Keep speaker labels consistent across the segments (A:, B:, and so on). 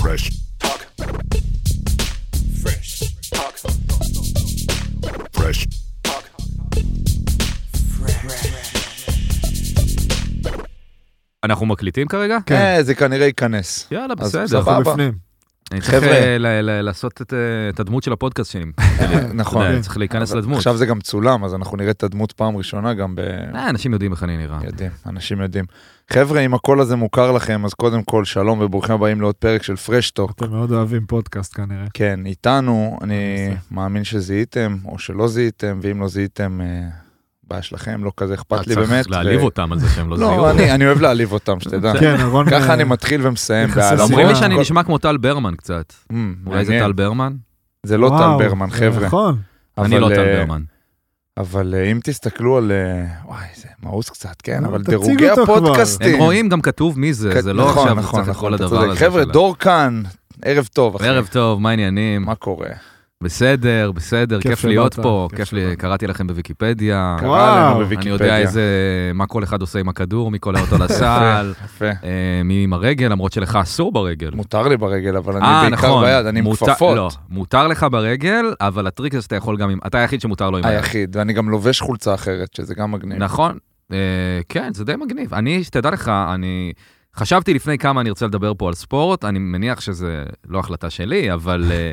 A: Fresh. Talk. Fresh. Talk. Fresh. Talk.
B: אנחנו מקליטים כרגע?
C: כן.
D: אה, זה כנראה ייכנס.
B: יאללה,
D: אז
B: בסדר.
D: סבבה.
C: אנחנו בפנים.
B: אני צריך
D: חבר'ה.
B: אה, ל- ל- לעשות את, אה, את הדמות של הפודקאסט שלי. אתה
D: נכון.
B: יודע, צריך להיכנס
D: אבל
B: לדמות.
D: עכשיו זה גם צולם, אז אנחנו נראה את הדמות פעם ראשונה גם ב...
B: אה, אנשים יודעים איך אני נראה.
D: יודעים, אנשים יודעים. חבר'ה, אם הקול הזה מוכר לכם, אז קודם כל שלום וברוכים הבאים לעוד פרק של פרשטוק.
C: אתם מאוד אוהבים פודקאסט כנראה.
D: כן, איתנו, אני
C: בסדר.
D: מאמין שזיהיתם, או שלא זיהיתם, ואם לא זיהיתם, אה, בעיה שלכם, לא כזה אכפת לי
B: צריך
D: באמת.
B: להעליב
D: ו-
B: אותם על זה שהם לא
D: לא,
B: זיהו.
D: אני- אני אוהב להעליב אותם, שתדע.
C: כן, רון...
D: ככה
C: אה,
D: אני מתחיל ומסיים.
C: יחסי
D: בהעלבות.
C: סיעה.
B: אומרים לי שאני
D: כל-
B: נשמע כמו טל ברמן קצת.
D: אמ,
B: אולי זה
D: מעניין.
B: טל ברמן?
D: זה לא
C: וואו,
D: טל ברמן,
C: זה
D: חבר'ה.
C: נכון.
B: אני
D: אבל,
B: לא
D: אה,
B: טל ברמן.
D: אבל אה, אם תסתכלו על... אה, וואי, זה מאוס קצת, כן?
B: אה,
C: נו,
D: אבל
C: תציג
D: דירוגי
C: אותו כבר.
D: הפודקאסטים.
B: הם רואים גם כתוב מי זה,
D: אוקיי. כ-
B: זה לא
D: נכון,
B: עכשיו
D: נכון,
B: צריך את
D: נכון,
B: כל
D: אתה
B: הדבר
D: צודק.
B: הזה.
D: חבר'ה,
B: של-
D: דור כאן, ערב טוב, אחי.
B: ערב טוב, מה העניינים?
D: מה קורה?
B: בסדר, בסדר,
C: כיף
B: כיף להיות
C: שבאת,
B: פה,
C: כיף
B: כיף לי,
C: שבאת.
B: קראתי לכם בוויקיפדיה.
C: וואו.
D: קרא לנו
C: אני
B: אני
D: בוויקיפדיה.
B: יודע איזה, מה כל אחד עושה עם הכדור, מי קולע אותו לסל,
D: יפה.
B: אה, מי עם הרגל, למרות שלך אסור ברגל.
D: מותר לי ברגל, אבל
B: אה,
D: אני בעיקר ביד, אני עם
B: מותר-
D: כפפות.
B: לא, מותר לך ברגל, אבל הטריק זה שאתה יכול גם עם... אתה היחיד שמותר לו עם היד.
D: היחיד, ואני גם לובש חולצה אחרת, שזה גם מגניב.
B: נכון, אה, כן, זה די מגניב. אני, שתדע לך, אני חשבתי לפני כמה אני ארצה לדבר פה על ספורט, אני מניח שזה לא החלטה שלי, אבל אה,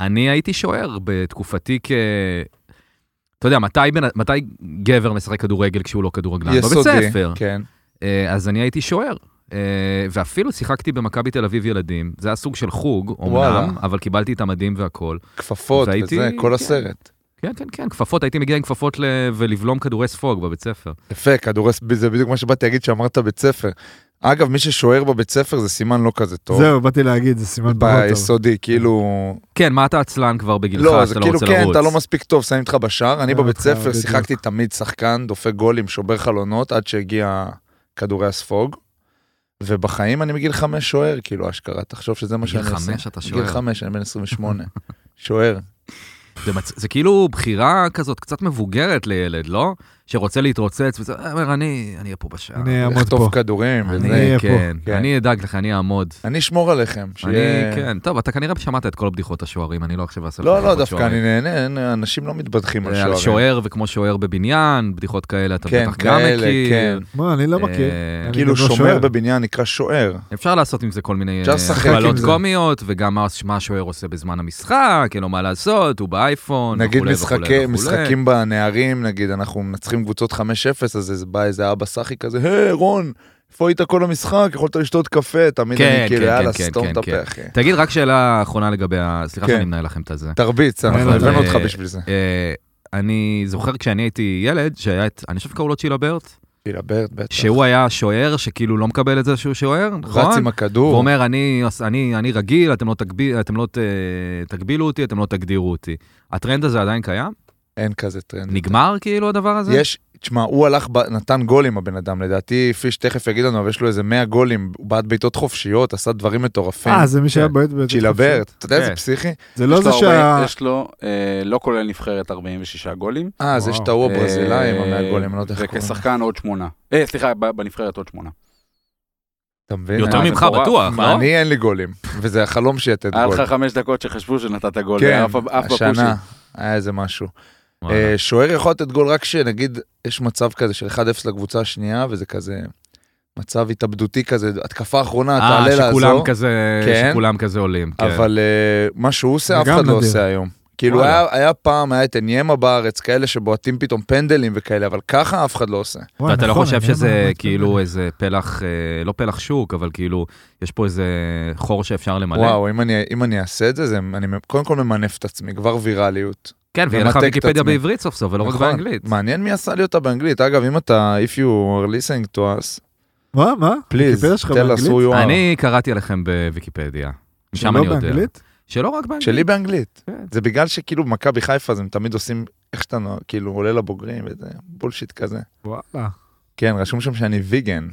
B: אני הייתי שוער בתקופתי כ... אתה יודע, מתי, בן- מתי גבר משחק כדורגל כשהוא לא כדורגלן? בבית
D: יסודי.
B: ספר.
D: כן.
B: אה, אז אני הייתי שוער. אה, ואפילו שיחקתי במכבי תל אביב ילדים, זה היה סוג של חוג,
D: וואלה.
B: אומנם, אבל קיבלתי את המדים והכל.
D: כפפות
B: והייתי-
D: וזה, כל
B: כן.
D: הסרט.
B: כן, כן, כן, כפפות, הייתי מגיע עם כפפות ל... ולבלום כדורי ספוג בבית ספר.
D: יפה, כדורס, זה בדיוק מה שבאתי להגיד שאמרת בית ספר. אגב, מי ששוער בבית ספר זה סימן לא כזה טוב.
C: זהו, באתי להגיד, זה סימן פחות טוב.
D: ביסודי, כאילו,
B: כן, מה אתה עצלן כבר בגילך
D: לא, זה
B: שאתה לא
D: כאילו
B: רוצה
D: כן,
B: לרוץ?
D: אתה לא מספיק טוב, שמים אותך בשער. אני
C: אה,
D: בבית
C: אותך,
D: ספר
C: בדיוק.
D: שיחקתי תמיד שחקן, דופק גולים, שובר חלונות, עד שהגיע כדורי הספוג. ובחיים אני מגיל חמש שוער, כאילו, אשכרה, תחשוב שזה מה
B: בגיל
D: שאני עושה.
B: חמש אתה
D: בגיל
B: שוער.
D: חמש, אני בן 28. שוער.
B: זה, מצ... זה כאילו בחירה כזאת קצת מבוגרת לילד, לא? שרוצה להתרוצץ וזה, אה, אומר, אני אני אהיה פה בשעה.
C: אני אעמוד פה.
D: לחטוף כדורים.
B: אני,
D: וזה.
C: אהיה
B: כן,
D: כן.
B: אני אדאג לך, אני אעמוד.
D: אני אשמור עליכם. שיהיה-
B: אני, כן, טוב, אתה כנראה שמעת את כל בדיחות השוערים, אני לא עכשיו אעשה לך
D: לא, לא,
B: בדיחות
D: דווקא
B: שוערים.
D: אני נהנה, אין- אנשים לא מתבדחים על
B: אה, על
D: שוערים.
B: שוער וכמו שוער בבניין, בדיחות כאלה, אתה
D: כן,
B: בטח גם
D: כאלה,
B: מכיר.
D: כן.
C: מה, אני לא מכיר.
B: אה,
C: אני
D: כאילו
C: גם לא
D: שומר בבניין נקרא שוער.
B: אפשר לעשות עם זה כל מיני
D: אפשר
B: אה,
D: לשחק
C: עם
B: הגבלות
C: זה.
B: קומיות, וגם מה- מה השוער עושה בזמן המשחק, אין לו מה לעשות, הוא באייפון,
D: נגיד
B: וכולי וכולי
D: משחקי,
B: וכולי.
D: משחקים בנערים, נגיד אנחנו מנצחים קבוצות 5-0, אז איזה- בא איזה אבא סאחי כזה, היי רון, איפה היית כל המשחק? יכולת לשתות קפה, תמיד
B: כן,
D: אני
B: כן,
D: כאילו,
B: כן,
D: יאללה,
B: כן,
D: סתום
B: כן,
D: את הפה,
B: כן.
D: אחי.
B: תגיד רק שאלה אחרונה לגבי ה... סליחה
D: כן.
B: שאני מנהל לכם את הזה.
D: תרביץ,
C: אין
D: אנחנו
C: לנו-
D: הבאנו אותך
B: אה,
D: בשביל זה.
B: אה, אני זוכר כשאני הייתי ילד, שהיה את, אני חושב שקראו לו צ'ילה ברט,
D: גילה ברד, בטח.
B: שהוא היה שוער שכאילו לא מקבל את זה שהוא שוער,
D: רץ
B: נכון?
D: עם
B: הוא
D: הכדור.
B: אומר, אני, אני, אני רגיל, אתם לא, תגביל, אתם לא ת, תגבילו אותי, אתם לא תגדירו אותי. הטרנד הזה עדיין קיים?
D: אין כזה טרנד.
B: נגמר כאילו הדבר הזה?
D: יש, תשמע, הוא הלך, ב- נתן גולים הבן אדם, לדעתי פיש תכף יגיד לנו, אבל יש לו איזה 100 גולים, הוא בעט בעיטות חופשיות, עשה דברים מטורפים.
C: אה, זה מי שהיה
B: כן.
C: בועט ב...
D: צ'ילברט, אתה יודע
B: כן.
D: איזה פסיכי?
C: זה לא
E: יש
C: זה
E: לו
C: שה...
E: 40 יש לו, אה, לא כולל נבחרת 46 גולים.
D: אה, זה
C: וואו.
D: שאתה הוא הברזילאי עם
E: אה,
D: המאה גולים, אני לא יודע איך קוראים. לו.
E: וכשחקן עוד שמונה. אה, סליחה, ב- בנבחרת עוד שמונה.
D: אתה מבין?
B: יותר
D: אה,
E: זה
B: ממך
E: מטורף.
B: בטוח,
D: מה,
B: לא?
D: אני אין לי גולים, וזה החלום שיתת
E: היה
D: גול.
E: לך חמש דקות שחשבו שנתת גול,
D: כן,
E: ואף- אף בפושי.
D: השנה היה איזה משהו.
B: וואלה.
D: אה, שוער יכול לתת גול רק שנגיד יש מצב כזה של 1-0 לקבוצה השנייה, וזה כזה מצב התאבדותי כזה, התקפה אחרונה,
B: אה,
D: תעלה
B: שכולם
D: לעזור,
B: כזה,
D: כן.
B: שכולם כזה עולים, כן.
D: אבל אה, מה שהוא עושה
C: זה
D: אף
C: גם
D: אחד לא
C: נדיר.
D: עושה היום. כאילו
B: וואלה.
D: היה היה פעם, היה את עניימה בארץ, כאלה שבועטים פתאום פנדלים וכאלה, אבל ככה אף אחד לא עושה.
C: וואי,
B: ואתה לא
C: נכון,
B: חושב
C: אני לא
B: שזה
C: מאמין.
B: כאילו איזה פלח, אה, לא פלח שוק, אבל כאילו, יש פה איזה חור שאפשר למלא.
D: וואו, אם אני- אם אני אעשה את זה, זה- אני קודם כל ממנף את עצמי, כבר ויראליות.
B: כן, ויהיה לך
D: ומתק את
B: ויקיפדיה
D: עצמי.
B: בעברית סוף סוף, ולא לא רק
D: נכון.
B: באנגלית.
D: מעניין מי עשה לי אותה באנגלית. אגב, אם אתה, if you are listening to us,
C: מה, מה?
D: פליז,
C: הקיפדה שלך
D: תן לה
C: באנגלית?
D: סור יואר.
B: אני קראתי עליכם בוויקיפדיה. שם
C: לא
B: אני יודע.
C: באנגלית?
B: שלא רק באנגלית.
D: שלי באנגלית.
B: כן.
D: זה בגלל שכאילו במכבי חיפה אז הם תמיד עושים איך שאתה נוהג, כאילו עולה לבוגרים וזה בולשיט כזה.
C: וואלה.
D: כן, רשום שם שאני ויגן.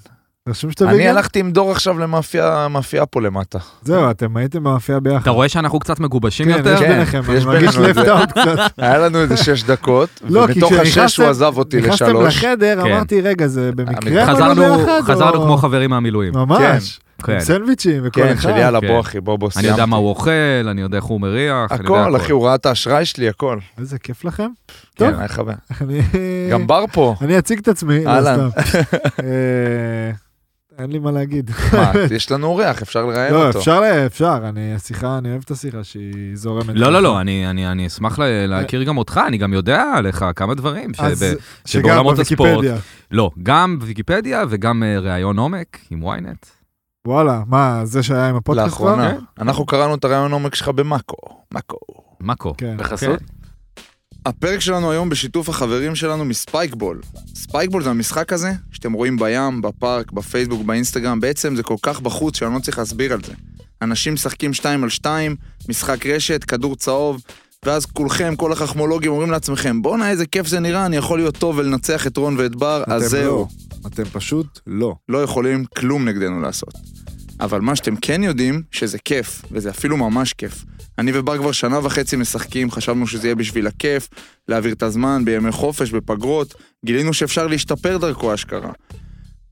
C: רשום שאתה
D: אני
C: ויגן?
D: הלכתי עם דור עכשיו למאפייה מאפייה פה למטה.
C: זהו, אתם הייתם במאפייה ביחד.
B: אתה רואה שאנחנו קצת מגובשים
C: כן,
B: יותר?
C: יש
D: כן,
C: ביניכם,
D: יש
C: אני מרגיש
D: בינינו את זה.
C: לפטאוט קצת.
D: היה לנו איזה שש דקות,
C: לא, כי
D: ומתוך השש
C: כשנכנסתם-
D: הוא עזב אותי
C: נכנסתם
D: לשלוש.
C: לחדר,
B: כן.
C: אמרתי, רגע, זה במקרה
D: חזרנו-
C: עברנו
B: חזרנו
C: ביחד?
B: חזרנו
C: או-
D: אה,
B: כמו חברים מהמילואים.
C: ממש.
B: כן.
C: עם סנדוויצ'ים וכל
D: כן,
C: אחד.
D: של יאללה
B: כן.
D: בוא אחי, בוא בוא
B: אני
D: סיימתי.
B: יודע מה הוא אוכל, אני יודע איך הוא מריח, אני יודע
D: הכל, אחי, הוא ראה את האשראי שלי, הכל.
C: איזה כיף לכם. טוב. אה.
D: כן, היה חבר.
C: אני...
D: גם בר פה.
C: אני אציג את עצמי. לא,
D: אהלן.
C: סתם. אה, אין לי מה להגיד.
D: מה, יש לנו אורח, אפשר לראיין
C: לא,
D: אותו.
C: אפשר, לה- אפשר. אני, השיחה, אני אוהב את השיחה שהיא זורמת.
B: לא, לא, לא, אני, אני, אני אשמח לה- להכיר גם אותך, אני גם יודע עליך כמה דברים. שב...
C: אז שגם
B: שבעולמות הספורט-
C: בוויקיפדיה.
B: לא, גם ויקיפדיה וגם אה, ראיון עומק עם ynet.
C: וואלה, מה, זה שהיה עם הפודקאסט?
D: לאחרונה.
C: כבר? כן.
D: אנחנו קראנו את הרעיון עומק שלך במאקו. מאקו.
B: מאקו.
C: כן.
E: בחסות?
D: הפרק שלנו היום בשיתוף החברים שלנו מספייקבול. ספייקבול זה המשחק הזה שאתם רואים בים, בפארק, בפייסבוק, באינסטגרם, בעצם זה כל כך בחוץ שאני לא צריך להסביר על זה. אנשים משחקים שתיים על שתיים, משחק רשת, כדור צהוב, ואז כולכם, כל החכמולוגים אומרים לעצמכם, בואנה איזה כיף זה נראה, אני יכול להיות טוב ולנצח את רון ואת בר, אז
F: אתם
D: זהו.
F: לא. אתם פשוט לא.
D: לא יכולים כלום נגדנו לעשות. אבל מה שאתם כן יודעים, שזה כיף, וזה אפילו ממש כיף. אני ובר כבר שנה וחצי משחקים, חשבנו שזה יהיה בשביל הכיף, להעביר את הזמן בימי חופש, בפגרות, גילינו שאפשר להשתפר דרכו אשכרה.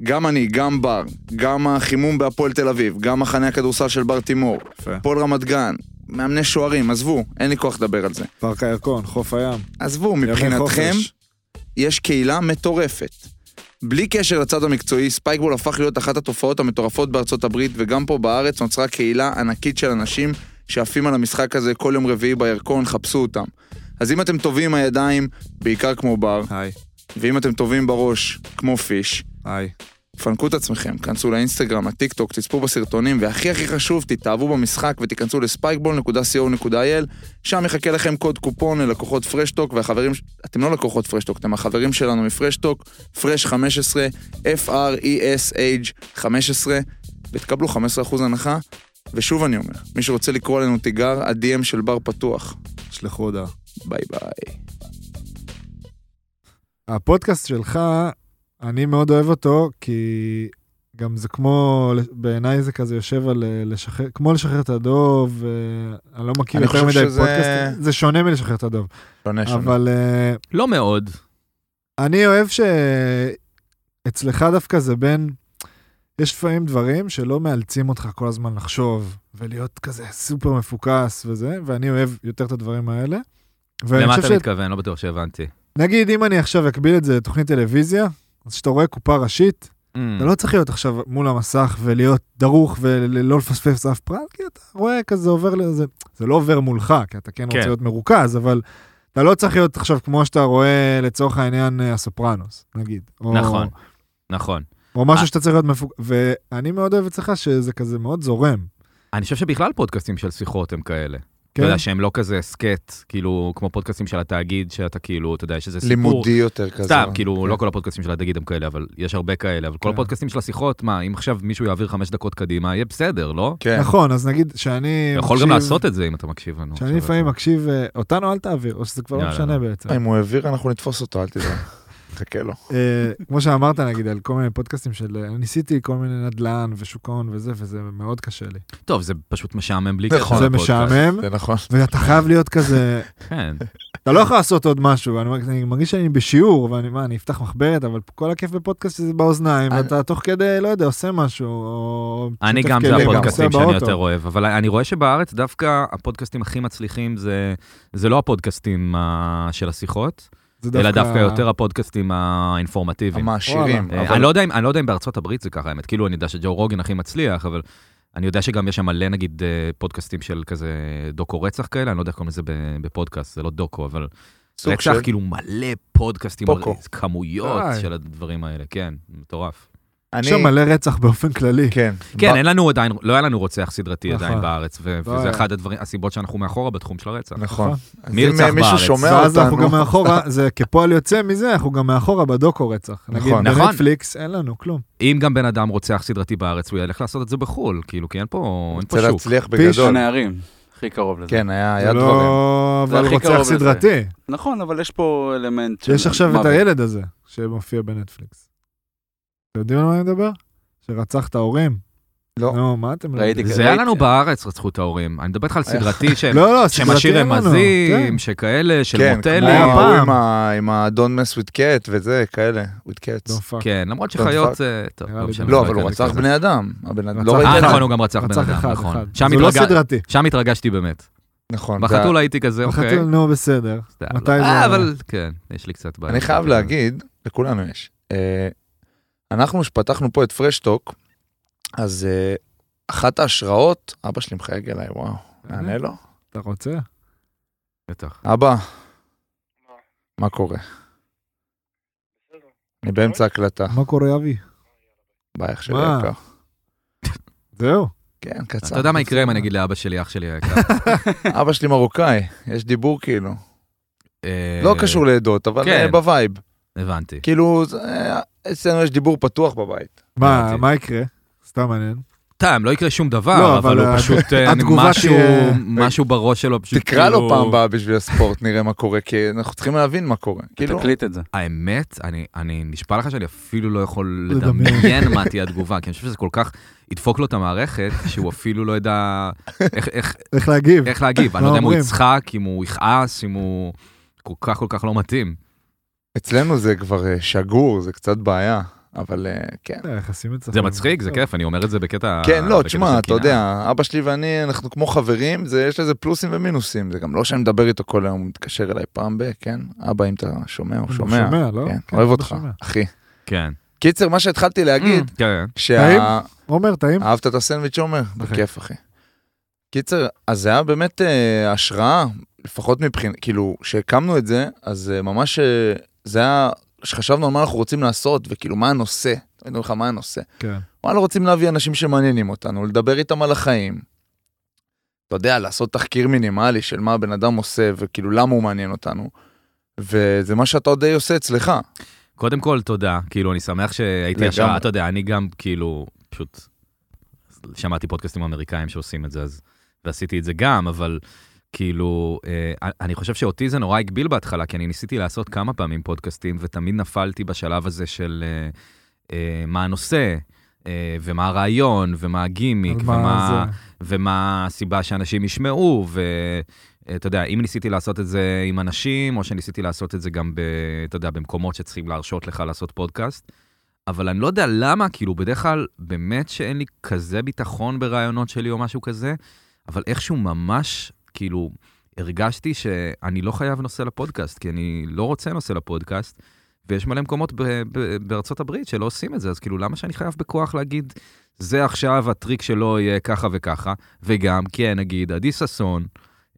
D: גם אני, גם בר, גם החימום בהפועל תל אביב, גם מחנה הכדורסל של בר תימור,
F: יפה.
D: הפועל רמת גן, מאמני שוערים, עזבו, אין לי כוח לדבר על זה.
F: פארק הירקון, חוף הים.
D: עזבו,
F: ימי
D: מבחינתכם,
F: חופש.
D: יש קהילה מטורפת. בלי קשר לצד המקצועי, ספייקבול הפך להיות אחת התופעות המטורפות בארצות הברית, וגם פה בארץ נוצרה קהילה ענקית של אנשים שעפים על המשחק הזה כל יום רביעי בירקון, חפשו אותם. אז אם אתם טובים עם הידיים, בעיקר כמו בר,
F: היי,
D: ואם אתם טובים בראש, כמו פיש,
F: היי.
D: פנקו את עצמכם, כנסו לאינסטגרם, לטיק טוק, תצפו בסרטונים, והכי הכי חשוב, תתאהבו במשחק ותיכנסו לספייקבול.co.il, שם יחכה לכם קוד קופון ללקוחות פרשטוק, והחברים, ש- אתם לא לקוחות פרשטוק, אתם החברים שלנו מפרשטוק, פרש 15, E F-R-E-S-H 15, ותקבלו 15% הנחה. ושוב אני אומר, מי שרוצה לקרוא עלינו תיגר, ה-DM של בר פתוח.
F: שלחו הודעה.
D: ביי ביי.
C: הפודקאסט שלך, אני מאוד אוהב אותו, כי גם זה כמו, בעיניי זה כזה יושב על אה, לשחרר, כמו לשחרר את הדוב, אה, אני לא מכיר
D: אני
C: יותר
D: חושב
C: מדי
D: שזה-
C: פודקאסטים, זה שונה מלשחרר את הדוב,
D: שונה שונה.
C: אבל אה,
B: לא מאוד.
C: אני אוהב שאצלך דווקא זה בין, יש לפעמים דברים שלא מאלצים אותך כל הזמן לחשוב, ולהיות כזה סופר מפוקס וזה, ואני אוהב יותר את הדברים האלה. ואני
B: למה
C: חושב
B: אתה
C: ש-
B: מתכוון? לא בטוח שהבנתי.
C: נגיד אם אני עכשיו אקביל את זה לתוכנית טלוויזיה, אז כשאתה רואה קופה ראשית,
B: Mm.
C: אתה לא צריך להיות עכשיו מול המסך ולהיות דרוך ולא לפספס אף פרט, כי אתה רואה כזה עובר לזה, זה לא עובר מולך, כי אתה
B: כן.
C: כן רוצה להיות מרוכז, אבל אתה לא צריך להיות עכשיו כמו שאתה רואה לצורך העניין אה, הסופרנוס, נגיד. או,
B: נכון, נכון.
C: או משהו שאתה צריך להיות מפוק... ואני מאוד אוהב אצלך שזה כזה מאוד זורם.
B: אני חושב שבכלל פודקאסטים של שיחות הם כאלה. אתה
C: כן?
B: יודע שהם לא כזה הסכת, כאילו, כמו פודקאסטים של התאגיד, שאתה כאילו, אתה יודע, יש איזה סיפור.
D: יותר כזה.
B: סתם, כאילו, לא כל הפודקאסטים של התאגיד הם כאלה, אבל יש הרבה כאלה. אבל כל
C: כן.
B: הפודקאסטים של השיחות, מה, אם עכשיו מישהו יעביר חמש דקות קדימה, יהיה בסדר, לא?
D: כן.
C: נכון, אז נגיד שאני...
B: אתה יכול גם
C: מקשיב-
B: לעשות את זה אם אתה מקשיב לנו.
C: שאני
B: עכשיו,
C: לפעמים
B: אתה-
C: מקשיב, אה, אותנו אל תעביר, או שזה כבר לא
B: יאללה.
C: משנה בעצם.
D: אם הוא העביר, אנחנו נתפוס אותו, אל תדאג. חכה לו.
C: אה, כמו שאמרת נגיד על כל מיני פודקאסטים של אה, ניסיתי כל מיני נדל"ן ושוק ההון וזה וזה מאוד קשה לי.
B: טוב, זה פשוט משעמם בלי
D: נכון.
B: קשר
C: זה
B: לפודקאסט.
C: משעמם
D: זה נכון.
C: ואתה חייב להיות כזה
B: כן.
C: אתה לא יכול לעשות עוד משהו ואני מרגיש- אני מרגיש שאני בשיעור ואני מה אני אפתח מחברת אבל כל הכיף בפודקאסט זה באוזניים
D: אני-
C: ואתה תוך כדי לא יודע עושה משהו. או
B: אני
C: שוטף
B: גם, זה
C: כלים,
B: הפודקאסטים
C: נוסע
B: שאני
C: באוטו.
B: יותר אוהב, אבל אני רואה שבארץ דווקא הפודקאסטים הכי מצליחים זה, זה לא הפודקאסטים אה, של השיחות,
C: זה
B: אלא דווקא יותר הפודקאסטים אה, האינפורמטיביים.
D: המעשירים.
B: אה,
D: אבל-
B: אני לא יודע אם- אני לא יודע אם בארצות הברית זה ככה, האמת, כאילו אני יודע שג'ו רוגן הכי מצליח, אבל אני יודע שגם יש שם מלא נגיד אה, פודקאסטים של כזה דוקו רצח כאלה, אני לא יודע איך קוראים לזה ב- בפודקאסט, זה לא דוקו, אבל
D: סוג
B: רצח
D: של-
B: כאילו מלא פודקאסטים,
D: פוקו.
B: הרי כמויות
C: די.
B: של הדברים האלה, כן, מטורף.
D: אני...
C: יש שם מלא רצח באופן כללי.
D: כן.
B: כן,
D: ב-
B: אין לנו עדיין, לא היה לנו רוצח סדרתי
C: נכון.
B: עדיין בארץ, ו-
C: לא
B: וזה
C: היה.
B: אחד הדברים, הסיבות שאנחנו מאחורה בתחום של הרצח.
D: נכון. אז
B: מי
D: אם
B: ירצח
D: מישהו
B: בארץ?
D: שומע
C: ואז אנחנו
D: אותנו-
C: גם מאחורה, זה כפועל יוצא מזה, אנחנו גם מאחורה בדוקו רצח. נגיד
D: נכון.
B: נכון.
C: בנטפליקס אין לנו כלום.
B: אם גם בן אדם רוצח סדרתי בארץ, הוא ילך לעשות את זה בחו"ל, כאילו, כי אין פה אין פה
D: רוצה
B: שוק.
D: להצליח
C: פיש.
D: בגדול.
E: הנערים, הכי קרוב לזה.
D: כן, היה היה
C: זה
D: דברים.
C: לא
E: זה
C: אבל
E: הכי
C: רוצח
E: קרוב לזה.
C: סדרתי.
E: נכון, אבל יש פה אלמנט של...
C: יש עכשיו את
E: מוות.
C: הילד הזה שמופיע בנטפליקס. אתם יודעים על מה אני מדבר? שרצח את ההורים.
G: לא.
C: נו, מה אתם... לא
E: ראיתי
C: יודעים?
B: זה היה לנו בארץ רצחו את ההורים. אני מדבר איתך על סדרתי שהם-
C: לא, לא, סדרתי
B: שמשאיר
C: אין לנו, כן.
B: רמזים, שכאלה, של לא
D: כן, כמו
B: מוטלים.
C: היה
D: ההוא
C: פעם.
D: עם ה- עם ה-Don't mess with cat וזה, כאלה, with cats.
C: לא, פאק.
B: כן, למרות
D: לא,
B: שחיות...
D: פאק.
B: אה, טוב,
C: נראה לי
B: משנה,
G: לא,
B: לא
G: אבל הוא
B: אכנס
G: רצח
B: לזה.
G: בני אדם. הבן אדם, לא
C: רצח
G: ראיתי
B: אה,
G: אחד.
B: נכון, הוא גם רצח בן
C: רצח
B: אדם,
C: אחד,
B: נכון.
C: אחד.
B: שם
C: זה לא
B: התרגש-
C: סדרתי.
B: שם התרגשתי באמת.
D: נכון. זה-
B: בחתול הייתי כזה, אוקיי.
C: בחתול, נו, בסדר.
B: אתה יודע,
C: מתי
B: לא.
C: זה-
B: אה, אבל כן, יש לי קצת בעיה.
D: אני חייב להגיד, לכולנו יש, אה, אנחנו שפתחנו פה את פרשטוק, אז אה, אחת ההשראות, אבא שלי מחייג אליי, וואו, נענה לו?
C: אתה רוצה?
B: בטח.
D: אבא, מה קורה? אני באמצע הקלטה,
C: מה קורה, אבי?
D: ביי אח שלי
C: מה?
D: יקר.
C: זהו.
D: כן, קצר.
B: אתה יודע מה יקרה אם אני אגיד לאבא שלי, אח שלי היקר.
D: אבא שלי מרוקאי, יש דיבור כאילו.
B: אה,
D: לא קשור לעדות, אבל
B: כן.
D: אה, בווייב.
B: הבנתי.
D: כאילו, זה- אה, אצלנו יש דיבור פתוח בבית.
C: מה,
B: הבנתי.
C: מה יקרה? סתם מעניין.
B: טעם, לא יקרה שום
C: לא,
B: דבר,
C: אבל
B: אבל הוא
C: ה-
B: פשוט... אה,
C: התגובה
B: משהו-
C: תהיה-
B: משהו בראש שלו פשוט...
D: תקרא לו
B: כאילו-
D: פעם הבאה בשביל הספורט, נראה מה קורה, כי אנחנו צריכים להבין מה קורה. כאילו,
E: תקליט את זה.
B: האמת, אני, אני נשבע לך שאני אפילו לא יכול
C: לדמיין.
B: לדמיין מה תהיה התגובה, כי אני חושב שזה כל כך ידפוק לו את המערכת, שהוא אפילו לא ידע איך, איך,
C: איך להגיב?
B: איך להגיב. אני
C: לא
B: לא יודע אם הוא
C: אומרים.
B: יצחק, אם הוא יכעס, אם הוא כל כך כל כך לא מתאים.
D: אצלנו זה כבר אה, שגור, זה קצת בעיה, אבל אה, כן.
C: אה, היחסים אצלכם. לא.
B: זה מצחיק, זה כיף, אני אומר את זה בקטע...
D: לא. כן, לא,
B: בקטע של
D: תשמע, אתה
B: קנאה.
D: יודע, אבא שלי ואני, אנחנו כמו חברים, זה, יש לזה פלוסים ומינוסים, זה גם לא שאני מדבר איתו כל היום, הוא מתקשר אליי פעם ב... כן? אבא, אם אתה שומע, הוא
C: הוא
D: שומע.
C: שומע, לא?
D: כן,
C: כן,
D: אוהב
C: הוא
D: אותך,
C: שומע. Mm.
D: אחי.
B: כן.
D: קיצר, מה שהתחלתי להגיד,
B: כן.
C: טעים?
D: שה...
C: עומר,
B: אה,
C: טעים?
D: אהבת את הסנדוויץ' עומר? בכיף, אחי. קיצר, אז זה היה באמת אה, השראה, לפחות מבחינת, כאילו, כשהקמנו את זה, אז אה, ממש אה, זה היה, כשחשבנו על מה אנחנו רוצים לעשות, וכאילו, מה הנושא, אני אומר לך, מה הנושא.
C: כן.
D: וואלה, רוצים להביא אנשים שמעניינים אותנו, לדבר איתם על החיים. אתה יודע, לעשות תחקיר מינימלי של מה הבן אדם עושה, וכאילו, למה הוא מעניין אותנו. וזה מה שאתה עוד די עושה אצלך.
B: קודם כל, תודה. כאילו, אני שמח שהייתי
D: לגמרי.
B: ישר, אתה יודע, אני גם, כאילו, פשוט שמעתי פודקאסטים אמריקאים שעושים את זה, אז, ועשיתי את זה גם, אבל כאילו, אה, אני חושב שאותי זה נורא הגביל בהתחלה, כי אני ניסיתי לעשות כמה פעמים פודקאסטים, ותמיד נפלתי בשלב הזה של אה, אה, מה הנושא, אה, ומה הרעיון, ומה הגימיק,
C: על מה
B: ומה...
C: זה?
B: ומה הסיבה שאנשים ישמעו, ואתה יודע, אם ניסיתי לעשות את זה עם אנשים, או שניסיתי לעשות את זה גם, ב, אתה יודע, במקומות שצריכים להרשות לך לעשות פודקאסט, אבל אני לא יודע למה, כאילו, בדרך כלל, באמת שאין לי כזה ביטחון ברעיונות שלי או משהו כזה, אבל איכשהו ממש, כאילו, הרגשתי שאני לא חייב נושא לפודקאסט, כי אני לא רוצה נושא לפודקאסט. ויש מלא מקומות ב- ב- בארצות הברית שלא עושים את זה, אז כאילו, למה שאני חייב בכוח להגיד, זה עכשיו הטריק שלו יהיה ככה וככה, וגם, כן, נגיד, עדי ששון,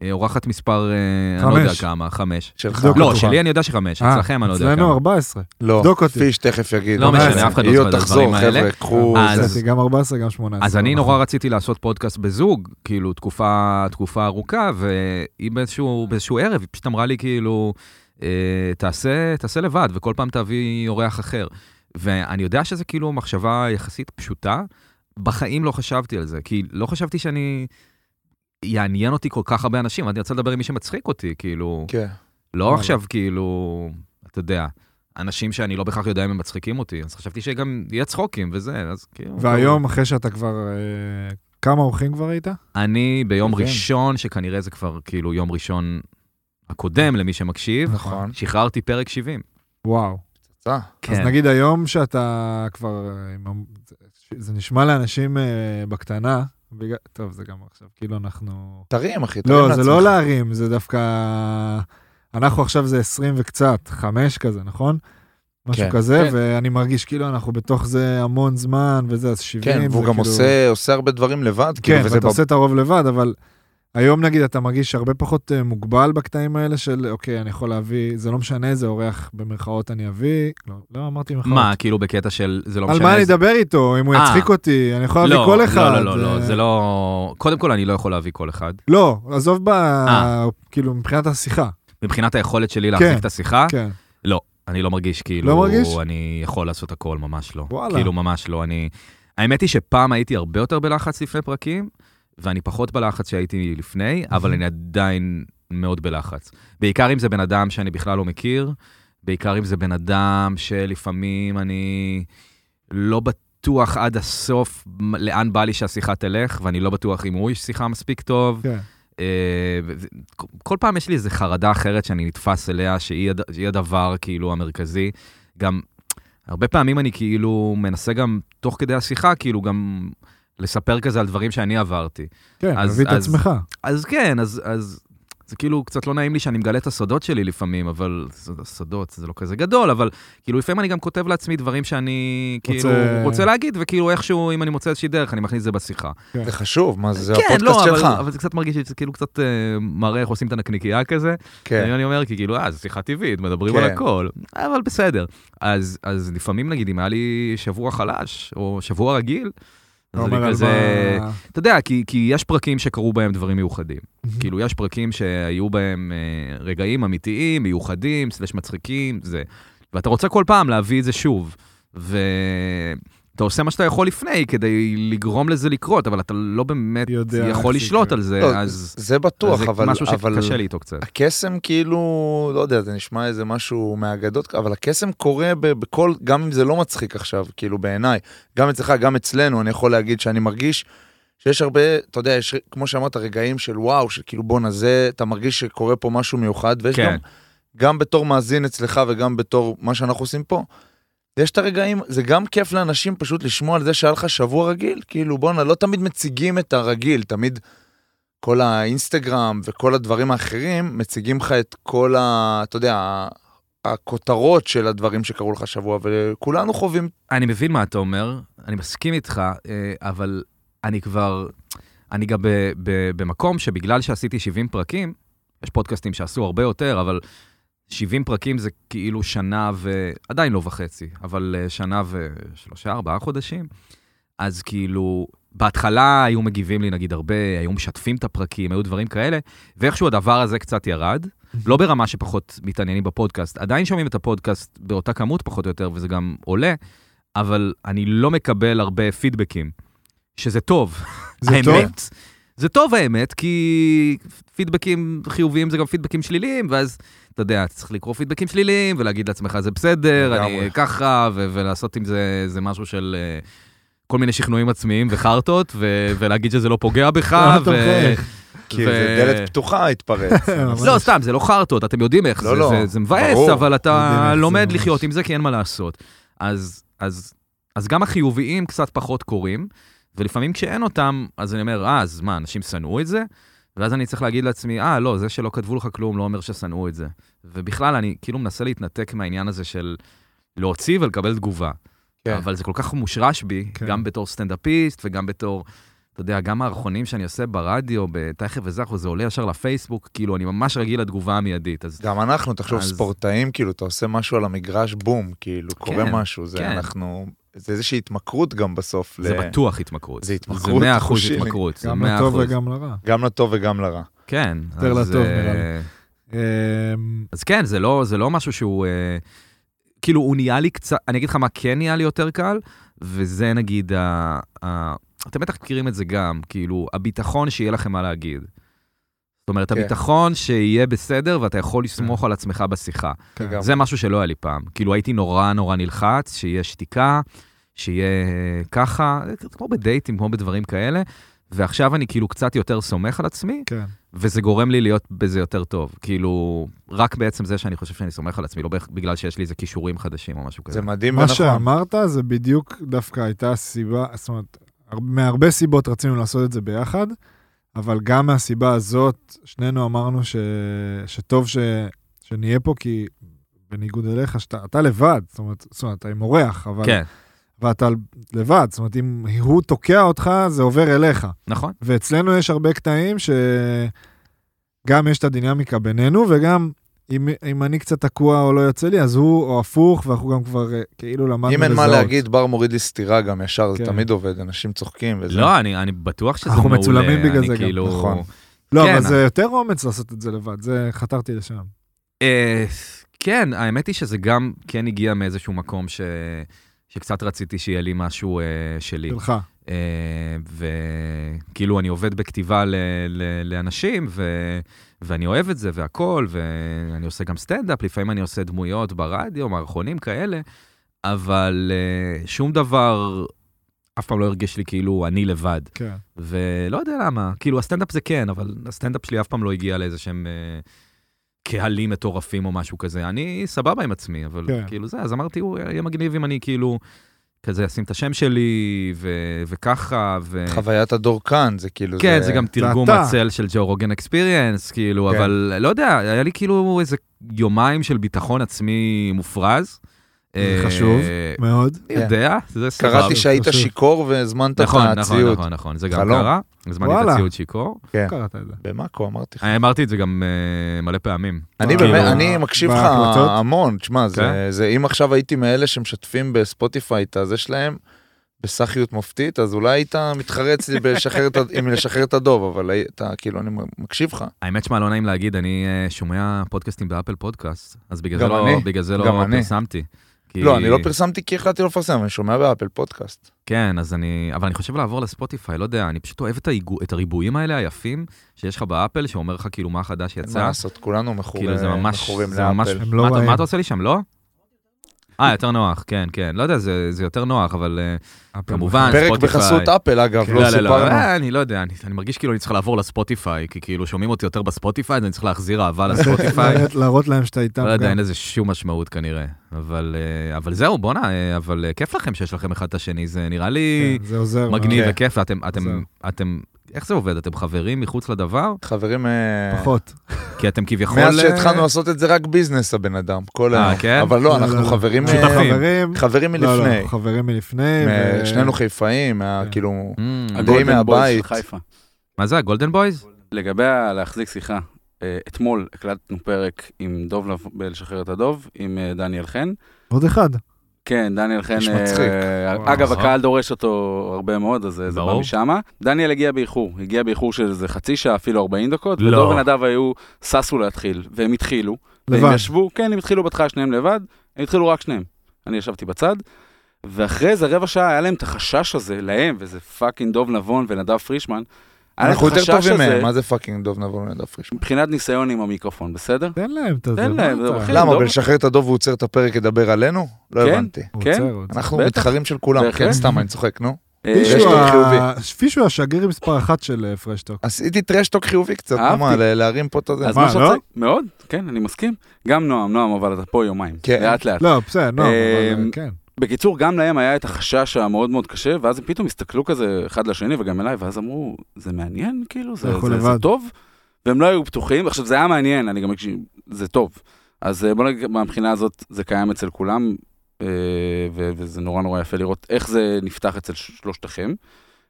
B: אה, אורחת מספר, אה, אני לא יודע
C: חמש.
B: כמה, חמש.
D: שלך.
C: תבדוק
B: לא,
C: אותו.
B: שלי אני יודע שחמש,
C: אה,
B: אצלכם אני לא יודע
C: אצלנו
B: כמה.
C: 14.
D: לא,
C: בדוק אותי.
D: פיש תכף יגיד.
B: לא משנה,
D: אבל
B: אף אחד לא
D: היא
B: זוכר
D: עוד
B: את הדברים
D: תחזור,
B: האלה. אה,
D: חבר'ה, קחו...
B: אז-
D: זה.
C: עשיתי גם 14, גם 18.
B: אז אני
C: נכון.
B: נורא רציתי לעשות פודקאסט בזוג, כאילו, תקופה, תקופה ארוכה, והיא באיזשהו, באיזשהו ערב, היא פשוט אמרה לי, כאילו, אה, תעשה, תעשה לבד, וכל פעם תביא אורח אחר. ואני יודע שזה כאילו מחשבה יחסית פשוטה, בחיים לא חשבתי על זה, כי לא חשבתי שאני... יעניין אותי כל כך הרבה אנשים, אני רוצה לדבר עם מי שמצחיק אותי, כאילו,
D: כן.
B: לא עכשיו כאילו, אתה יודע, אנשים שאני לא בהכרח יודע אם הם מצחיקים אותי, אז חשבתי שגם יהיה צחוקים וזה, אז כאילו...
C: והיום, אחרי שאתה כבר... אה, כמה אורחים כבר היית?
B: אני ביום
D: מבין.
B: ראשון, שכנראה זה כבר כאילו יום ראשון הקודם למי שמקשיב,
D: נכון.
B: שחררתי פרק כן. 70.
C: וואו.
D: אה,
C: אז נגיד היום שאתה כבר... אה, עם המ- זה- זה נשמע לאנשים אה, בקטנה, בגלל- טוב, זה גם עכשיו, כאילו אנחנו...
D: תרים, אחי, תרים
C: לא, זה לא
D: לעצמך.
C: להרים, זה דווקא... אנחנו עכשיו זה 20 וקצת, 5 כזה, נכון? משהו
D: כן.
C: כזה,
E: כן.
C: ואני מרגיש כאילו אנחנו בתוך זה המון זמן, וזה, אז 70.
D: כן, והוא
C: זה
D: גם
C: כאילו-
D: עושה, עושה הרבה דברים לבד, כאילו,
C: כן,
D: וזה בב...
C: ואתה עושה את הרוב לבד, אבל היום נגיד אתה מרגיש הרבה פחות אה, מוגבל בקטעים האלה של, אוקיי, אני יכול להביא, זה לא משנה איזה אורח במרכאות אני אביא, לא, לא אמרתי במרכאות.
B: מה, כאילו בקטע של, זה לא משנה.
C: על מה אני
B: איזה-
C: אדבר איתו, אם הוא
B: אה.
C: יצחיק אותי, אני יכול להביא
B: לא,
C: כל אחד.
B: לא, לא, לא, לא,
C: אה,
B: זה לא... קודם כל, אני לא יכול להביא כל אחד.
C: לא, עזוב ב...
B: אה.
C: כאילו, מבחינת השיחה,
B: מבחינת היכולת שלי להחזיק את השיחה,
C: כן.
B: אני לא מרגיש כאילו...
C: לא מרגיש?
B: אני יכול לעשות הכל, ממש לא.
C: וואלה.
B: כאילו, ממש לא. אני... האמת היא שפעם הייתי הרבה יותר בלחץ לפני פרקים, ואני פחות בלחץ שהייתי לפני, אבל אני עדיין מאוד בלחץ. בעיקר אם זה בן אדם שאני בכלל לא מכיר, בעיקר אם זה בן אדם שלפעמים אני לא בטוח עד הסוף מ- לאן בא לי שהשיחה תלך, ואני לא בטוח אם הוא איש שיחה מספיק טוב.
C: כן.
B: אה, וזה- כל- כל פעם יש לי איזו חרדה אחרת שאני נתפס אליה, שהיא הד- שהיא הדבר כאילו המרכזי. גם הרבה פעמים אני כאילו מנסה גם, תוך כדי השיחה, כאילו גם לספר כזה על דברים שאני עברתי.
C: כן,
B: אז-
C: תביא את
B: אז-
C: עצמך.
B: אז כן, אז, אז זה כאילו קצת לא נעים לי שאני מגלה את הסודות שלי לפעמים, אבל זה- הסודות זה לא כזה גדול, אבל כאילו לפעמים אני גם כותב לעצמי דברים שאני כאילו
C: רוצה-
B: רוצה, רוצה להגיד, וכאילו איכשהו, אם אני מוצא איזושהי דרך, אני מכניס את זה בשיחה.
D: זה חשוב, מה זה, זה
B: כן,
D: הפודקאסט
B: לא,
D: שלך.
B: אבל, אבל זה קצת מרגיש לי שזה כאילו קצת אה, מראה איך עושים את הנקניקייה כזה.
D: כן.
B: אני, אני אומר, כי כאילו, אה, זו שיחה טבעית, מדברים
D: כן.
B: על הכל, אבל בסדר. אז, אז לפעמים, נגיד, אם היה לי שבוע חלש, או שבוע רגיל, אז
C: אתה
B: אני
C: אומר על
B: כזה...
C: מה-
B: אתה יודע, כי, כי יש פרקים שקרו בהם דברים מיוחדים. כאילו, יש פרקים שהיו בהם אה, רגעים אמיתיים, מיוחדים, סלש מצחיקים, זה. ואתה רוצה כל פעם להביא את זה שוב. ואתה עושה מה שאתה יכול לפני כדי לגרום לזה לקרות, אבל אתה לא באמת
C: יודע איך
B: יכול
C: זה
B: לשלוט
C: יקרה.
B: על זה,
D: לא,
B: אז...
D: זה
B: אז
D: בטוח,
B: זה
D: אבל...
B: משהו
D: אבל-
B: שקשה לי איתו קצת.
D: הקסם כאילו, לא יודע, זה נשמע איזה משהו מהאגדות, אבל הקסם קורה ב- בכל, גם אם זה לא מצחיק עכשיו, כאילו בעיניי, גם אצלך, גם אצלנו, אני יכול להגיד שאני מרגיש שיש הרבה, אתה יודע, יש, כמו שאמרת, רגעים של וואו, של כאילו בואנה זה, אתה מרגיש שקורה פה משהו מיוחד, ויש
B: כן.
D: גם, גם בתור מאזין אצלך וגם בתור מה שאנחנו עושים פה. יש את הרגעים, זה גם כיף לאנשים פשוט לשמוע על זה שהיה לך שבוע רגיל, כאילו בואנה, לא תמיד מציגים את הרגיל, תמיד כל האינסטגרם וכל הדברים האחרים מציגים לך את כל ה... אתה יודע, ה- הכותרות של הדברים שקרו לך השבוע, וכולנו חווים...
B: אני מבין מה אתה אומר, אני מסכים איתך, אה, אבל אני כבר, אני גם ב- ב- במקום שבגלל שעשיתי 70 פרקים, יש פודקאסטים שעשו הרבה יותר, אבל 70 פרקים זה כאילו שנה ו... עדיין לא וחצי, אבל אה, שנה ושלושה, ארבעה חודשים. אז כאילו, בהתחלה היו מגיבים לי נגיד הרבה, היו משתפים את הפרקים, היו דברים כאלה, ואיכשהו הדבר הזה קצת ירד. לא ברמה שפחות מתעניינים בפודקאסט, עדיין שומעים את הפודקאסט באותה כמות פחות או יותר, וזה גם עולה, אבל אני לא מקבל הרבה פידבקים, שזה טוב.
C: זה טוב?
B: האמת, זה טוב האמת, כי פידבקים חיוביים זה גם פידבקים שליליים, ואז, אתה יודע, צריך לקרוא פידבקים שליליים ולהגיד לעצמך, זה בסדר,
D: לגמרי.
B: אני ככה, ו- ולעשות עם זה, זה משהו של... אה, כל מיני שכנועים עצמיים וחרטות, ו- ולהגיד שזה לא פוגע בך,
C: למה אתה
B: ו-
C: מחייך?
D: כי זה דלת פתוחה התפרץ.
B: לא, סתם, זה לא חרטות, אתם יודעים איך
D: לא,
B: זה,
D: לא.
B: זה, זה מבאס,
D: ברור.
B: אבל
C: יודעים איך
B: אתה
C: זה
B: לומד
C: ממש.
B: לחיות עם זה, כי אין מה לעשות. אז, אז, אז גם החיוביים קצת פחות קורים, ולפעמים כשאין אותם, אז אני אומר, אה, אז מה, אנשים שנאו את זה? ואז אני צריך להגיד לעצמי, אה, לא, זה שלא כתבו לך כלום לא אומר ששנאו את זה. ובכלל, אני כאילו מנסה להתנתק מהעניין הזה של להוציא ולקבל תגובה.
D: כן.
B: אבל זה כל כך מושרש בי,
C: כן.
B: גם בתור סטנדאפיסט וגם בתור, אתה יודע, גם הערכונים שאני עושה ברדיו, בתייכף וזכו, זה עולה ישר לפייסבוק, כאילו, אני ממש רגיל לתגובה המיידית. אז
D: גם אנחנו, תחשוב,
B: אז-
D: ספורטאים, כאילו, אתה עושה משהו על המגרש, בום, כאילו, קורה משהו, זה
B: כן.
D: אנחנו... זה איזושהי התמכרות גם בסוף.
B: זה
D: ל-
B: בטוח התמכרות.
D: זה התמכרות,
B: זה 100 אחוז
D: חושי לי.
B: התמכרות. זה
C: גם
B: 100
C: לטוב
B: אחוז.
C: וגם לרע.
D: גם לטוב וגם לרע.
B: כן.
C: יותר
B: אז,
C: לטוב,
B: אה,
C: נראה לי. אמ,
B: אז כן, זה לא, זה לא משהו שהוא... אה, כאילו, הוא נהיה לי קצת... אני אגיד לך מה כן נהיה לי יותר קל, וזה נגיד ה... ה אתם בטח מכירים את זה גם, כאילו, הביטחון שיהיה לכם מה להגיד. זאת אומרת,
D: כן.
B: הביטחון שיהיה בסדר ואתה יכול לסמוך על עצמך בשיחה.
C: כן.
D: לגמרי.
B: זה משהו שלא היה לי פעם. כאילו, הייתי נורא נורא נלחץ, שיהיה שתיקה, שיהיה אה, ככה, כמו בדייטים, כמו בדברים כאלה, ועכשיו אני כאילו קצת יותר סומך על עצמי,
C: כן.
B: וזה גורם לי להיות בזה יותר טוב. כאילו, רק בעצם זה שאני חושב שאני סומך על עצמי, לא בהכ- בגלל שיש לי איזה כישורים חדשים או משהו כזה.
D: זה מדהים
C: מה
D: ונכון.
C: שאמרת זה בדיוק דווקא הייתה סיבה, זאת אומרת, הר- מהרבה סיבות רצינו לעשות את זה ביחד, אבל גם מהסיבה הזאת, שנינו אמרנו ש... שטוב ש... שנהיה פה, כי בניגוד אליך, שאתה אתה לבד, זאת אומרת, זאת אומרת, אתה עם אורח, אבל...
B: כן,
C: ואתה לבד, זאת אומרת, אם הוא תוקע אותך, זה עובר אליך.
B: נכון.
C: ואצלנו יש הרבה קטעים שגם יש את הדינמיקה בינינו, וגם אם, אם אני קצת תקוע או לא יוצא לי, אז הוא או הפוך, ואנחנו גם כבר אה, כאילו למדנו לזהות.
D: אם אין מה להגיד, בר מוריד לי סטירה גם ישר, זה
C: כן.
D: תמיד עובד, אנשים צוחקים וזה.
B: לא, אני אני בטוח שזה מעולה.
C: אנחנו מצולמים בגלל
B: אני
C: זה גם,
B: כאילו-
D: נכון.
C: לא,
B: כן.
C: אבל זה יותר אומץ לעשות את זה לבד, זה חתרתי לשם.
B: אה, כן, האמת היא שזה גם כן הגיע מאיזשהו מקום ש... שקצת רציתי שיהיה לי משהו אה, שלי.
C: שלך.
B: אה, וכאילו אני עובד בכתיבה ל, ל, לאנשים, ו, ואני אוהב את זה והכל, ואני עושה גם סטנדאפ, לפעמים אני עושה דמויות ברדיו, מערכונים כאלה, אבל אה, שום דבר אף פעם לא הרגיש לי כאילו אני לבד.
C: כן.
B: ולא יודע למה, כאילו הסטנדאפ זה כן, אבל הסטנדאפ שלי אף פעם לא הגיע לאיזה שהם אה, קהלים מטורפים או משהו כזה. אני סבבה עם עצמי, אבל
C: כן.
B: כן. כאילו זה, אז אמרתי, הוא יהיה מגניב אם אני כאילו כזה אשים את השם שלי ו- וככה, ו...
D: חוויית הדור כאן, זה כאילו...
B: כן, זה גם תרגום
C: ואתה.
B: הצל של ג'ו רוגן אקספיריאנס, כאילו,
D: כן.
B: אבל לא יודע, היה לי כאילו איזה יומיים של ביטחון עצמי מופרז. אה,
C: חשוב. מאוד.
D: כן.
B: אני יודע, זה סבבה.
D: קראתי שהיית
C: פשוט.
D: שיכור והזמנת את
B: נכון, נכון,
D: הציוד.
B: נכון, נכון, זה גם
D: חלום.
B: קרה. הזמנתי את
C: וואלה.
B: הציוד שיכור.
D: כן.
C: קראת את זה.
D: במאקו אמרתי לך.
B: אני אמרתי את זה גם אה, מלא פעמים.
D: אני
C: כאילו,
D: באמת, אני מקשיב לך
C: בהקלטות?
D: המון, תשמע, זה-
B: כן.
D: זה אם עכשיו הייתי מאלה שמשתפים בספוטיפיי את הזה שלהם, בסחיות מופתית, אז אולי היית מתחרה אצלי בשחרר את ה- עם לשחרר את הדוב, אבל אתה, כאילו, אני מקשיב לך.
B: האמת שמע, לא נעים להגיד, אני אה, שומע פודקאסטים באפל פודקאסט, אז בגלל
D: גם
B: זה לא-
D: אני,
B: בגלל זה
D: גם
B: לא
D: אני.
B: פרסמתי. כי-
D: לא, אני לא פרסמתי כי החלטתי לא לפרסם, אני שומע באפל פודקאסט.
B: כן, אז אני... אבל אני חושב לעבור לספוטיפיי, לא יודע, אני פשוט אוהב את ההיגו- את הריבועים האלה היפים שיש לך באפל, שאומר לך כאילו מה חדש
D: אין מה
B: יצא.
D: לעשות, כולנו מכורים
B: כאילו זה ממש...
D: מכורים
B: זה ממש...
D: לאפל.
C: הם לא
B: מה אתה-
C: רעים.
B: מה אתה עושה לי שם, לא? אה, יותר נוח, כן, כן. לא יודע, זה זה יותר נוח, אבל אה, כמובן,
D: כן. פרק
B: ספוטיפיי.
D: בחסות אפל, אגב,
B: לא,
D: לא
B: לא, לא,
D: סיפרנו.
B: אה, אני לא יודע, אני, אני מרגיש כאילו אני צריך לעבור לספוטיפיי, כי כאילו שומעים אותי יותר בספוטיפיי, אז אני צריך להחזיר אהבה לספוטיפיי.
C: להראות- להראות להם שאתה איתם. כן.
B: לא
C: גם.
B: יודע, אין לזה שום משמעות כנראה. אבל, אה, אבל זהו, בואנה, אה, אבל אה, כיף לכם שיש לכם אחד את השני, זה נראה לי
C: כן, זה עוזר.
B: מגניב
D: כן.
B: וכיף, ואתם, אתם,
C: זה.
B: אתם, איך זה עובד? אתם חברים מחוץ לדבר?
D: חברים, אה,
C: מאוד. פחות.
B: כי אתם כביכול...
D: מאז
B: אה,
D: שהתחלנו לעשות את זה רק ביזנס הבן אדם, כל
B: אה,
D: היום.
B: כן?
D: אבל לא,
C: לא,
D: אנחנו
C: לא, לא.
D: חברים,
B: שותפים.
D: אה,
C: חברים.
D: חברים
C: לא, לא,
D: מלפני.
C: חברים מלפני.
D: מ-
C: ו-
D: שנינו חיפאים, מה-
C: כן.
D: כאילו,
B: אמ,
D: די מהבית.
E: חיפה.
B: מה זה, הגולדן בויז?
E: לגבי ה- להחזיק שיחה, אה, אתמול הקלטנו פרק עם דוב לב- בלשחרר את הדוב, עם אה, דניאל חן.
C: עוד אחד.
E: כן, דניאל חן,
D: איש
E: אה,
D: מצחיק.
E: אה,
C: וואו,
E: אגב,
B: נכון.
E: הקהל דורש אותו הרבה מאוד, אז אה, זה בא
B: ברור.
E: משמה. דניאל הגיע באיחור, הגיע באיחור של איזה חצי שעה, אפילו 40 דקות,
B: לא.
E: ודוב ונדב היו, ששו להתחיל, והם התחילו. והם
C: לבד.
E: ישבו, כן, הם התחילו בהתחלה שניהם לבד, הם התחילו רק שניהם. אני ישבתי בצד, ואחרי זה רבע שעה היה להם את החשש הזה, להם, וזה פאקינג דוב נבון ונדב פרישמן. היה להם
D: אנחנו
E: את
D: יותר
E: החשש
D: טובים מהם,
E: הזה
D: מה זה פאקינג דוב נבון ונדב פרישמן?
E: מבחינת ניסיון עם המיקרופון, בסדר?
C: תן להם את זה.
E: תן
C: מה
E: להם,
C: אתה-
E: זה
B: כן,
E: אחי.
D: למה,
E: דוב-
D: בלשחרר את הדוב הוא עוצר את הפרק ידבר עלינו? לא
E: כן.
D: הבנתי.
C: הוא
E: כן?
C: עוצר, הוא עוצר.
D: אנחנו
E: בטח.
D: מתחרים של כולם,
E: בהחלט.
D: כן, סתם, אני צוחק, נו.
E: אה,
D: מישהו
E: יש
C: פישו
E: לו-
D: טוק
C: ה-
D: חיובי.
C: פישו השגריר מספר אחת של אה, פרשטוק.
D: עשיתי טרשטוק חיובי קצת, נו, מה,
E: אהבתי.
D: ל- להרים פה את הזה.
E: אז
C: מה,
E: מה שאתה
C: לא?
E: צריך, מאוד, כן, אני מסכים. גם נועם, נועם, אבל אתה פה יומיים,
D: כן.
E: לאט לאט.
C: לא, בסדר, נו, אבל אה,
E: אמ,
C: כן.
E: בקיצור, גם להם היה את החשש המאוד מאוד קשה, ואז הם פתאום הסתכלו כזה אחד לשני וגם אליי, ואז אמרו, זה מעניין, כאילו, זה,
C: אנחנו
E: זה, זה
C: לבד."
E: טוב, והם לא היו בטוחים. עכשיו, זה היה מעניין, אני גם מקשיב, זה טוב. אז אה, בוא נגיד, מהבחינה הזאת, זה קיים אצל כולם, אה, ו- וזה נורא נורא יפה לראות איך זה נפתח אצל שלושתכם.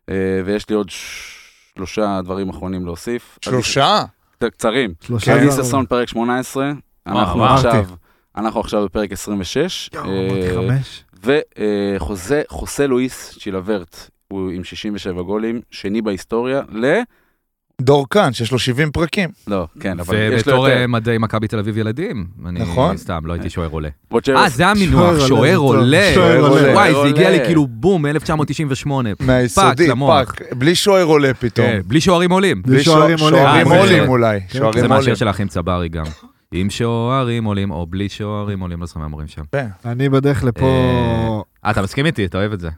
E: אה, ויש לי עוד ש- שלושה דברים אחרונים להוסיף.
D: שלושה?
E: אז- קצרים.
C: שלושה
E: אבי
C: דברים.
E: ששון פרק 18, אנחנו
B: כן. אה, אמרתי.
E: עכשיו, אנחנו עכשיו בפרק 26,
C: יואו,
E: אה,
C: אמרתי חמש.
E: וחוזה חוסה לואיס צ'ילברט, הוא עם 67 גולים, שני בהיסטוריה ל...
D: דור כאן, שיש לו 70 פרקים.
E: לא, כן, אבל יש לו
B: ובתור
E: יותר.
B: אה, מדעי מכבי תל אביב ילדים. אני
D: נכון.
B: סתם, לא הייתי שוער עולה.
E: רוג'רס.
B: אה, זה המינוח,
C: שוער
B: שוער עולה.
C: שוער עולה.
B: וואי,
E: שוער
B: זה הגיע לי
E: עולה.
B: כאילו בום, 1998.
D: מהיסודי,
B: למוח.
D: פאק. בלי שוער עולה פתאום.
B: כן, בלי שוערים עולים.
C: בלי שוערים
D: שוע-
C: עולים.
D: שוערים
B: אה, זה-
D: עולים אולי.
B: זה
D: שוערים
B: מהשיר
D: עולים.
B: של האחים צברי גם. עם שוערים עולים, או בלי שוערים עולים, לא זוכר מה אומרים שם.
D: כן.
C: אני בדרך לפה...
B: אה, אתה מסכים איתי, אתה אוהב את זה.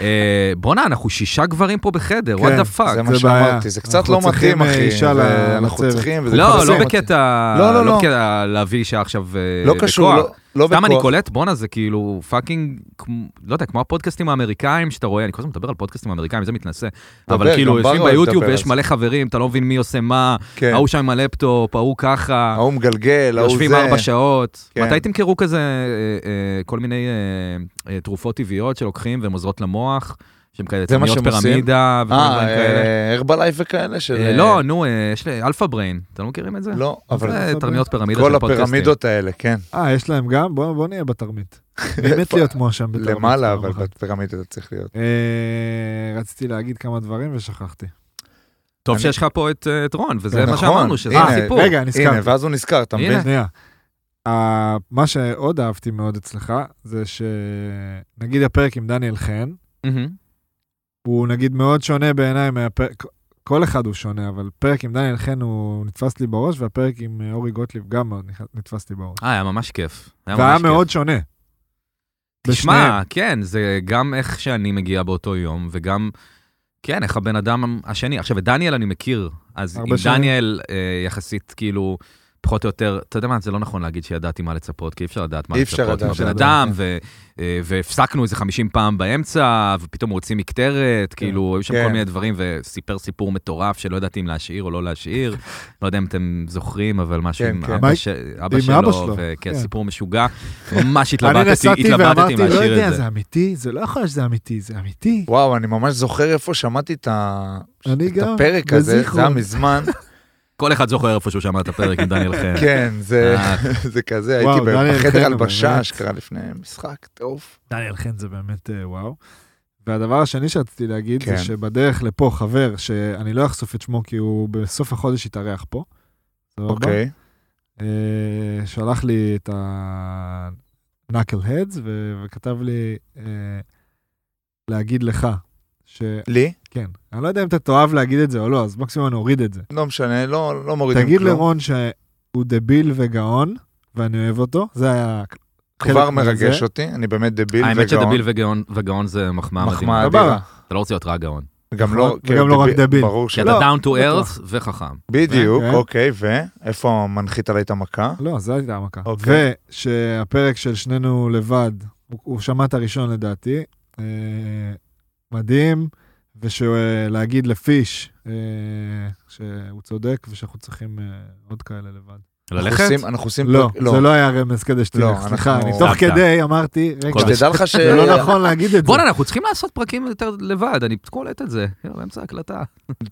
B: אה, בואנה, אנחנו שישה גברים פה בחדר, what
C: כן,
B: the fuck.
D: זה מה
C: זה
D: שאמרתי,
C: בעיה.
D: זה קצת
C: אנחנו
D: לא
C: צריכים,
D: מתאים,
C: אה,
D: אחי.
C: אישה
D: זה- אנחנו
C: לצוות.
D: צריכים, וזה כבר
B: לא, לא
D: עושים.
B: בקטע...
D: לא, לא, לא.
B: בקטע להביא אישה עכשיו אה,
D: לא קשור,
B: בכוח.
D: לא- לא
B: סתם אני
D: בכוח.
B: קולט, בואנה, זה כאילו פאקינג, כמו- לא יודע, כמו הפודקאסטים האמריקאים שאתה רואה, אני כל הזמן מדבר על פודקאסטים האמריקאים, זה מתנשא. אבל
D: גם
B: כאילו,
D: בר
B: יושבים
D: אוהב
B: ביוטיוב
D: לדבר על
B: ויש
D: זה.
B: מלא חברים, אתה לא מבין מי עושה מה,
D: כן.
B: ההוא שם עם הלפטופ, ההוא ככה,
D: אה, ההוא מגלגל, ההוא
B: יושבים
D: זה.
B: ארבע שעות.
D: כן.
B: מתי תמכרו כזה, אה, אה, כל מיני אה, אה, תרופות טבעיות שלוקחים והן עוזרות למוח, שהן כאלה
D: זה מה
B: צמיות
D: שהם עושים?
B: פירמידה וכל מיני
D: אה,
B: דברים כאלה?
D: אה, הרבלייף וכאלה של...
B: אה, לא, נו, אה, יש לי אלפא בריין, אתם לא מכירים את זה?
D: לא, אבל
B: זה תרמיות פירמידה
D: כל
B: של פודקאסטים.
D: הפירמידות האלה, כן.
C: אה, יש להם גם? בוא בוא נהיה בתרמית. באמת להיות מואשם בתרמית.
D: למעלה,
C: פעם
D: אבל
C: אחת.
D: בפירמידה אתה צריך להיות.
C: אה, רציתי להגיד כמה דברים ושכחתי.
B: טוב
D: אני-
B: שיש לך פה את אה, את רון, וזה מה
D: נכון,
B: שאמרנו, שזה
D: הנה,
B: הסיפור.
C: רגע,
D: הנה,
C: נזכרתי.
D: ואז הוא נזכר, אתה מבין?
B: הנה.
C: שנייה. ה- מה שעוד אהבתי מאוד אצלך, זה שנגיד הפרק עם דניאל חן,
B: מהמם.
C: הוא נגיד מאוד שונה בעיניי מהפרק, כל אחד הוא שונה, אבל פרק עם דניאל חן הוא נתפס לי בראש, והפרק עם
B: Ah,
C: אה, אורי גוטליב גם מאוד נח- נתפס לי בראש.
B: אה, היה ממש כיף. היה
C: והיה
B: ממש כיף.
C: מאוד שונה. בשניהם.
B: תשמע, כן, זה גם איך שאני מגיע באותו יום, וגם, כן, איך הבן אדם השני. עכשיו, את דניאל אני מכיר, אז
C: הרבה
B: עם
C: שנים.
B: דניאל אה, יחסית, כאילו, פחות או יותר, אתה יודע מה, זה לא נכון להגיד שידעתי מה לצפות, כי אי אפשר לדעת מה
D: אי אפשר
B: לצפות
D: לדעת,
B: מהבן
C: אפשר
B: אדם,
C: לדעת,
B: ו- אה, והפסקנו איזה 50 פעם באמצע, ופתאום הוא הוציא מקטרת, כאילו, היו שם
D: כן.
B: כל מיני דברים, וסיפר סיפור מטורף שלא ידעתי אם להשאיר או לא להשאיר. לא יודע אם אתם זוכרים, אבל משהו
D: כן,
B: עם
D: כן.
B: אבא
C: מה-
B: ש- אבא
C: עם
B: שלו,
C: אבא שלו,
B: וכן,
C: כן.
B: סיפור משוגע. ממש
C: אני
B: התלבטתי,
C: נסעתי
B: התלבטתי
C: ואמרתי,
B: אם
C: לא
B: להשאיר
C: יודע,
B: את זה.
C: זה אמיתי? זה לא יכול להיות שזה אמיתי, זה אמיתי.
D: וואו, אני ממש זוכר איפה שמעתי את ה-
C: אני
D: את
C: גם,
D: הפרק הזה, זה היה
C: בזיכרון.
D: מזמן.
B: כל אחד זוכר איפה שהוא שמע את הפרק עם דניאל חן.
D: כן, זה
B: אה,
D: זה כזה,
C: וואו,
D: הייתי
C: דניאל
D: בחדר
C: חן,
D: הלבשה
C: באמת.
D: שקרה לפני משחק, טירוף.
C: דניאל חן זה באמת אה, וואו. והדבר השני שרציתי להגיד
D: כן.
C: זה שבדרך לפה חבר, שאני לא אחשוף את שמו כי הוא בסוף החודש התארח פה. סבבה?
D: אוקיי.
C: אה, שלח לי את ה-knuckle heads ו- וכתב לי אה, להגיד לך, שכן,
D: לי?
C: אני לא יודע אם אתה תאהב להגיד את זה או לא, אז מקסימום אני אוריד את זה.
D: לא משנה, לא לא מורידים
C: תגיד
D: כלום.
C: לרון שהוא דביל וגאון, ואני אוהב אותו, זה היה חלק
D: כבר
C: מזה.
D: מרגש אותי, אני באמת דביל
B: האמת
D: וגאון.
B: שדביל וגאון- וגאון זה מחמאה
D: מחמאה
B: מדהימה.
D: אדירה.
B: אתה לא רוצה להיות רק גאון.
D: גם לא,
C: נכון, וגם לא רק דביל.
D: ברור
B: כי
D: שלא.
B: אתה
C: לא,
B: down to
C: בטוח.
B: earth וחכם.
D: בדיוק,
C: כן.
D: אוקיי, ואיפה מנחית עלי את המכה?
C: לא, זו הייתה המכה.
D: אוקיי.
C: ושהפרק של שנינו לבד, הוא, הוא שמע את הראשון לדעתי, אה, מדהים, ושלהגיד לפיש אה, שהוא צודק ושאנחנו צריכים אה, עוד כאלה לבד.
D: אנחנו
B: ללכת?
D: עושים- אנחנו עושים...
C: לא,
D: פרק-
C: זה לא היה רמז כדי
D: לא,
C: שתלך, סליחה,
D: אנחנו-
C: אני תוך
B: דווקא.
C: כדי אמרתי, רגע,
B: כל
D: שתדע לך ש...
C: זה לא נכון להגיד את זה.
B: בואנה, אנחנו צריכים לעשות פרקים יותר לבד, אני קולט את זה, יאללה, באמצע ההקלטה.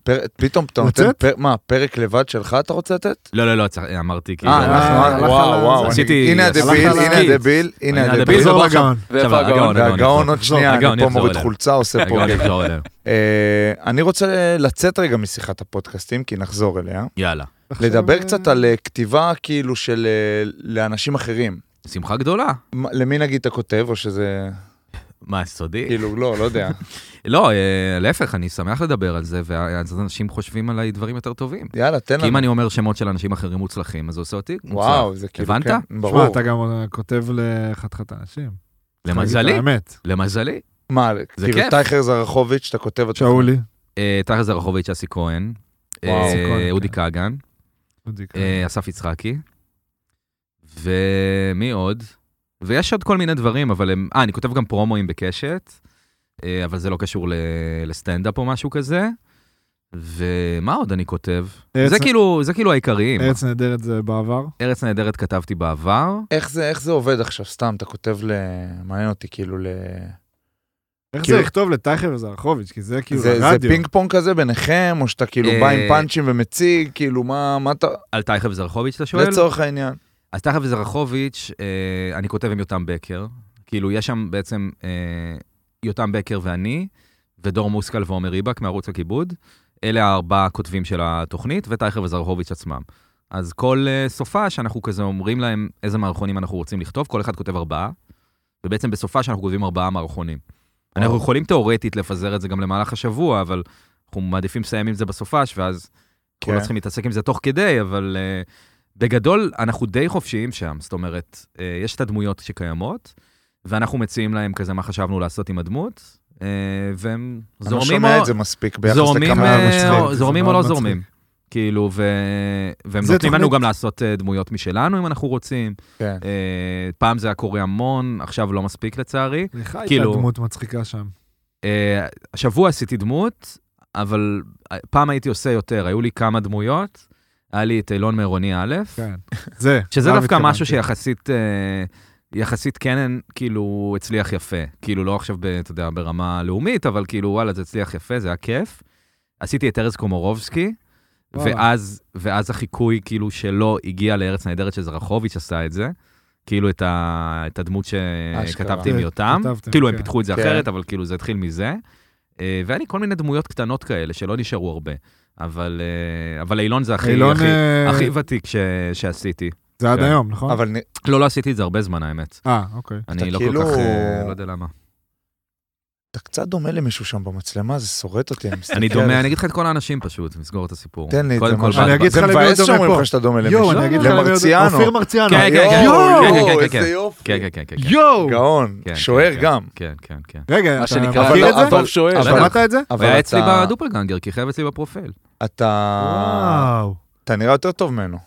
D: פר- פתאום אתה נותן...
C: לצאת?
D: פר- מה, פרק לבד שלך אתה רוצה לתת?
B: לא, לא, לא, צר- אמרתי כאילו...
D: אה, אנחנו...
C: הלך
D: וואו,
C: על-
D: וואו.
B: עשיתי-
D: אני- הנה
B: הלך
D: הדביל,
C: על
D: הנה
B: הסקיט.
D: הדביל, הנה
B: הנה
D: הדביל.
B: הדביל,
C: תחזור
B: בוא עכשיו.
C: לגאון.
E: ואיפה
B: הגאון?
E: הגאון?
B: הגאון.
D: והגאון עוד
B: יחזור,
D: שנייה,
B: הגאון
D: אני פה
B: יחזור
D: מוריד
B: אליי.
D: חולצה, עושה פה...
B: הגאון
D: כן.
B: יחזור אלינו.
D: אה, אני רוצה לצאת רגע משיחת הפודקאסטים, כי נחזור אליה.
B: יאללה.
D: לדבר
C: עכשיו,
D: קצת על אה, כתיבה כאילו של... אה, לאנשים אחרים.
B: שמחה גדולה.
D: מה- למי נגיד אתה כותב, או שזה...
B: מה, סודי?
D: כאילו, לא, לא יודע.
B: לא, אה, להפך, אני שמח לדבר על זה, ואז אנשים חושבים עליי דברים יותר טובים.
D: יאללה, תן
B: כי אם
D: לנו.
B: אני אומר שמות של אנשים אחרים מוצלחים, אז זה עושה אותי מוצלח.
D: וואו, זה כאילו...
B: הבנת?
D: כן,
C: אה,
D: ברור.
C: שמע, אתה גם אה, כותב לחתיכת אנשים.
B: למזלי,
C: תגיד את האמת.
B: למזלי.
D: מה,
B: זה
D: כאילו
B: כיף.
D: טייכר זרחוביץ', שאתה כותב... אתה-
C: שאולי.
B: אה, תכל'ס זרחוביץ', אסי כהן,
D: וואו.
B: אה,
C: אסי כהן,
B: אודי
C: כן.
B: כגן, אה, אסף יצחקי, ומי עוד? ויש עוד כל מיני דברים, אבל הם... אה, אני כותב גם פרומואים בקשת, אה, אבל זה לא קשור ל- לסטנדאפ או משהו כזה. ומה עוד אני כותב?
C: ארץ-
B: זה כאילו, זה כאילו העיקריים.
C: ארץ נהדרת זה בעבר.
B: ארץ נהדרת כתבתי בעבר.
D: איך זה, איך זה עובד עכשיו? סתם, אתה כותב ל... מעניין אותי, כאילו ל...
C: איך זה
D: כאילו-
C: לכתוב לטייכר וזרחוביץ', כי זה כאילו
D: זה, זה
C: הרדיו.
D: פינג פונג כזה ביניכם, או שאתה כאילו
B: אה,
D: בא עם פאנצ'ים ומציג, כאילו מה, מה אתה...
B: על טייכר וזרחוביץ', אתה שואל?
D: לצורך העניין.
B: אז תכף זרחוביץ', אה, אני כותב עם יותם בקר. כאילו, יש שם בעצם אה, יותם בקר ואני, ודור מושכל ועומר ריבק מערוץ הכיבוד. אלה הארבעה הכותבים של התוכנית, וטייכר וזרחוביץ' עצמם. אז כל אה, סופה שאנחנו כזה אומרים להם איזה מערכונים אנחנו רוצים לכתוב, כל אחד כותב ארבעה, ובעצם בסופה שאנחנו כותבים ארבעה מערכונים. אנחנו יכולים תאורטית לפזר את זה גם למהלך השבוע, אבל אנחנו מעדיפים לסיים עם זה בסופש, ואז אנחנו
D: כן.
B: לא צריכים להתעסק עם זה תוך כדי, אבל אה, בגדול, אנחנו די חופשיים שם. זאת אומרת, אה, יש את הדמויות שקיימות, ואנחנו מציעים להם כזה מה חשבנו לעשות עם הדמות, אה, והם
D: אני לא
B: זורמים או,
D: שומע את זה מספיק ביחס
B: זורמים,
D: לכמה...
B: אה,
C: מצחיק,
B: או-
C: זה
B: זורמים או
C: מאוד
B: לא
C: מצחיק.
B: זורמים. כאילו, ו... והם
C: זה
B: נותנים לנו
C: תוכנית-
B: גם לעשות אה, דמויות משלנו, אם אנחנו רוצים.
D: כן.
B: אה, פעם זה היה קורה המון, עכשיו לא מספיק לצערי.
C: לך הייתה
B: כאילו-
C: דמות מצחיקה שם.
B: אה, השבוע עשיתי דמות, אבל אה, פעם הייתי עושה יותר, היו לי כמה דמויות. היה לי את אילון מעירוני א',
C: כן. זה.
B: שזה
C: אליו
B: דווקא משהו
C: התכוונתי.
B: שיחסית, אה, יחסית קנן, כאילו, הצליח יפה. כאילו, לא עכשיו, ב- אתה יודע, ברמה לאומית, אבל כאילו, וואלה, זה הצליח יפה, זה היה כיף. עשיתי את ארז קומורובסקי,
C: וואלה.
B: ואז, ואז החיקוי, כאילו, שלו הגיע לארץ נהדרת, שזרחוביץ' עשה את זה. כאילו, את, ה, את הדמות שכתבתי עם
C: כן,
B: יותם.
C: כתבתם,
B: כאילו, הם
C: כן.
B: פיתחו את זה
D: כן.
B: אחרת, אבל כאילו, זה התחיל מזה. אה, והיה לי כל מיני דמויות קטנות כאלה, שלא נשארו הרבה. אבל, אה, אבל אילון זה הכי,
C: אילון,
B: הכי,
C: אה,
B: הכי ותיק ש, שעשיתי.
C: זה עד
B: כן.
C: היום, נכון?
D: אבל נ-
B: לא, לא עשיתי את זה הרבה זמן, האמת.
C: אה, אוקיי.
B: אני לא
D: כאילו-
B: כל כך, אה, לא יודע למה.
D: אתה קצת דומה למישהו שם במצלמה, זה שורט אותי, אני מסתכל.
B: אני
D: עליך.
B: דומה, אני אגיד לך את כל האנשים פשוט, נסגור את הסיפור.
D: כן, תן לי את זה.
B: קודם כל,
D: משהו.
B: בת-
C: אני אגיד
B: בת-
D: זה
C: לך למי
D: מבאס
C: הוא דומה
D: שאומרים
C: פה.
D: לך שאתה דומה
C: יואו,
D: למישהו.
C: אני אגיד לך... למי הוא-
D: למרציאנו.
C: אופיר מרציאנו.
B: כן, כן, כן,
D: יואו,
B: כן, כן, כן,
D: איזה
B: כן.
D: יופי.
B: כן, כן, כן, כן, כן.
C: יואו!
D: גאון,
B: כן,
D: שוער
B: כן,
D: גם.
B: כן, כן, כן.
C: רגע,
E: מה
C: אתה
E: שנקרא,
C: מכיר
E: אבל-
C: את זה?
E: הטוב שוער.
D: אבל-
C: שמעת את זה?
B: הוא היה אצלי
D: אתה-
B: בדופלגנגר, כיכב אצלי בפרופיל.
D: אתה...
C: וואו.
D: אתה נראה יותר טוב ממנו.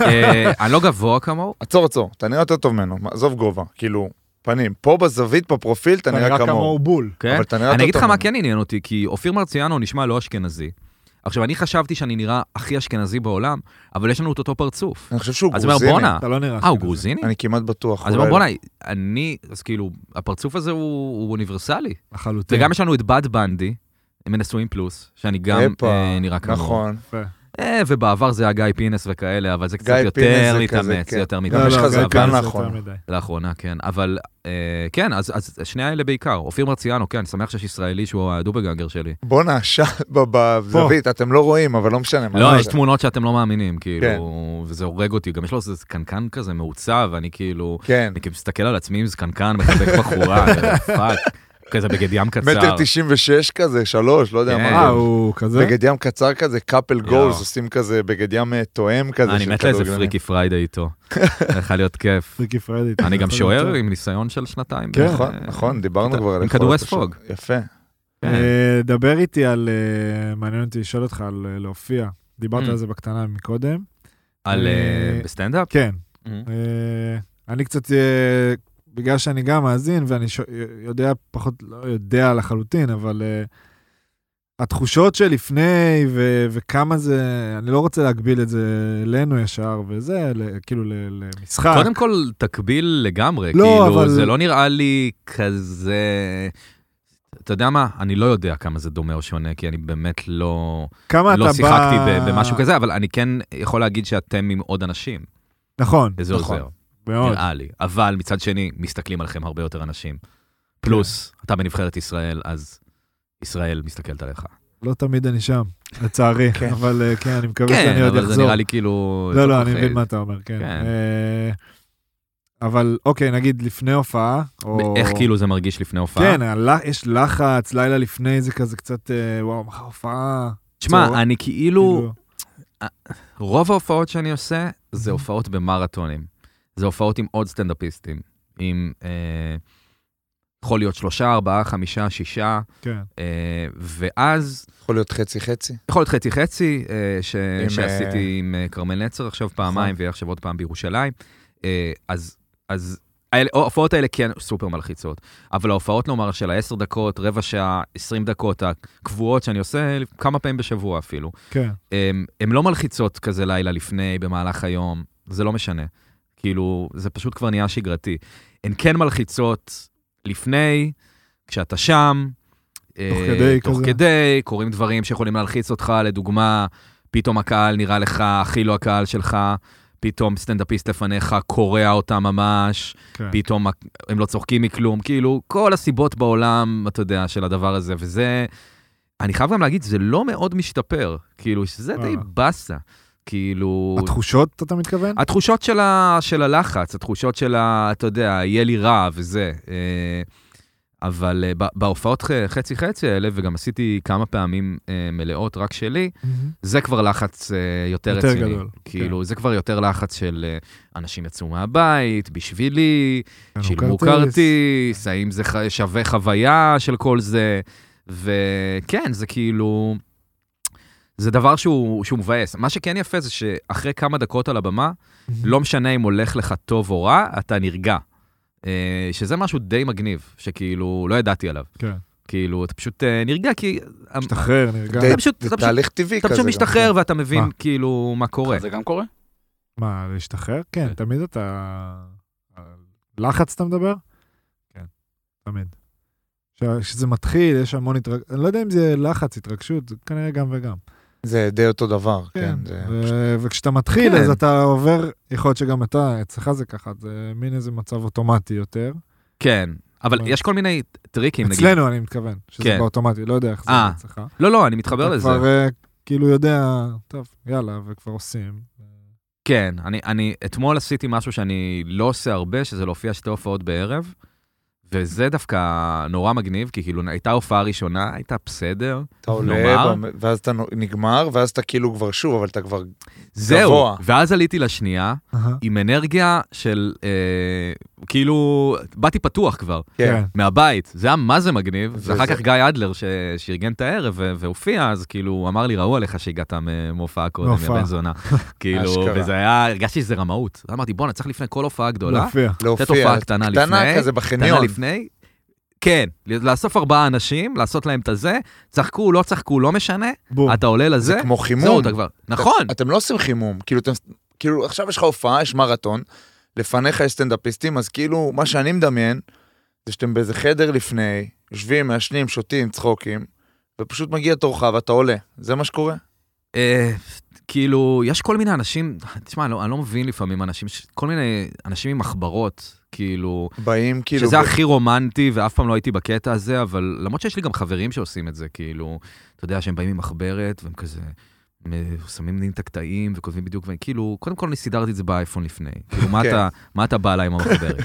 B: אה, אני לא גבוה כמוהו,
D: עצור, עצור. אתה נראה יותר טוב ממנו. מה, עזוב גובה. כאילו, פנים. פה בזווית, בפרופיל, אתה נראה כמוהו.
C: בול.
B: כן?
D: אבל אתה נראה
B: אני
D: יותר
B: אגיד לך
D: טוב
B: מה
D: ממנו.
B: כן עניין אותי, כי אופיר מרציאנו נשמע לא אשכנזי. עכשיו, אני חשבתי שאני נראה הכי אשכנזי בעולם, אבל יש לנו את אותו פרצוף.
D: אני חושב שהוא
B: אז אני
D: אה,
B: אומר,
D: גרוזיני.
B: בואנה,
C: אתה לא נראה...
B: אה, הוא
C: כזה.
B: גרוזיני?
D: אני כמעט בטוח.
B: אז אני
D: אולי
B: אומר,
D: לא.
B: בואנה, אני, אז כאילו, הפרצוף הזה הוא הוא אוניברסלי.
D: כן.
C: לחלוטין.
B: וגם יש לנו את בד בנדי, הם נשואים פלוס, שאני גם
D: הפה,
B: אה, נראה כמוהו.
D: נכון.
B: אה, ובעבר זה היה גיא פינס וכאלה, אבל זה קצת
D: גיא פינס
B: יותר
D: זה כזה,
B: להתאמץ,
D: כן.
B: יותר
C: לא, לא,
B: מתאמץ.
D: יש נכון. לך
C: גם
D: זה כן.
B: אבל-
C: זה
D: כאן
C: יותר
D: לאחרונה.
C: מדי.
B: לאחרונה, כן. אבל אה, כן, אז, אז שני האלה בעיקר. אופיר מרציאנו, כן, אני שמח שיש ישראלי שהוא הדובגנגר שלי.
D: בואנה, שם ב- בזווית, אתם לא רואים, אבל לא משנה. מה
B: לא,
D: זה?
B: יש תמונות שאתם לא מאמינים,
D: כן.
B: כאילו, וזה הורג אותי. גם יש לו איזה קנקן כזה מעוצב, ואני כאילו,
D: כן.
B: אני כאילו מסתכל על עצמי עם זקנקן, מחבק בחורה, כזה, פאק, כזה בגד ים קצר.
D: מטר תשעים ושש כזה, שלוש, לא יודע
B: כן.
D: מה.
C: אה,
D: זה.
C: הוא כזה?
D: בגד ים קצר כזה, קאפל
B: יואו.
D: גולס, עושים כזה בגד ים אה, תואם כזה.
B: אני
D: של
B: מת לאיזה
D: כדורגלנים.
B: פריקי פריידי איתו. זה יכול להיות כיף.
C: פריקי פרדי.
B: אני גם
C: אתה
B: שוער
C: יותר.
B: עם ניסיון של שנתיים.
C: כן.
B: בערך.
D: נכון,
B: אה,
D: נכון, דיברנו
B: אתה-
D: כבר על...
B: עם
D: יכולת
B: כדורי
D: השוער.
B: ספוג.
D: יפה.
B: כן.
C: אה, דבר איתי על... אה, מעניין אותי לשאול אותך על אה, להופיע. דיברת
B: Mm.
C: על זה בקטנה מקודם.
B: על
C: אה,
B: אה, בסטנדאפ?
C: כן.
B: Mm.
C: אה, אני קצת, אה, בגלל שאני גם מאזין ואני ש- יודע פחות, לא יודע לחלוטין, אבל אה, התחושות שלפני ו- וכמה זה, אני לא רוצה להגביל את זה אלינו ישר וזה, ל- כאילו ל- למשחק.
B: קודם כל, תקביל לגמרי,
C: לא,
B: כאילו,
C: אבל-
B: זה לא נראה לי כזה... אתה יודע מה? אני לא יודע כמה זה דומה או שונה, כי אני באמת לא,
C: כמה אתה
B: לא
C: בא...
B: שיחקתי ב- במשהו כזה, אבל אני כן יכול להגיד שאתם עם עוד אנשים,
C: נכון,
B: וזה
D: נכון,
B: עוזר, כן.
C: מאוד. כן.
B: נראה לי. אבל מצד שני, מסתכלים עליכם הרבה יותר אנשים. פלוס, אתה בנבחרת ישראל, אז ישראל מסתכלת עליך.
C: לא תמיד אני שם, לצערי,
D: כן.
C: אבל אה, כן, אני מקווה שאני
B: כן,
C: עוד
B: אבל זה
C: אחזור.
B: נראה לי כאילו...
C: לא, לא,
B: יותר
C: אני
B: מפחיד.
C: מבין מה אתה אומר, כן.
B: כן.
C: אה, אבל אוקיי, נגיד לפני הופעה, או...
B: איך כאילו זה מרגיש לפני הופעה?
C: כן, הל- יש לחץ, לילה לפני זה כזה קצת, אה, וואו, מחר הופעה. צהריים,
B: תשמע, אני כאילו...
C: כאילו.
B: רוב ההופעות שאני עושה זה הופעות במרתונים. זה הופעות עם עוד סטנדאפיסטים. עם, אה, יכול להיות שלושה, ארבעה, חמישה, שישה,
C: כן.
B: אה, ואז
D: יכול להיות חצי-חצי.
B: יכול להיות חצי-חצי, אה, ש,
D: אה,
B: שעשיתי עם אה, נכון. כרמל נצר עכשיו פעמיים, ויהיה עכשיו עוד פעם בירושלים. אה, אז, אז האלה- ההופעות האלה כן סופר מלחיצות, אבל ההופעות, נאמר, של העשר דקות, רבע שעה, עשרים דקות הקבועות שאני עושה, כמה פעמים בשבוע אפילו.
C: כן.
B: הם, הם לא מלחיצות כזה לילה לפני, במהלך היום, זה לא משנה. כאילו, זה פשוט כבר נהיה שגרתי. הן כן מלחיצות לפני, כשאתה שם. אה,
C: תוך כדי
B: תוך
C: כזה.
B: כדי, קורים דברים שיכולים להלחיץ אותך, לדוגמה, פתאום הקהל נראה לך הכי לא הקהל שלך, פתאום סטנדאפיסט לפניך קורע אותה ממש,
C: כן.
B: פתאום הם לא צוחקים מכלום, כאילו, כל הסיבות בעולם, אתה יודע, של הדבר הזה, וזה, אני חייב גם להגיד, זה לא מאוד משתפר, כאילו, שזה
C: אה.
B: די באסה, כאילו...
C: התחושות, אתה מתכוון?
B: התחושות של, ה, של הלחץ, התחושות של ה... אתה יודע, יהיה לי רע וזה. אה, אבל אה, ב- בהופעות ח- חצי-חצי האלה, וגם עשיתי כמה פעמים אה, מלאות רק שלי,
C: מהמם.
B: זה כבר לחץ אה, יותר,
C: יותר
B: רציני.
C: גדול, כן.
B: כאילו, זה כבר יותר לחץ של אה, אנשים יצאו מהבית, בשבילי,
C: כן,
B: שילמו
C: כרטיס.
B: כרטיס, האם זה ח- שווה חוויה של כל זה, וכן, זה כאילו, זה דבר שהוא, שהוא מבאס. מה שכן יפה זה שאחרי כמה דקות על הבמה,
C: מהמם.
B: לא משנה אם הולך לך טוב או רע, אתה נרגע. אה, שזה משהו די מגניב, שכאילו, לא ידעתי עליו.
C: כן.
B: כאילו, אתה פשוט אה, נרגע, כי...
C: משתחרר, נרגע.
B: אתה פשוט,
D: זה
B: אתה פשוט,
D: תהליך טבעי
B: אתה
D: כזה.
B: פשוט
D: גם.
B: משתחרר ואתה מבין
C: מה?
B: כאילו מה קורה.
E: זה גם קורה?
C: מה, להשתחרר? כן,
B: כן.
C: תמיד אתה... לחץ אתה מדבר? כן, תמיד. ש- כשזה מתחיל, יש המון התרגשות, אני לא יודע אם זה לחץ, התרגשות, זה כנראה גם וגם.
D: זה די אותו דבר,
C: כן,
D: כן. זה
C: ו-
D: פשוט-
C: וכשאתה מתחיל,
B: כן.
C: אז אתה עובר, יכול להיות שגם אתה, אצלך זה ככה, זה מין איזה מצב אוטומטי יותר.
B: כן, אבל
C: מה?
B: יש כל מיני טריקים, כן, נגיד.
C: אצלנו, אני מתכוון, שזה
B: כן.
C: באוטומטי, לא יודע איך זה
B: אה,
C: אצלך.
B: לא, לא, אני מתחבר
C: אתה
B: לזה.
C: כבר אה, כאילו יודע, טוב, יאללה, וכבר עושים.
B: כן, אני, אני אתמול עשיתי משהו שאני לא עושה הרבה, שזה להופיע שתי הופעות בערב, וזה דווקא נורא מגניב, כי כאילו הייתה הופעה ראשונה, הייתה בסדר.
D: אתה עולה,
B: נאמר?
D: במ- ואז אתה נו- נגמר, ואז אתה כאילו כבר שוב, אבל אתה כבר...
B: זהו,
D: גבוה.
B: ואז עליתי לשנייה,
C: אהה.
B: עם אנרגיה של, אה, כאילו, באתי פתוח כבר,
D: כן.
B: מהבית, זה היה מה זה מגניב,
D: וזה-
B: ואחר כך גיא אדלר, ש... שארגן את הערב ו- והופיע, אז כאילו, הוא אמר לי, ראו עליך שהגעת מ- מהופעה קודם, יא
C: מהופעה.
B: בן זונה. כאילו,
D: אשכרה.
B: וזה היה, הרגשתי שזה רמאות. אמרתי, בואנה, צריך לפני כל הופעה גדולה,
C: להופיע.
D: להופיע.
B: לתת הופעה קטנה לפני,
D: קטנה כזה
B: קטנה
D: בחניון.
B: לפני. כן, לאסוף ארבעה אנשים, לעשות להם את הזה, צחקו, לא צחקו, לא משנה,
C: בום.
B: אתה עולה לזה,
D: זה כמו חימום.
B: זהו, אתה כבר, נכון,
D: את- אתם לא עושים חימום, כאילו אתם, כאילו עכשיו יש לך הופעה, יש מרתון, לפניך יש סטנדאפיסטים, אז כאילו מה שאני מדמיין, זה שאתם באיזה חדר לפני, יושבים, מעשנים, שותים, צחוקים, ופשוט מגיע תורך ואתה עולה, זה מה שקורה?
B: אה, כאילו, יש כל מיני אנשים, תשמע, אני לא, אני לא מבין לפעמים אנשים, ש- כל מיני אנשים עם מחברות, כאילו,
D: באים כאילו,
B: כאילו, שזה
D: ו-
B: הכי רומנטי, ואף פעם לא הייתי בקטע הזה, אבל למרות שיש לי גם חברים שעושים את זה, כאילו, אתה יודע, שהם באים עם מחברת, והם כזה... מ- שמים לי את הקטעים וכותבים בדיוק, וכאילו, קודם כל אני סידרתי את זה באייפון לפני. כאילו, מה,
D: כן.
B: אתה, מה אתה בא אליי עם המחברת?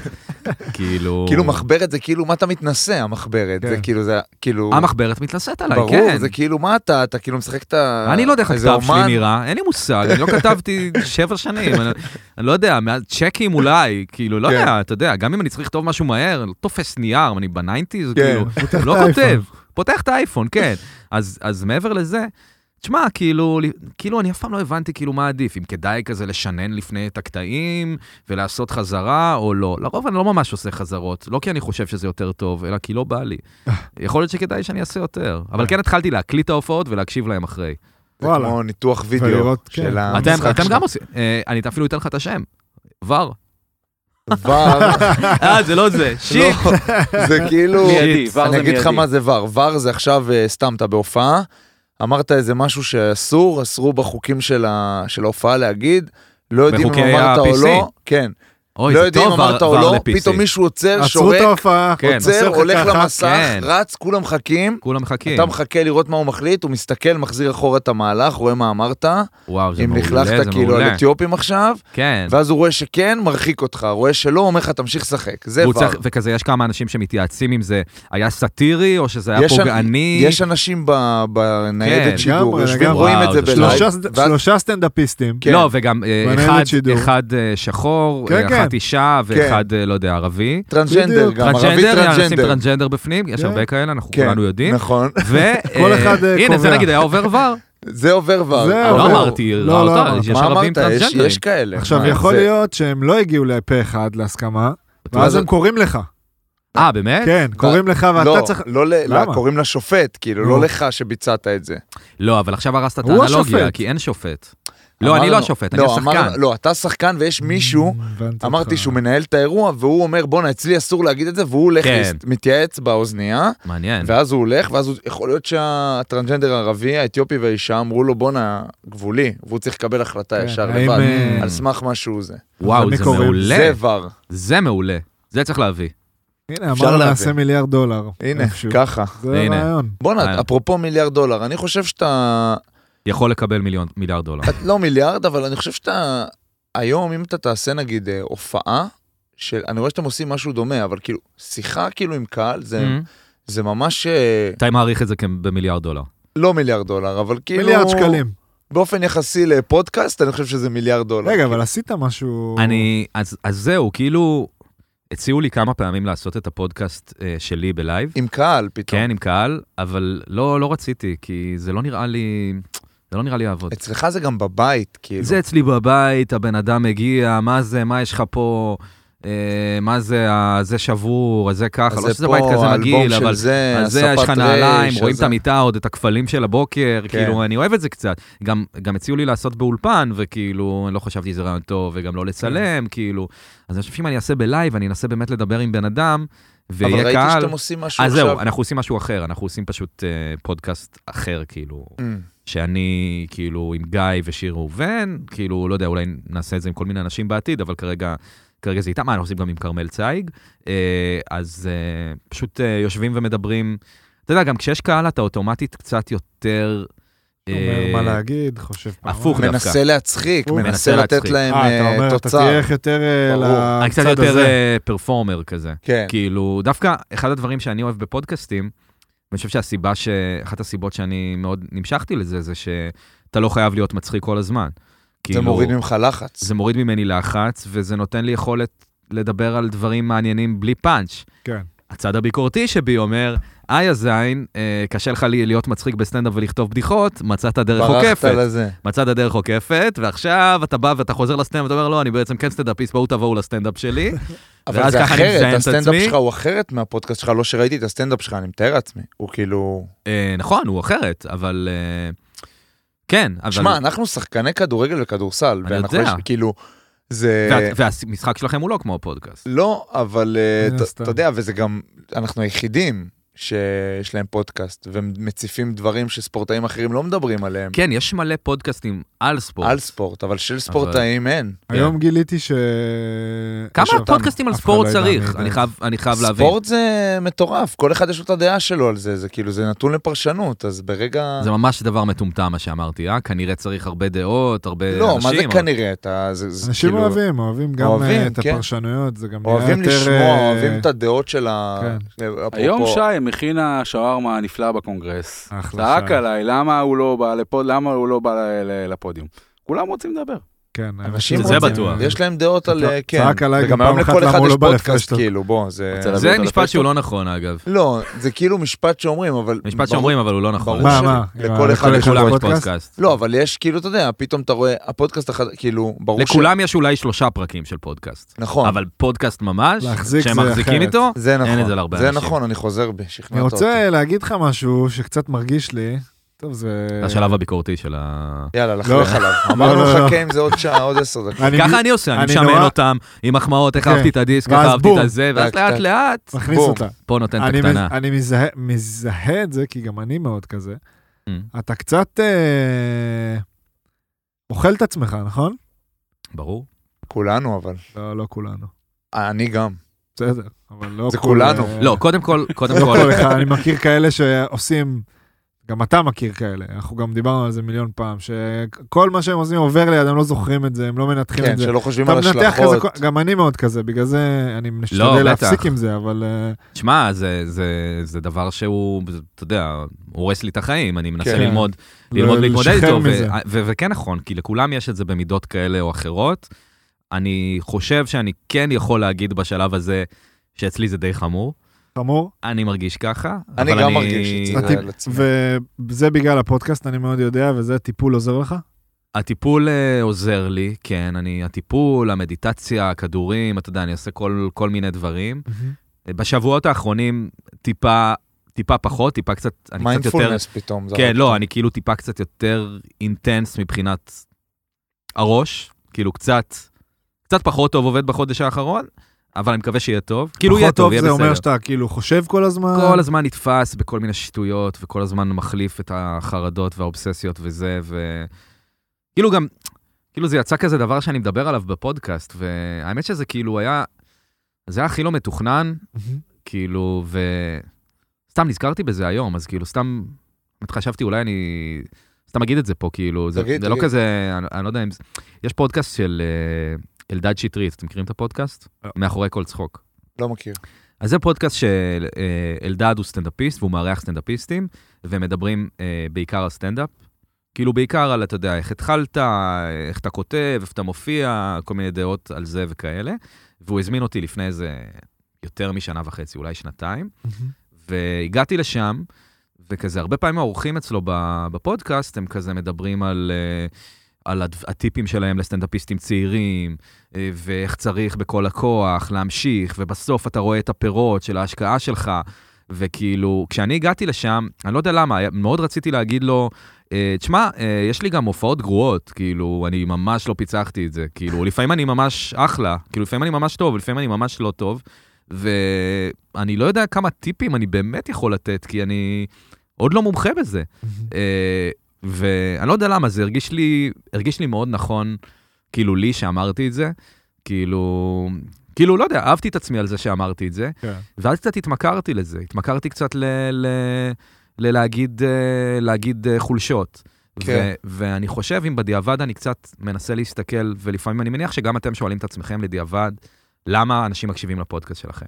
B: כאילו...
D: כאילו מחברת זה כאילו מה אתה מתנשא המחברת, זה
C: כן.
D: כאילו זה כאילו,
B: המחברת מתנשאת עליי, כן.
D: ברור, זה כאילו מה אתה, אתה כאילו משחק את ה...
B: אני לא יודע איך
D: איזה
B: הכתב שלי
D: אומן.
B: נראה, אין לי מושג, אני לא כתבתי שבע שנים, אני, אני לא יודע, מאז צ'קים אולי, כאילו, לא
D: כן.
B: יודע, אתה יודע, גם אם אני צריך לכתוב משהו מהר, לא תופס נייר, אני בניינטיז,
D: כן,
B: כאילו, לא
C: את
B: כותב,
C: האייפון.
B: פותח את האייפון, כן. אז, אז מעבר לזה, תשמע, כאילו, כאילו, אני אף פעם לא הבנתי כאילו מה עדיף, אם כדאי כזה לשנן לפני את הקטעים ולעשות חזרה או לא. לרוב אני לא ממש עושה חזרות, לא כי אני חושב שזה יותר טוב, אלא כי לא בא לי.
D: אה.
B: יכול להיות שכדאי שאני אעשה יותר, אבל כן התחלתי להקליט את ההופעות ולהקשיב להם אחרי.
D: זה
C: וואלה.
D: כמו ניתוח וידאו
C: ולראות, כן.
D: של
B: אתם
D: המשחק
B: אתם
D: שלך.
B: גם עושים, אה, אני אפילו אתן לך את השם, ור.
D: ור,
B: אה, זה לא זה, שיט.
D: זה כאילו...
E: מיידי, ור
D: אני
E: זה
D: אגיד לך
E: מיידי.
D: מה זה ור. ור זה עכשיו, אה, סתם, אתה בהופעה, אמרת איזה משהו שאסור, אסרו בחוקים של ה- של ההופעה להגיד, לא יודעים אם
B: בחוקי
D: אמרת או
B: ה-PC.
D: לא, כן,
B: אוי,
D: לא
B: זה
D: יודעים אם
B: טוב, ור
D: אמרת או
B: ור
D: לא,
B: ל-PC.
D: פתאום מישהו עוצר,
C: עצרו את
D: שורק,
C: ההופעה.
B: כן.
D: עוצר,
C: עושה
D: הולך
C: חתיכה אחת.
D: למסך,
B: כן.
D: רץ, כולם מחכים.
B: כולם מחכים.
D: אתה מחכה לראות מה הוא מחליט, הוא מסתכל, מחזיר אחורה את המהלך, רואה מה אמרת,
B: וואו, זה
D: אם
B: מעולה, זה
D: לכלכת כאילו על
B: מעולה.
D: אתיופים עכשיו,
B: כן.
D: ואז הוא רואה שכן, מרחיק אותך, רואה שלא, אומר לך, תמשיך לשחק, זה
B: והוא
D: ור.
B: צריך, וכזה, יש כמה אנשים שמתייעצים אם זה היה סאטירי, או שזה היה
D: יש אנ-
B: פוגעני.
D: יש אנשים ב-
B: כן.
D: בניידת שידור,
C: לגמרי,
D: יושבים,
C: לגמרי.
D: רואים את
B: וואו,
D: זה
B: זה
D: בלייב.
C: שלושה-
D: ואז-
C: שלושה סטנדאפיסטים.
D: כן.
B: לא, וגם אה,
C: מנהלת
B: אחד,
C: שידור.
B: אחד אה, שחור,
C: כן,
B: אה, אחת
C: כן.
B: אישה ואחד, אה, לא יודע, ערבי.
D: טרנסג'נדר,
C: בדיוק.
D: גם ערבי
B: אה, נשים
D: טרנסג'נדר.
B: טרנסג'נדר בפנים, יש
C: כן.
B: הרבה כאלה, אנחנו
D: כן,
B: כולנו יודעים.
D: נכון.
B: ו...
C: כל
B: אה,
C: אחד, אה,
B: הנה, זה
C: קובע.
B: נגיד היה עובר ור.
D: זה עובר ור.
C: זה
B: לא
C: עובר.
B: אמרתי,
C: לא,
B: ראה
C: לא
B: אותה,
C: אמרת.
B: יש
D: מה
B: ערבים
D: אמרת? יש-
B: טרנסג'נדרים.
D: יש כאלה.
C: עכשיו,
D: כן, מה,
C: יכול
D: זה-
C: להיות שהם לא הגיעו לפה אחד להסכמה, ואז
D: זה-
C: הם קוראים לך.
B: אה, באמת?
C: כן, קוראים לך ואתה
D: לא,
C: צריך...
D: לא, ל-
C: למה?
D: לא, קוראים לשופט, כאילו,
C: נו.
D: לא לך שביצעת את זה.
B: לא, אבל עכשיו הרסת את
C: הוא
B: האנלוגיה,
C: השופט.
B: כי אין שופט. לא,
D: אמרנו-
B: אני לא השופט, אני
D: לא, אמרנו-
B: השחקן. Mm,
D: לא, אתה שחקן ויש מישהו,
C: הבנתי
D: אמרתי
C: אותך.
D: שהוא מנהל את האירוע, והוא אומר, בואנה, אצלי אסור להגיד את זה, והוא הולך,
B: כן.
D: להסת- מתייעץ באוזנייה,
B: מעניין.
D: ואז הוא הולך, ואז הוא... יכול להיות שהטרנסג'נדר הערבי, האתיופי והאישה אמרו לו, בואנה, גבולי, והוא צריך לקבל החלטה
C: כן,
D: ישר
C: האם,
D: לבד,
C: אה,
D: על סמך מה שהוא זה.
B: וואו,
C: מי
B: זה
C: קוראים?
B: מעולה.
D: זה ור.
B: זה מעולה. זה צריך להביא.
C: הנה,
D: אפשר
C: אמרנו
D: להבין.
C: נעשה מיליארד דולר.
D: הנה,
C: איפשהו.
D: ככה.
C: זה
B: הנה.
C: רעיון.
B: אה.
D: בואנה, אפרופו מיליארד דולר, אני חושב שאתה...
B: יכול לקבל מיליון, מיליארד דולר. Mm-hmm.
D: את לא מיליארד, אבל אני חושב שאתה... היום, אם אתה תעשה נגיד אה, הופעה, של... אני רואה שאתם עושים משהו דומה, אבל כאילו, שיחה כאילו עם קהל, זה,
B: Mhm.
D: זה ממש אה,
B: אתה מעריך את זה כ- במיליארד דולר.
D: לא מיליארד דולר, אבל כאילו...
C: מיליארד שקלים.
D: באופן יחסי לפודקאסט, אני חושב שזה מיליארד דולר.
C: רגע, אבל עשית משהו...
B: אני, אז, אז זהו, כאילו, הציעו לי כמה פעמים לעשות את הפודקאסט אה, שלי בלייב,
D: עם קהל פתאום.
B: כן, עם קהל, אבל לא, לא רציתי, כי זה לא נראה לי, זה לא נראה לי יעבוד.
D: אצלך זה גם בבית, כאילו.
B: זה אצלי בבית, הבן אדם מגיע, מה זה, מה יש לך פה, אה, מה זה, ה- זה שבור, אז זה ככה,
D: אז
B: לא שזה בית כזה מגעיל, אבל...
D: זה,
B: אז זה, יש לך
D: הספת
B: נעליים,
D: רייש,
B: רואים
D: אז
B: את המיטה עוד, את הכפלים של הבוקר,
D: כן.
B: כאילו, אני אוהב את זה קצת. גם גם הציעו לי לעשות באולפן, וכאילו, אני לא חשבתי שזה רעיון טוב, וגם לא
D: כן.
B: לצלם, כאילו. אז אני חושב שאם אני אעשה בלייב, אני אנסה באמת לדבר עם בן אדם,
D: אבל
B: ויהיה
D: ראיתי
B: קהל.
D: שאתם עושים משהו
B: אז
D: עכשיו.
B: זהו, אנחנו עושים משהו אחר, אנחנו עושים פשוט אה, פודקאסט אחר, כאילו,
D: Mm.
B: שאני, כאילו, עם גיא ושיר ראובן, כאילו, לא יודע, אולי נעשה את זה עם כל מיני אנשים בעתיד, אבל כרגע, כרגע זה איתם, אה, אנחנו עושים גם עם כרמל צייג. אה, אז אה, פשוט אה, יושבים ומדברים. אתה יודע, גם כשיש קהל, אתה אוטומטית קצת יותר
C: אומר מה
B: אה,
C: להגיד, חושב פעמיים.
B: הפוך, דווקא. אוקיי.
D: מנסה להצחיק,
C: הוא
D: מנסה
B: מנסה
D: לתת
B: להצחיק.
D: להם
C: אה, אתה
D: אה,
C: אומר, אתה
D: תוצר.
C: תלך יותר אה,
D: ברור.
B: אני קצת
C: לצד
B: יותר
C: הזה.
B: אה, פרפורמר כזה.
D: כן.
B: כאילו, דווקא אחד הדברים שאני אוהב בפודקאסטים, אני חושב שהסיבה ש... אחת הסיבות שאני מאוד נמשכתי לזה, זה שאתה לא חייב להיות מצחיק כל הזמן.
D: זה
B: כאילו,
D: מוריד ממך לחץ.
B: זה מוריד ממני לחץ, וזה נותן לי יכולת לדבר על דברים מעניינים בלי פאנץ'.
C: כן.
B: הצד הביקורתי שבי אומר, איי הזין, אה, קשה לך לי- להיות מצחיק בסטנדאפ ולכתוב בדיחות, מצאת דרך
D: ברחת
B: עוקפת.
D: לזה.
B: מצאת דרך עוקפת, ועכשיו אתה בא ואתה חוזר לסטנדאפ, ואתה אומר, לא, אני בעצם כן סטנדאפיסט, בואו תבואו לסטנדאפ שלי.
D: אבל
B: ואז
D: זה
B: ככה אני מזיין
D: אחרת,
B: את
D: הסטנדאפ
B: עצמי.
D: שלך הוא אחרת מהפודקאסט שלך, לא שראיתי את הסטנדאפ שלך, אני מתאר לעצמי. הוא כאילו...
B: אה, נכון, הוא אחרת, אבל... אה, כן, אבל...
D: שמע, אנחנו שחקני כדורגל וכדורסל,
B: אני
D: ואנחנו
B: יודע.
D: יש- כאילו... זה...
B: וה- והמשחק שלכם הוא לא כמו הפודקאסט.
D: לא, אבל אה,
C: מן
D: ת-
C: הסתם.
D: אתה יודע, וזה גם, אנחנו היחידים שיש להם פודקאסט, והם מציפים דברים שספורטאים אחרים לא מדברים עליהם,
B: כן, יש מלא פודקאסטים על ספורט.
D: על ספורט, אבל של ספורטאים אין.
C: היום גיליתי ש...
B: אה. כמה
C: עכשיו,
B: פודקאסטים על
C: אף אחד
B: ספורט
C: לא ידע
B: צריך?
C: מי
B: אני
C: זה.
B: חייב- אני חייב להבין.
D: ספורט זה מטורף, כל אחד יש לו את הדעה שלו על זה, זה כאילו, זה נתון לפרשנות, אז ברגע...
B: זה ממש דבר מטומטם מה שאמרתי, אה? כנראה צריך הרבה דעות, הרבה אנשים.
D: לא, מה זה
B: אבל-
D: כנראה? אתה, זה, זה
C: אנשים
D: כאילו,
C: אוהבים, אוהבים גם
D: אוהבים,
C: אה, את
D: כן.
C: הפרשנויות, זה גם נהיה יותר...
D: אוהבים לשמוע,
C: אה,
D: אוהבים את הדעות של ה... אה,
C: כן.
D: אפרופו-
E: היום שי מכינה שווארמה נפלאה בקונגרס.
C: אחלה
E: צעק
C: שי.
E: עליי, למה הוא לא בא לפוד- למה הוא לא בא ל- ל- לפודיום? כולם רוצים לדבר.
C: כן,
D: אנשים
B: זה
D: רוצים,
B: בטוח.
D: יש להם דעות על...
C: צעק
D: כן,
C: עליי
D: וגם
C: גם
D: היום
C: פעם אחת
D: לכל
C: למה
D: אחד
C: הוא
D: יש
C: לא בא
D: פודקאסט,
C: לפרשטוק.
D: כאילו, בוא, זה...
E: רוצה להביא
B: זה
E: אותו
B: משפט
E: לפודקאסט?
B: שהוא לא נכון, אגב.
D: לא, זה כאילו משפט שאומרים, אבל...
B: משפט
D: ברור-
B: שאומרים, אבל הוא לא נכון.
D: ברור
C: מה,
D: ש-
C: מה? אה,
D: לכל אחד
B: לכל-
D: יש
B: לכולם יש
C: פודקאסט?
B: פודקאסט.
D: לא, אבל יש, כאילו, אתה יודע, פתאום אתה רואה, הפודקאסט החד... כאילו, ברור ש...
B: לכולם יש אולי שלושה פרקים של פודקאסט.
D: נכון.
B: אבל פודקאסט ממש,
C: להחזיק
B: שהם
C: זה
B: מחזיקים
C: אחרת.
B: איתו,
D: זה נכון.
B: את זה להרבה
D: זה
B: אנשים.
D: נכון, אני חוזר בי, שכנעת
C: אני
D: אותי.
C: רוצה להגיד לך משהו שקצת מרגיש לי, טוב זה...
B: השלב הביקורתי של ה...
D: יאללה, לחלך
C: לא.
D: עליו.
C: לא,
D: אמרנו,
C: לא, לא.
D: חכה עם זה עוד שעה, עוד עשר דקות.
C: אני
B: ככה אני עושה, אני
C: אני
B: משמן
C: נורא-
B: אותם עם מחמאות, איך
C: כן.
B: אהבתי את הדיסק, איך
C: ואז
B: אהבתי
C: בום.
B: את הזה, ואז
D: טק,
B: לאט
D: טק.
B: לאט,
C: מכניס
D: בום.
C: אותה.
B: פה נותן את
C: אני,
B: הקטנה.
C: מז, אני מזהה, מזהה את זה, כי גם אני מאוד כזה.
B: Mm.
C: אתה קצת אה, אוכל את עצמך, נכון?
B: ברור.
D: כולנו, אבל. אה,
C: לא, לא כולנו.
D: אני גם.
C: בסדר, אבל לא
D: זה
C: כל-
D: כולנו.
C: אה,
B: לא, קודם כל, קודם
C: לא
B: כל,
C: כל אחד, אני מכיר כאלה שעושים, גם אתה מכיר כאלה, אנחנו גם דיברנו על זה מיליון פעם, שכל מה שהם עושים עובר ליד, הם לא זוכרים את זה, הם לא מנתחים
D: כן,
C: את זה.
D: שלא חושבים
C: אתה
D: על
C: מנתח כזה,
D: השלכות.
C: גם אני מאוד כזה, בגלל זה אני משתדל
B: לא, בטח.
C: להפסיק עם זה, אבל אה,
B: שמע, זה- זה- זה דבר שהוא, אתה יודע, הורס לי את החיים, אני מנסה
D: כן.
B: ללמוד
C: ל-
B: ללמוד להתמודד
C: לא- לשחרר
B: איתו, ו-
C: מזה.
B: ו- וכן נכון, כי לכולם יש את זה במידות כאלה או אחרות. אני חושב שאני כן יכול להגיד בשלב הזה שאצלי זה די חמור,
C: חמור.
B: אני מרגיש ככה.
D: אני
B: אבל
D: גם מרגיש שצריך
C: הטיפ-
D: על עצמי.
B: כן.
C: וזה בגלל הפודקאסט, אני מאוד יודע, וזה טיפול עוזר לך?
B: Mm-hmm. הטיפול אה, עוזר לי, כן, אני, הטיפול, המדיטציה, הכדורים, אתה יודע, אני עושה כל, כל מיני דברים. אה, בשבועות האחרונים טיפה, טיפה פחות, טיפה קצת, אני קצת יותר...
D: מיינדפולנס פתאום. זה
B: כן,
D: רק-
B: לא, אני כאילו טיפה קצת יותר אינטנס מבחינת הראש, כאילו קצת, קצת פחות טוב עובד בחודש האחרון, אבל אני מקווה שיהיה טוב. כאילו יהיה
C: פחות
B: טוב, יהיה
C: זה אומר
B: בסדר.
C: שאתה כאילו חושב כל הזמן.
D: נכון.
B: כל הזמן נתפס בכל מיני שטויות, וכל הזמן מחליף את החרדות והאובססיות וזה, ו... כאילו גם, כאילו זה יצא כזה דבר שאני מדבר עליו בפודקאסט, והאמת שזה כאילו היה, זה היה הכי לא מתוכנן,
C: מהמם.
B: כאילו, ו... סתם נזכרתי בזה היום, אז כאילו, סתם, באמת חשבתי, אולי אני... סתם אגיד את זה פה, כאילו, זה,
D: תגיד,
B: זה לא
D: תגיד.
B: כזה, אני, אני לא יודע אם זה... יש פודקאסט של אה, אלדד שטרית, אתם מכירים את הפודקאסט?
C: לא.
B: מאחורי כל צחוק.
D: לא מכיר.
B: אז זה פודקאסט שאלדד הוא סטנדאפיסט, והוא מארח סטנדאפיסטים, והם מדברים אה, בעיקר על סטנדאפ. כאילו בעיקר על, אתה יודע, איך התחלת, איך אתה כותב, איפה אתה מופיע, כל מיני דעות על זה וכאלה. והוא הזמין אותי לפני איזה יותר משנה וחצי, אולי שנתיים.
C: Mm-hmm.
B: והגעתי לשם, וכזה, הרבה פעמים האורחים אצלו ב- בפודקאסט, הם כזה מדברים על, אה, על הד- הטיפים שלהם לסטנדאפיסטים צעירים, אה, ואיך צריך בכל הכוח להמשיך, ובסוף אתה רואה את הפירות של ההשקעה שלך. וכאילו, כשאני הגעתי לשם, אני לא יודע למה, היה- מאוד רציתי להגיד לו, אה, תשמע, אה, יש לי גם הופעות גרועות, כאילו, אני ממש לא פיצחתי את זה, כאילו, לפעמים אני ממש אחלה, כאילו, לפעמים אני ממש טוב, לפעמים אני ממש לא טוב, ואני לא יודע כמה טיפים אני באמת יכול לתת, כי אני עוד לא מומחה בזה. אה, ואני לא יודע למה, זה הרגיש לי, הרגיש לי מאוד נכון, כאילו, לי שאמרתי את זה, כאילו, כאילו, לא יודע, אהבתי את עצמי על זה שאמרתי את זה,
C: כן.
B: ואז קצת התמכרתי לזה, התמכרתי קצת ל... ל... ללהגיד אה, להגיד, אה, חולשות, ו-
D: כן.
B: ואני חושב, אם בדיעבד אני קצת מנסה להסתכל, ולפעמים אני מניח שגם אתם שואלים את עצמכם לדיעבד, למה אנשים מקשיבים לפודקאסט שלכם.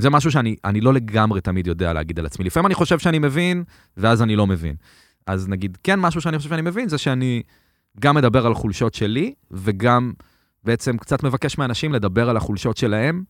B: זה משהו שאני אני לא לגמרי תמיד יודע להגיד על עצמי. לפעמים אני חושב שאני מבין, ואז אני לא מבין. אז נגיד, כן, משהו שאני חושב שאני מבין, זה שאני גם מדבר על חולשות שלי, וגם בעצם קצת מבקש מאנשים לדבר על החולשות שלהם,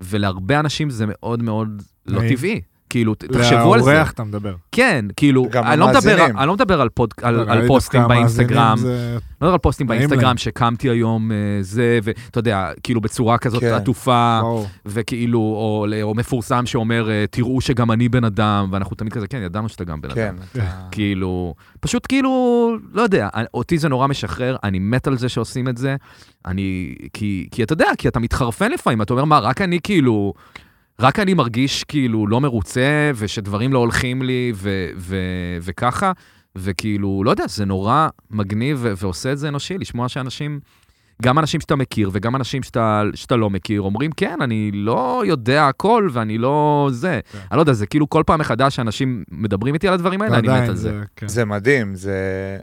B: ולהרבה אנשים זה מאוד מאוד לא
C: נעים.
B: טבעי. כאילו, ת- תחשבו על זה.
C: לאורח אתה מדבר.
B: כן, כאילו,
D: גם
B: אני לא, מדבר,
D: המאזינים.
B: אני לא מדבר על, פוד, על,
C: נראה
B: על
C: לי
B: פוסטים
C: דווקא
B: באינסטגרם,
C: המאזינים זה-
B: לא מדבר על פוסטים
C: נעים
B: באינסטגרם
C: להם.
B: שקמתי היום אה, זה, ואתה יודע, כאילו בצורה כזאת
D: כן.
B: עטופה,
C: וואו.
B: וכאילו, או, ל- או מפורסם שאומר, אה, תראו שגם אני בן אדם, ואנחנו תמיד כזה, כן, ידענו שאתה גם בן
D: כן.
B: אדם.
D: אתה-
B: כאילו, פשוט כאילו, לא יודע, אני- אותי זה נורא משחרר, אני מת על זה שעושים את זה, אני, כי, כי אתה יודע, כי אתה מתחרפן לפעמים, אתה אומר, מה, רק אני כאילו, רק אני מרגיש כאילו לא מרוצה, ושדברים לא הולכים לי, ו, ו, וככה, וכאילו, לא יודע, זה נורא מגניב ו- ועושה את זה אנושי, לשמוע שאנשים... גם אנשים שאתה מכיר וגם אנשים שאתה, שאתה לא מכיר אומרים, כן, אני לא יודע הכל ואני לא זה.
D: כן.
B: אני לא יודע, זה כאילו כל פעם מחדש שאנשים מדברים איתי על הדברים האלה, אני מת
C: ועדיין
B: על זה.
C: זה, כן.
D: זה מדהים, זה...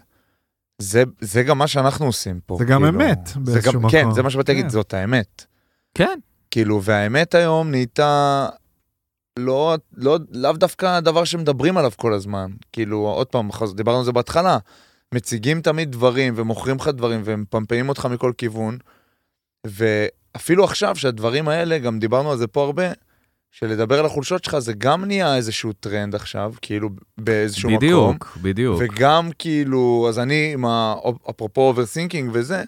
D: זה, זה גם מה שאנחנו עושים פה. כאילו.
C: זה גם אמת
D: זה
C: באיזשהו
D: גם,
C: מקום.
D: כן, זה מה שבאתי להגיד,
C: כן.
D: זאת האמת.
B: כן,
D: כאילו, והאמת היום נהייתה לא, לא, לאו דווקא הדבר שמדברים עליו כל הזמן. כאילו, עוד פעם, חז- דיברנו על זה בהתחלה, מציגים תמיד דברים ומוכרים לך דברים ומפמפמים אותך מכל כיוון, ואפילו עכשיו שהדברים האלה, גם דיברנו על זה פה הרבה, שלדבר על החולשות שלך זה גם נהיה איזשהו טרנד עכשיו, כאילו באיזשהו מקום.
B: בדיוק, בדיוק.
D: וגם כאילו, אז אני עם ה... אפרופו אוברסינקינג וזה,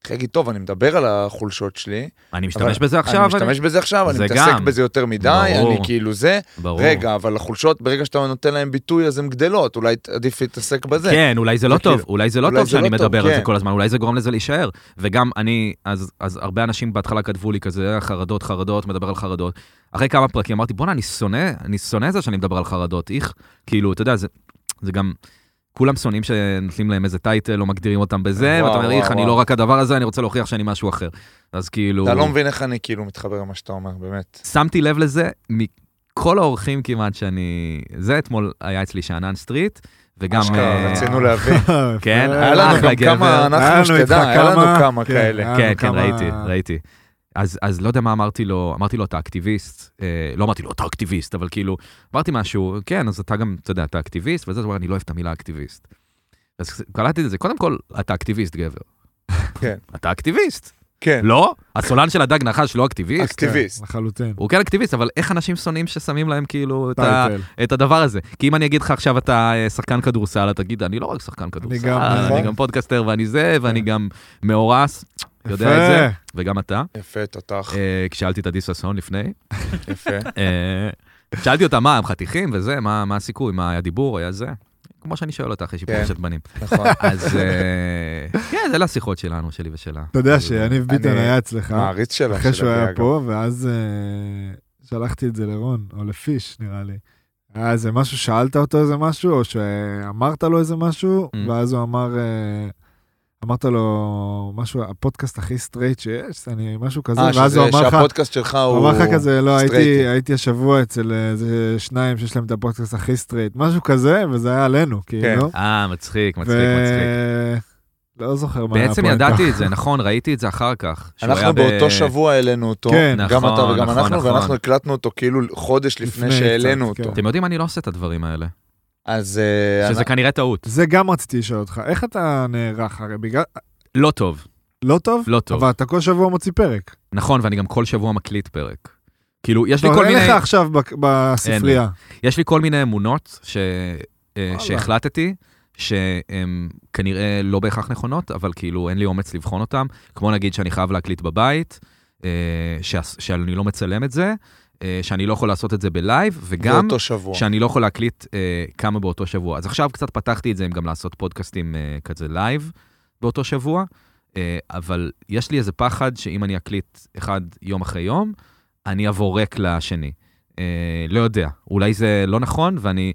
D: התחיל להגיד, טוב, אני מדבר על החולשות שלי.
B: אני
D: אבל
B: משתמש בזה עכשיו,
D: אני משתמש בזה עכשיו, אני
B: זה
D: מתעסק
B: גם.
D: בזה יותר מדי,
B: ברור.
D: אני כאילו זה.
B: ברור.
D: רגע, אבל החולשות, ברגע שאתה נותן להן ביטוי, אז הן גדלות, אולי עדיף להתעסק בזה.
B: כן, אולי זה לא
D: זה
B: טוב,
D: כאילו-
B: אולי זה לא
D: אולי
B: טוב
D: זה
B: שאני
D: לא טוב,
B: מדבר על זה
D: כן.
B: כל הזמן, אולי זה גורם לזה להישאר. וגם אני, אז אז הרבה אנשים בהתחלה כתבו לי כזה, "אה, חרדות, חרדות, מדבר על חרדות. אחרי כמה פרקים אמרתי, בואנה, אני שונא, אני שונא זה שאני מדבר על חרדות, איך, כאילו, אתה יודע, זה- זה גם... כולם שונאים שנותנים להם איזה טייטל או מגדירים אותם בזה,
D: וואו,
B: ואתה אומר,
D: וואו,
B: איך, אני
D: וואו.
B: לא רק הדבר הזה, אני רוצה להוכיח שאני משהו אחר. אז כאילו...
D: אתה לא מבין איך אני כאילו מתחבר למה שאתה אומר, באמת.
B: שמתי לב לזה מכל האורחים כמעט שאני... זה אתמול היה אצלי שאנן סטריט, וגם...
D: אשכרה,
B: אה,
D: רצינו להבין.
B: כן,
D: היה לנו
B: אחלה
D: גם כמה,
B: גבר.
C: אה, היה לנו
D: אנחנו
C: איתך
D: שתדע, היה לנו
C: כמה-
D: כמה
C: כן.
D: כאלה.
C: היה לנו
B: כן, כן,
C: כמה-
B: ראיתי, ראיתי. אז, אז לא יודע מה אמרתי לו, אמרתי לו, אתה אקטיביסט, אה, לא אמרתי לו, אתה אקטיביסט, אבל כאילו, אמרתי משהו, כן, אז אתה גם, אתה יודע, אתה אקטיביסט, וזה, הוא אמר, אני לא אוהב את המילה אקטיביסט. אז קלטתי את זה, קודם כל, אתה אקטיביסט, גבר.
D: כן.
B: אתה אקטיביסט.
D: כן,
B: לא? הסולן של הדג נחש לא אקטיביסט?
C: כן,
D: אקטיביסט.
C: לחלוטין.
B: הוא כן אקטיביסט, אבל איך אנשים שונאים ששמים להם כאילו את ה...
C: טייטל.
B: את הדבר הזה. כי אם אני אגיד לך עכשיו אתה אה, שחקן כדורסל, אתה תגיד, אני לא רק שחקן כדורסל,
C: גם,
B: אני
C: נכון. כן.
B: גם פודקאסטר ואני זה, ואני גם מאורס, יודע את זה,
C: יפה.
B: וגם אתה.
D: יפה, תותח,
B: אה, כששאלתי את עדי ששון לפני,
D: יפה.
B: אה, שאלתי אותה, מה, הם חתיכים וזה, מה מה הסיכוי, מה היה דיבור, היה זה? כמו שאני שואל אותך, יש לי
D: כן.
B: פרשת בנים.
D: נכון.
B: אז אה, כן, זה לשיחות שלנו, שלי ושלה.
C: אתה יודע שיניב ביטון
D: אני-
C: היה אצלך,
D: מעריץ שלו.
C: אחרי
D: של
C: שהוא
D: אבי,
C: היה
D: אגב.
C: פה, ואז אה, שלחתי את זה לרון, או לפיש, נראה לי. היה איזה משהו, שאלת אותו איזה משהו, או שאמרת לו איזה משהו,
B: Mm.
C: ואז הוא אמר, אה, אמרת לו משהו, הפודקאסט הכי סטרייט שיש, אני משהו כזה,
D: אה,
C: ואז
D: שזה-
C: הוא אמר לך,
D: שהפודקאסט שלך הוא...
C: הוא אמר לך כזה, לא, הייתי,
D: סטרייטי.
C: הייתי השבוע אצל איזה שניים שיש להם את הפודקאסט הכי סטרייט, משהו כזה, וזה היה עלינו, כאילו.
B: אה, מצחיק, מצחיק, מצחיק.
C: ו- לא זוכר מה היה
B: בעצם
C: הפואנטה.
B: ידעתי את זה, נכון, ראיתי את זה אחר כך. שהוא היה
D: אנחנו
B: ב-
D: באותו שבוע העלינו אותו,
C: כן.
D: גם
B: נכון,
D: אתה וגם
B: נכון,
D: אנחנו,
B: נכון.
D: ואנחנו הקלטנו אותו כאילו חודש לפני
C: לפני
D: שהעלינו
C: קצת,
D: אותו.
C: כן.
B: אתם יודעים, אני לא עושה את הדברים האלה.
D: אז אה,
B: שזה
D: אני-
B: כנראה טעות.
C: זה גם רציתי לשאול אותך, איך אתה נערך? הרי בגלל...
B: לא טוב,
C: לא טוב?
B: לא טוב.
C: אבל אתה כל שבוע מוציא פרק.
B: נכון, ואני גם כל שבוע מקליט פרק. כאילו, יש לי
C: לא,
B: כל
C: אין
B: מיני,
C: לך עכשיו בק- בספרייה.
B: יש לי כל מיני אמונות ש... אה,
C: וואלה.
B: שהחלטתי, שהן כנראה לא בהכרח נכונות, אבל כאילו אין לי אומץ לבחון אותן. כמו נגיד שאני חייב להקליט בבית, אה, שאס- שאני לא מצלם את זה, אה, שאני לא יכול לעשות את זה בלייב, וגם
D: באותו שבוע.
B: שאני לא יכול להקליט אה, כמה באותו שבוע. אז עכשיו קצת פתחתי את זה עם גם לעשות פודקאסטים אה, כזה לייב באותו שבוע, אה, אבל יש לי איזה פחד שאם אני אקליט אחד יום אחרי יום, אני אבוא ריק לשני. אה, לא יודע, אולי זה לא נכון, ואני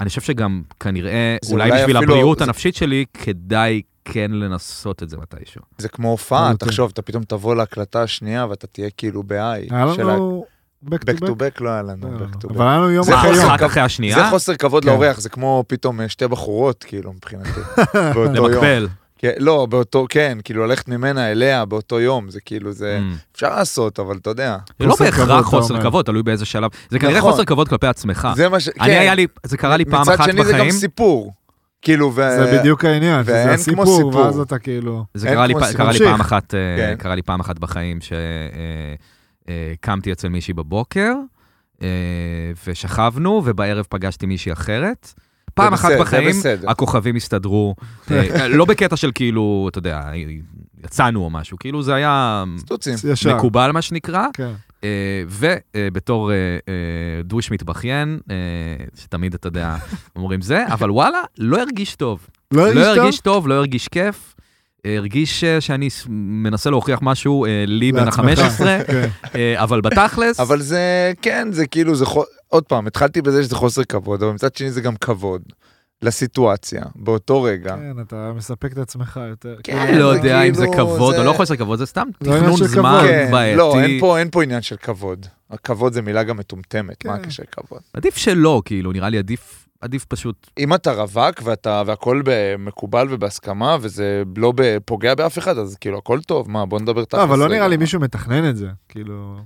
B: אני חושב שגם כנראה,
D: זה
B: אולי
D: אולי
B: בשביל
D: אפילו-
B: הבריאות
D: זה-
B: הנפשית שלי, כדאי כן לנסות את זה מתישהו.
D: זה כמו הופעה,
C: אוקיי.
D: תחשוב, אתה פתאום תבוא להקלטה השנייה ואתה תהיה כאילו בהיי.
C: היה
D: של ה-
C: לנו... back
D: back
C: to
D: to
C: back.
D: back לא היה לנו,
C: לא,
D: back to
C: אבל
D: back.
C: היה לנו יום
D: זה
C: אחרי
D: חוסר
C: יום.
B: אחת אחרי השנייה,
D: זה חוסר כבוד
C: כן.
D: לאורח, זה כמו פתאום אה, שתי בחורות, כאילו, מבחינתי, באותו יום.
B: למקבל.
D: כן, לא, באותו, כן, כאילו, ללכת ממנה אליה באותו יום, זה כאילו, זה
B: Mm.
D: אפשר לעשות, אבל אתה יודע.
B: זה לא
C: חוסר כבוד,
B: בהכרח
C: אתה
B: חוסר
C: אומר.
B: כבוד, תלוי באיזה שלב. זה כנראה
D: כן. נכון.
B: חוסר כבוד כלפי עצמך.
D: זה מה ש...
B: אה,
D: כן.
B: אני היה לי, זה קרה לי פעם אחת
D: מצד שני זה גם
B: בחיים,
D: סיפור. כאילו, ו...
C: זה בדיוק העניין,
D: ואין
C: שזה
D: כמו
C: הסיפור,
D: סיפור.
C: ואז אתה כאילו...
B: זה
D: אין
B: קרה לי
D: כמו
B: פ-
D: סיפור.
B: קרה לי
C: תמשיך.
B: פעם אחת, אה,
D: כן.
B: קרה לי פעם אחת בחיים שקמתי אצל מישהי בבוקר, אה, ושכבנו, ובערב פגשתי מישהי אחרת. פעם אחת
D: בסדר, זה
B: בחיים,
D: בסדר.
B: הכוכבים הסתדרו, אה, לא בקטע של כאילו, אתה יודע, יצאנו או משהו, כאילו זה היה
D: סטוצים.
C: ישר.
B: מקובל לא מה שנקרא, אה,
C: כן.
B: ובתור דוש אה, מתבכיין, אה, שתמיד, אתה יודע, אומרים זה, אבל וואלה, לא הרגיש טוב.
C: לא
B: לא
C: הרגיש טוב?
B: הרגיש טוב, לא הרגיש כיף. הרגיש אה, שאני ס- מנסה להוכיח משהו אה, לי בן
C: לעצמך.
B: ה-15,
C: כן.
B: אבל בתכלס,
D: אבל זה, כן, זה כאילו, זה חו... עוד פעם, התחלתי בזה שזה חוסר כבוד, אבל מצד שני זה גם כבוד לסיטואציה, באותו רגע.
C: כן, אתה מספק את עצמך יותר.
D: כן,
B: אני לא
D: זה
B: יודע אם זה
D: כאילו,
B: כבוד
D: זה-
B: או לא חוסר כבוד, זה סתם
C: לא עניין
B: תכנון
C: של
B: זמן
C: כבוד.
D: כן, לא, אין
B: בעייתי.
D: פה, אין פה עניין של כבוד. הכבוד זה מילה גם מטומטמת, מה
C: כן.
D: הקשר לכבוד?
B: עדיף שלא, כאילו, נראה לי עדיף עדיף פשוט,
D: אם אתה רווק ואתה, והכל ב- מקובל ובהסכמה, וזה לא ב- פוגע באף אחד, אז כאילו הכל טוב, מה, בוא נדבר תכלס.
C: לא, אבל לא נראה
D: רגע.
C: לי מישהו מתכנן את זה, כאילו...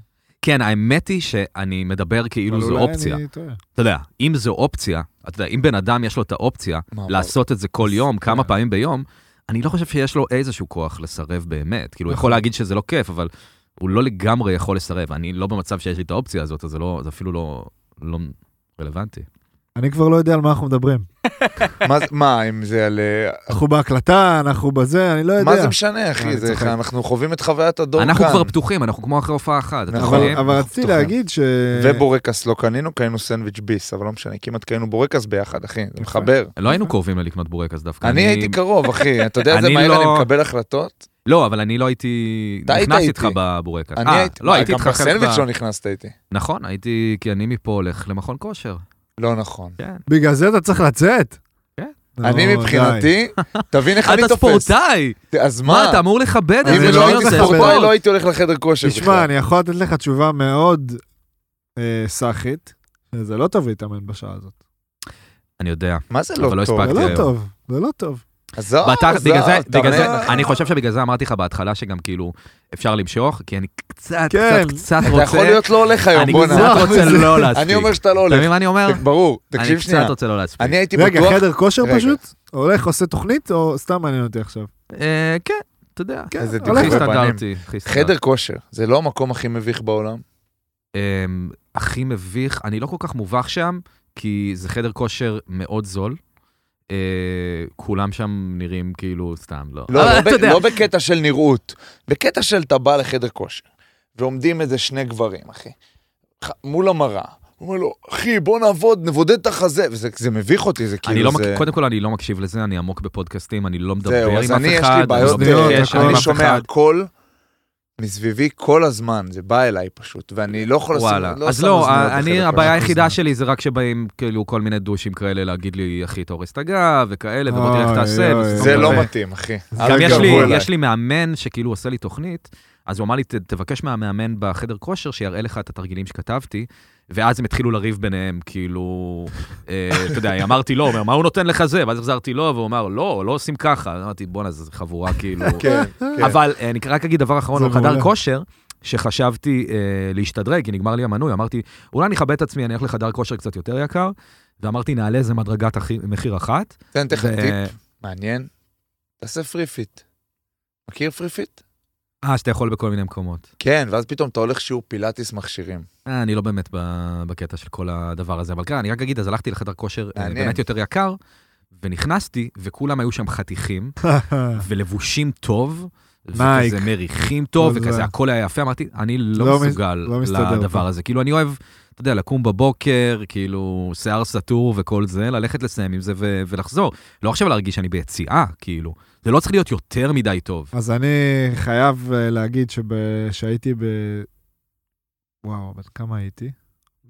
B: כן, האמת היא שאני מדבר כאילו
C: אבל
B: זו
C: אולי
B: אופציה.
C: אני טועה.
B: אתה יודע, אם זו אופציה, אתה יודע, אם בן אדם יש לו את האופציה
D: מה, מה?
B: לעשות את זה כל יום, כמה
D: כן.
B: פעמים ביום, אני לא חושב שיש לו איזשהו כוח לסרב באמת. כאילו, הוא
D: נכון.
B: יכול להגיד שזה לא כיף, אבל הוא לא לגמרי יכול לסרב. אני לא במצב שיש לי את האופציה הזאת, אז זה לא- זה אפילו לא- לא רלוונטי.
C: אני כבר לא יודע על מה אנחנו מדברים.
D: מה זה- מה, אם זה על... אה,
C: אנחנו בהקלטה, אנחנו בזה, אני לא יודע.
D: מה זה משנה,
C: אני
D: אחי? זה-
C: צוחק.
D: אנחנו חווים את חוויית הדור כאן.
B: אנחנו כבר פתוחים, אנחנו כמו אחרי הופעה אחת. אתם
D: נכון,
C: אבל-
B: יכולים?
C: אבל רציתי
D: פתוחים.
C: להגיד ש...
D: ובורקס לא קנינו, קנינו סנדוויץ' ביס, אבל לא משנה, כמעט קנינו בורקס ביחד, אחי, זה מחבר.
B: לא היינו קרובים ללקנות בורקס דווקא.
D: אני הייתי קרוב, אחי, אתה יודע איזה
B: אני
D: מהר
B: לא-
D: אני מקבל החלטות?
B: לא, אבל אני לא הייתי...
D: אתה היית
B: נכנסתי
D: איתי.
B: איתך בבורקס.
D: אני
B: אה,
D: הייתי,
B: לא, הייתי
D: גם
B: איתך חלק
D: בסנדוויץ'
B: ב-
D: לא נכנסת איתי.
B: נכון, הייתי... כי אני מפה הולך למכון כושר.
D: לא נכון.
C: בגלל זה אתה צריך לצאת?
B: כן.
C: נו,
D: אני
C: די.
D: מבחינתי, תבין איך אני
B: אתה
D: תופס.
B: ספורטאי!
D: אז
B: מה,
D: מה?
B: אתה אמור לכבד את
D: אם
B: זה
D: לא
C: אני
B: שאני
D: הייתי
B: עושה
D: ספורטאי,
B: ספורט.
D: לא הייתי הולך לחדר כושר
C: תשמע,
D: בכלל.
C: אני יכול לתת לך תשובה מאוד אה, סאחית, שזה לא טוב להתאמן בשעה הזאת.
B: אני יודע.
D: מה זה
B: אבל לא
D: לא טוב?
C: זה
B: הספקתי.
C: לא
B: היום.
C: טוב, זה לא טוב.
D: עזוב,
B: בתח-
D: עזוב,
B: בגלל זה,
D: אתה
B: בגלל
D: מבין?
B: זה, אני חושב שבגלל זה אמרתי לך בהתחלה שגם כאילו אפשר למשוך, כי אני קצת,
C: כן.
B: קצת, קצת
D: אתה יכול
B: רוצה,
D: להיות לא הולך היום,
B: אני
D: בוא'נה.
B: קצת רוצה לא להספיק.
D: אני אומר שאתה לא
B: אתה
D: הולך.
B: מבין מה אני אומר?
D: ברור,
B: אני
D: תקשיב שנייה.
B: קצת רוצה לא להספיק.
D: אני הייתי
C: רגע,
D: בטוח...
C: חדר כושר
D: רגע.
C: פשוט? הולך, עושה תוכנית, או סתם מעניין אותי עכשיו?
B: אה, כן, אתה יודע.
D: איזה
C: הולך.
D: דיבור
B: הכי
D: בפנים.
B: סטנדרטי, הכי סטנדרטי.
D: חדר כושר, זה לא המקום הכי מביך בעולם?
B: אמ, הכי מביך, אני לא כל כך מובך שם, כי זה חדר כושר מאוד זול. אה, כולם שם נראים כאילו סתם, לא.
D: לא,
B: אבל
D: לא,
B: אתה
D: ב-
B: יודע,
D: לא בקטע של נראות, בקטע של אתה בא לחדר כושר, ועומדים איזה שני גברים, אחי, ח- מול המראה. הוא אומר לו, אחי, בוא נעבוד, נבודד את החזה, וזה זה מביך אותי, זה כאילו,
B: אני לא,
D: זה...
B: מק- קודם כל, אני לא מקשיב לזה, אני עמוק בפודקאסטים, אני לא מדבר עם
D: זהו,
B: אף
D: אז
B: אחד.
D: אני, יש לי בעיות,
B: אני לא
C: אה,
B: בקשר עם
D: אני
B: אף
D: שומע
B: אחד.
D: הכל מסביבי כל הזמן, זה בא אליי פשוט, ואני לא יכול לשים...
B: וואלה. אז
D: שם
B: לא,
D: אוזניות
B: אני,
D: בחדר
B: הבעיה
D: כושר.
B: היחידה שלי זה רק שבאים כאילו כל מיני דושים כאלה להגיד לי, אחי, תורס את הגב, וכאלה, ובוא תראה איך
C: אוי,
B: תעשה.
C: אוי,
B: וסתום
C: אוי.
B: את
D: זה לא
B: הפה.
D: מתאים, אחי.
C: גם
D: אל
B: גם יש
D: תקרבו
B: לי-
D: אליי.
B: יש לי מאמן שכאילו עושה לי תוכנית, אז הוא אמר לי, "ת- תבקש מהמאמן בחדר כושר שיראה לך את התרגילים שכתבתי. ואז הם התחילו לריב ביניהם, כאילו, אה, אתה יודע, אמרתי לו, הוא אומר, מה הוא נותן לך זה? ואז החזרתי לו, והוא אמר, לא, לא עושים ככה. אז אמרתי, בואנה, זו חבורה, כאילו.
D: כן, כן.
B: אבל אה, אני רק אגיד דבר אחרון
C: זה
B: על חדר
C: מעולה.
B: כושר. שחשבתי אה, להשתדרג, כי נגמר לי המנוי, אמרתי, אולי אני אכבד את עצמי, אני אלך לחדר כושר קצת יותר יקר, ואמרתי, נעלה איזה מדרגת הכי- מחיר אחת.
D: תן תכף
B: ו-
D: טיפ מעניין, תעשה פרי פיט. מכיר פרי פיט?
B: אה, שאתה יכול בכל מיני מקומות.
D: כן, ואז פתאום אתה הולך שיעור פילאטיס מכשירים.
B: אה, אני לא באמת ב- בקטע של כל הדבר הזה, אבל כן, אני רק אגיד, אז הלכתי לחדר כושר אה,
D: מעניין.
B: באמת יותר יקר, ונכנסתי, וכולם היו שם חתיכים, ולבושים טוב,
C: נייק.
B: וכזה מריחים טוב,
C: לא,
B: וכזה
C: לא.
B: הכל היה יפה, אמרתי, אני
C: לא
B: לא
C: מס-
B: מסוגל
C: לא מסתדר
B: לדבר
C: פה.
B: הזה. כאילו, אני אוהב, אתה יודע, לקום בבוקר, כאילו, שיער סטור וכל זה, ללכת לסיים עם זה ו- ולחזור. לא עכשיו להרגיש שאני ביציאה, כאילו. זה לא צריך להיות יותר מדי טוב.
C: אז אני חייב אה, להגיד שהייתי ב... וואו, בן כמה הייתי?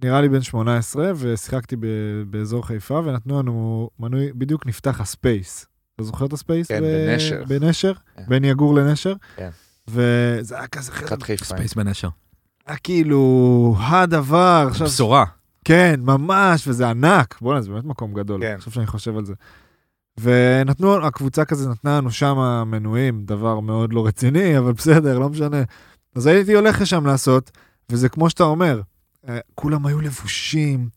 C: נראה לי בן 18, ושיחקתי ב... באזור חיפה, ונתנו לנו מנוי, בדיוק נפתח הספייס. אתה זוכר את הספייס?
D: כן, בנשר.
C: בנשר,
D: כן.
C: בין יגור לנשר.
D: כן.
C: וזה היה כזה חדר נכון.
D: חתיכת חיפה.
B: אה, ספייס בנשר.
C: היה כאילו הדבר, עכשיו
B: בשורה.
C: כן, ממש, וזה ענק. בואנה, זה באמת מקום גדול,
D: כן.
C: עכשיו שאני חושב על זה. ונתנו, הקבוצה כזה נתנה לנו שם מנויים, דבר מאוד לא רציני, אבל בסדר, לא משנה. אז הייתי הולך לשם לעשות, וזה כמו שאתה אומר, אה, כולם היו לבושים,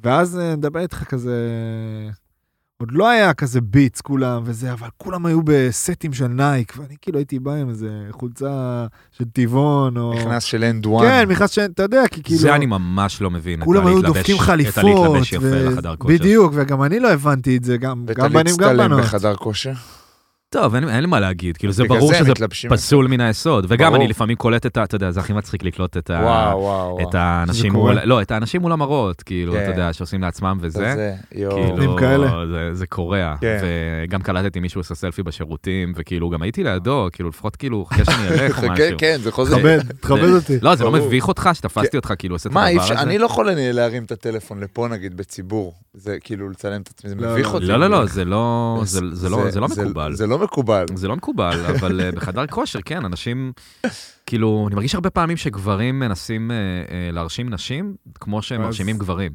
C: ואז אה, נדבר איתך כזה... עוד לא היה כזה ביץ כולם וזה, אבל כולם היו בסטים של נייק, ואני כאילו הייתי בא עם איזה חולצה של טבעון, או...
D: נכנס של אנד וואן.
C: כן, מכנס ש... אתה יודע, כי כאילו...
B: זה אני ממש לא מבין. את
C: כולם היו
B: הלהתלבש-
C: דופקים
B: את
C: חליפות.
B: הלהתלבש יפה
C: ו-
B: לחדר כושר.
C: בדיוק, וגם אני לא הבנתי את זה, גם
D: ואת
C: גם בנים גם
D: הלהצטלם
C: בנות.
D: בחדר כושר.
B: טוב, אין אין לי מה להגיד, כאילו זה
D: בגלל
B: ברור
D: הם
B: שזה
D: מתלבשים.
B: פסול מן היסוד. וגם
D: ברור.
B: אני לפעמים קולט את ה... אתה יודע, זה הכי מצחיק לקלוט את ה...
D: וואו, וואו, וואו.
B: את האנשים
C: שזה קורה.
B: מול... לא, את האנשים מול המראות, כאילו,
D: כן.
B: אתה יודע, שעושים לעצמם וזה.
D: זה, יואו.
B: כאילו,
C: נותנים כאלה.
B: זה, זה קורע.
D: כן.
B: וגם קלטתי מישהו עושה סלפי בשירותים, וכאילו, גם הייתי לידו, כאילו, לפחות כאילו, חכה שאני אלך או
D: זה-
B: משהו.
D: כן, כן, זה חוזר.
C: תכבד, תכבד
B: זה-
C: אותי.
B: לא, זה לא
D: ברור. כן.
B: מביך אותך שתפסתי אותך, כאילו, עושה את
D: מה, אי
B: הדבר
D: אפשר-
B: הזה?
D: אני לא יכול אני להרים את הטלפון לפה נגיד בציבור, זה כאילו לצלם את עצמי, זה
C: לא,
D: מביך
C: לא.
D: אותי.
B: לא, לא, לא, זה לא זה- זה לא- זה לא מקובל.
D: זה לא מקובל.
B: זה לא מקובל, אבל אה, בחדר כושר, כן, אנשים, כאילו, אני מרגיש הרבה פעמים שגברים מנסים אה, אה, להרשים נשים כמו שהם
C: אז-
B: מרשימים גברים.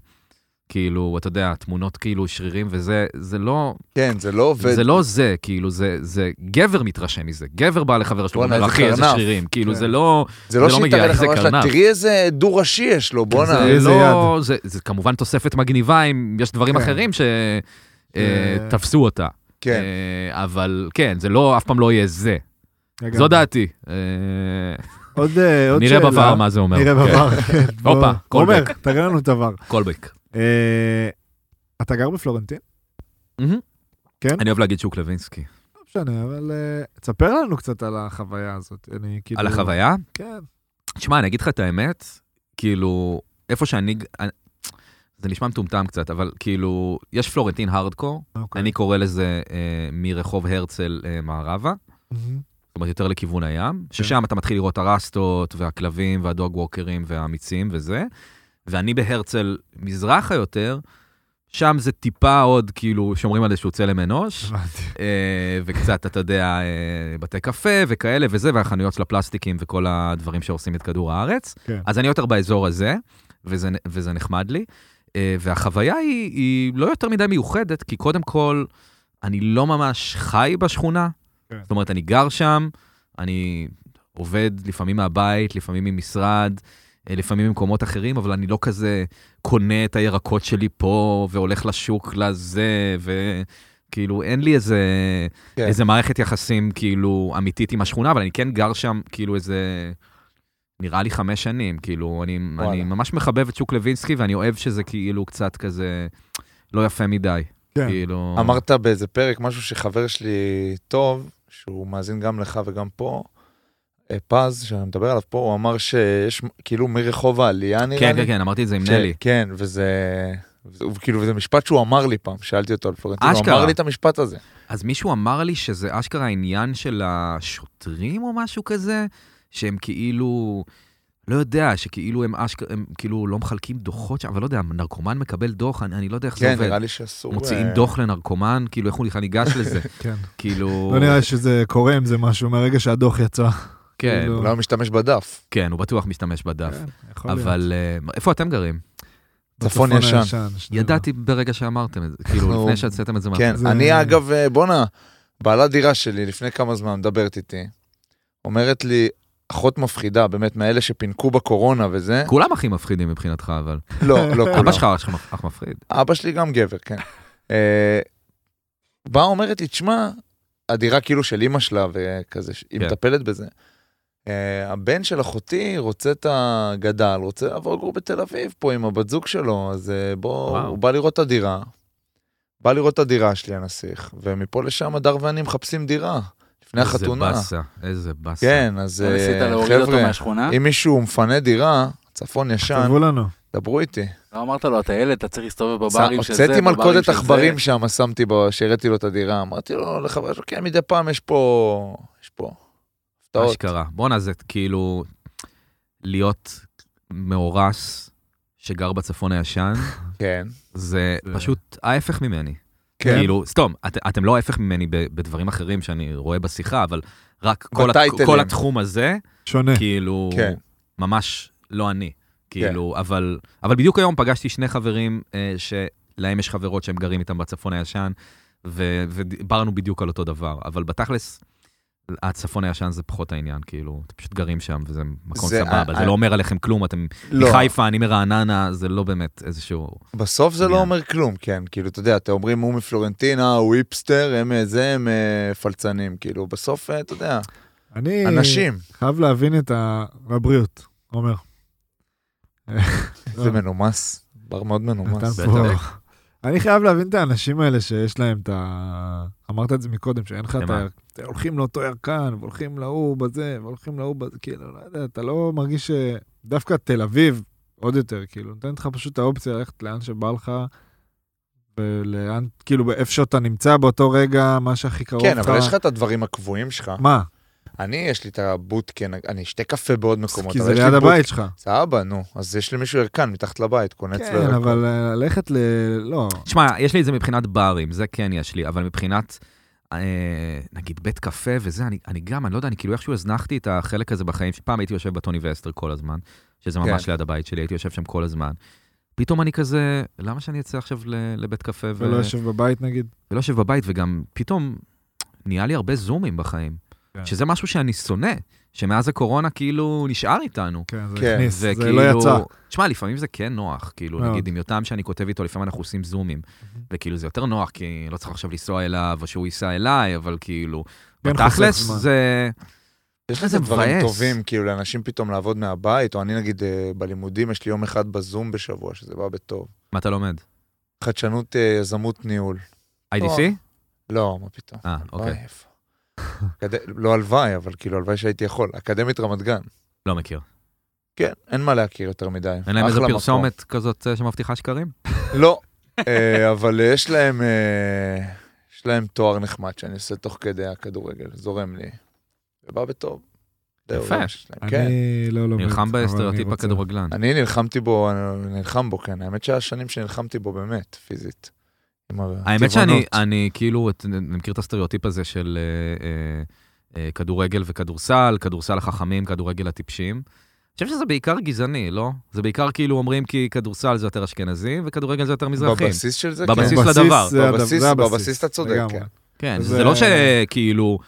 B: כאילו, אתה יודע, תמונות כאילו שרירים וזה, זה לא,
D: כן, זה לא עובד.
B: זה לא זה, כאילו, זה, זה גבר מתרשם מזה. גבר בא לחבר שלו,
D: בואנה,
B: אומר לו,
D: איזה
B: אחי, איזה
D: קרנף."
B: שרירים. כאילו,
C: כן.
B: זה לא...
D: זה לא
B: זה לא
D: שהיא
B: מגיע,
D: תראה לך
B: זה
D: ממש לה,
B: קרנף.
D: תראי איזה דו ראשי יש לו, בואנה.
B: זה
C: אה, איזה
B: לא... זה, זה כמובן תוספת מגניבה אם יש דברים
C: כן.
B: אחרים
C: אה,
B: שתפסו אותה.
D: כן,
B: אה, אבל כן, זה לא, אף פעם לא יהיה זה.
C: לגמרי.
B: לא, זו דעתי. אה,
C: עוד אה, עוד
B: נראה
C: שאלה.
B: בבר מה זה אומר.
C: נראה
B: כן.
C: בבר. כן, בוא.
B: הופה,
C: עומר,
B: קולבק.
C: תראה לנו את הבר.
B: קולבק.
C: אה, אתה גר בפלורנטין?
B: מהמם.
C: כן?
B: אני אוהב להגיד שוק לוינסקי.
C: לא משנה, אבל אה, תספר לנו קצת על החוויה הזאת. אני כאילו...
B: על החוויה?
C: כן.
B: תשמע, אני אגיד לך את האמת, כאילו, איפה שאני... זה נשמע מטומטם קצת, אבל כאילו, יש פלורנטין הארדקור,
C: אוקיי.
B: אני קורא לזה אה, מרחוב הרצל אה, מערבה,
C: מהמם.
B: זאת אומרת יותר לכיוון
C: כן.
B: הים, ששם אתה מתחיל לראות הרסטות והכלבים והדוג ווקרים והאמיצים וזה, ואני בהרצל מזרחה יותר, שם זה טיפה עוד כאילו שומרים על איזשהו צלם אנוש,
C: הבנתי.
B: אה, וקצת, אתה יודע, אה, בתי קפה וכאלה וזה, והחנויות של הפלסטיקים וכל הדברים שהורסים את כדור הארץ.
C: כן.
B: אז אני יותר באזור הזה, וזה, וזה נחמד לי. אה, והחוויה היא, היא לא יותר מדי מיוחדת, כי קודם כל, אני לא ממש חי בשכונה.
C: כן.
B: זאת אומרת, אני גר שם, אני עובד לפעמים מהבית, לפעמים ממשרד. אה, לפעמים במקומות אחרים, אבל אני לא כזה קונה את הירקות שלי פה, והולך לשוק לזה, וכאילו, אין לי איזה,
D: כן.
B: כן. איזה מערכת יחסים כאילו אמיתית עם השכונה, אבל אני כן גר שם כאילו איזה, נראה לי חמש שנים, כאילו, אני,
D: וואלה.
B: אני ממש מחבב את שוק לוינסקי, ואני אוהב שזה כאילו קצת כזה לא יפה מדי.
C: כן.
B: כאילו...
D: אמרת באיזה פרק משהו שחבר שלי טוב, שהוא מאזין גם לך וגם פה, אה, פז, שאני מדבר עליו פה, הוא אמר שיש כאילו מרחוב העלייה נראה
B: כן,
D: לי.
B: כן, כן, אמרתי את זה עם
D: ש-
B: נלי.
D: כן, וזה... וזה- וכאילו, זה משפט שהוא אמר לי פעם, שאלתי אותו על פלורנטין, הוא
B: אשכרה.
D: אמר לי את המשפט הזה.
B: אז מישהו אמר לי שזה אשכרה העניין של השוטרים או משהו כזה, שהם כאילו, לא יודע, שכאילו הם אשכרה, הם כאילו לא מחלקים דוחות שם, אבל לא יודע, נרקומן מקבל דוח, אני, אני לא יודע איך זה
D: כן,
B: עובד.
D: נראה לי שאסור...
B: מוציאים
D: אה,
B: דוח לנרקומן, כאילו איך הוא בכלל ניגש לזה,
C: כן.
B: כאילו...
C: לא נראה שזה קורה עם זה משהו מהרגע שהדוח יצא.
B: כן,
C: כאילו,
D: אולי הוא לא משתמש בדף.
B: כן, הוא בטוח משתמש בדף.
C: כן, יכול להיות.
B: אבל אה, איפה אתם גרים?
D: צפון ישן.
C: שנינו.
B: ידעתי ברגע שאמרתם את זה,
D: אנחנו-
B: כאילו לפני שהוצאתם את זה מהפה.
D: כן,
C: זה-
D: אני אגב, אה, בואנה, בעלת דירה שלי לפני כמה זמן מדברת איתי, אומרת לי, אחות מפחידה, באמת, מאלה שפינקו בקורונה וזה,
B: כולם הכי מפחידים מבחינתך, אבל.
D: לא, לא כולם.
B: אבא שלך אח- אח מפחיד.
D: אבא שלי גם גבר, כן. אה, באה אומרת לי, תשמע, הדירה כאילו של אימא שלה וכזה, ש- היא
B: כן.
D: מטפלת בזה. אה, הבן של אחותי רוצה את הגדל, רוצה לעבור לגור בתל אביב פה עם הבת זוג שלו, אז אה, בוא,
B: וואו.
D: הוא בא לראות את הדירה. בא לראות את הדירה שלי, הנסיך, ומפה לשם הדר ואני מחפשים דירה, לפני החתונה.
B: איזה באסה, איזה באסה.
D: כן, אז
E: לא ניסית
D: אה,
E: להוריד אותו
D: חבר'ה,
E: מהשכונה?
D: אם מישהו מפנה דירה, צפון ישן,
C: תבוא לנו.
D: דברו איתי.
E: לא אמרת לו, אתה ילד, אתה צריך להסתובב בברים של זה,
D: הוצאתי
E: בברים
D: מלכודת
E: של זה."
D: עכברים שם, שמתי בו, שהראיתי לו את הדירה, אמרתי לו לחבר שלו, כן, מדי פעם יש פה, יש פה, הפתעות.
B: אשכרה. בואנה, זה כאילו להיות מאורס שגר בצפון הישן,
D: כן,
B: זה
C: זה-
B: פשוט ההפך ממני.
D: כן.
B: כאילו, סתום, את, אתם לא ההפך ממני ב, בדברים אחרים שאני רואה בשיחה, אבל רק כל, הת,
D: בטייטלים.
B: כל התחום הזה,
C: שונה.
B: כאילו,
D: כן.
B: ממש לא אני. כאילו, אבל, אבל בדיוק היום פגשתי שני חברים אה, שלהם יש חברות שהם גרים איתם בצפון הישן, ו, ודיברנו בדיוק על אותו דבר. אבל בתכלס, הצפון הישן זה פחות העניין, כאילו, אתם פשוט גרים שם וזה מקום
D: זה-
B: סבבה,
D: אה,
B: זה לא אומר עליכם כלום, אתם
D: לא,
B: מחיפה, אני מרעננה, זה לא באמת איזשהו...
D: בסוף זה לא
B: עניין.
D: אומר כלום, כן, כאילו, אתה יודע, אתם אומרים, הוא מפלורנטינה, הוא היפסטר, הם אה, זה, הם אה, פלצנים, כאילו, בסוף, אה, אתה יודע,
C: אני
D: אנשים,
C: חייב להבין את ה- הבריאות, עומר. אה.
D: זה מנומס, בר מאוד
C: נתן
D: מנומס.
C: פה. אני חייב להבין את האנשים האלה שיש להם את ה... אמרת את זה מקודם, שאין לך את
B: למה?
C: ה... אתה הולכים לאותו ירקן, והולכים להוא בזה, והולכים להוא בזה, כאילו, לא יודע, אתה לא מרגיש ש... דווקא תל אביב, עוד יותר, כאילו, נותנת לך פשוט את האופציה ללכת לאן שבא לך, ולאן, כאילו, באיפה שאתה נמצא באותו רגע, מה שהכי קרוב לך.
D: כן, אבל יש לך את הדברים הקבועים שלך.
C: מה?
D: אני, יש לי את הבוטקן, אני אשתה קפה בעוד מקומות.
C: כי
D: אבל
C: זה
D: יש לי
C: ליד
D: בוט-
C: הבית שלך.
D: סבבה, נו. אז יש למישהו ירקן מתחת לבית, קונה אצלו
C: כן,
D: ירקן.
C: אבל אה, ללכת ל... לא.
B: תשמע, יש לי את זה מבחינת ברים, זה כן יש לי, אבל מבחינת, אה, נגיד, בית קפה וזה, אני, אני גם, אני לא יודע, אני כאילו איכשהו הזנחתי את החלק הזה בחיים, שפעם הייתי יושב בטוני וסטר כל הזמן, שזה ממש
D: כן.
B: ליד הבית שלי, הייתי יושב שם כל הזמן. פתאום אני כזה, למה שאני אצא עכשיו ל- לבית קפה ו-
C: ולא יושב בבית נגיד.
B: ולא יושב בבית, וגם פתאום נהיה לי הרבה זומים בחיים,
C: כן.
B: שזה משהו שאני שונא, שמאז הקורונה כאילו נשאר איתנו.
C: כן, זה
D: כן,
C: הכניס,
B: זה
C: זה
B: כאילו...
C: לא יצא.
B: תשמע, לפעמים זה כן נוח, כאילו,
C: מאוד.
B: נגיד עם יותם שאני כותב איתו, לפעמים אנחנו עושים זומים, וכאילו זה יותר נוח, כי לא צריך עכשיו לנסוע אליו, או שהוא ייסע אליי, אבל כאילו...
C: כן,
B: בתכלס
C: חוסך זמן.
B: זה...
D: יש
B: זה
D: לזה דברים
B: מבאס.
D: טובים, כאילו, לאנשים פתאום לעבוד מהבית, או אני נגיד אה, בלימודים, יש לי יום אחד בזום בשבוע, שזה בא בטוב.
B: מה אתה לומד?
D: חדשנות, אה, יזמות, ניהול.
B: IDC?
D: לא, מה פתאום.
B: אה,
D: וואי,
B: אוקיי.
D: איפה. אקד- לא הלוואי, אבל כאילו, הלוואי שהייתי יכול. אקדמית רמת גן.
B: לא מכיר.
D: כן, אין מה להכיר יותר מדי.
B: אין להם
D: אחלה
B: איזה
D: מקום.
B: פרסומת כזאת אה, שמבטיחה שקרים?
D: לא, אה, אבל יש להם, אה, יש להם תואר נחמד שאני עושה תוך כדי הכדורגל, זורם לי. זה בא בטוב. זהו,
B: יפה.
D: זה מה שיש להם, כן.
C: אני לא לומד. אבל
B: נלחם
C: אני
B: בסטריאוטיפ
C: רוצה.
B: הכדורגלן.
D: אני נלחמתי בו, אני נלחם בו, כן. האמת שהשנים שנלחמתי בו באמת, פיזית. עם
B: האמת
D: הטבעונות.
B: שאני אני כאילו, את- אני מכיר את הסטריאוטיפ הזה של אה, אה, אה, כדורגל וכדורסל, כדורסל החכמים, כדורגל הטיפשים. אני חושב שזה בעיקר גזעני, לא? זה בעיקר כאילו אומרים כי כדורסל זה יותר אשכנזים וכדורגל זה יותר מזרחים.
D: בבסיס של זה,
B: בבסיס
D: כן.
B: לדבר.
C: לא, זה הדבר-
D: בבסיס-
C: זה הבסיס.
D: בבסיס אתה צודק,
C: לגמרי.
D: כן.
B: כן,
C: זה-
B: זה לא שכאילו,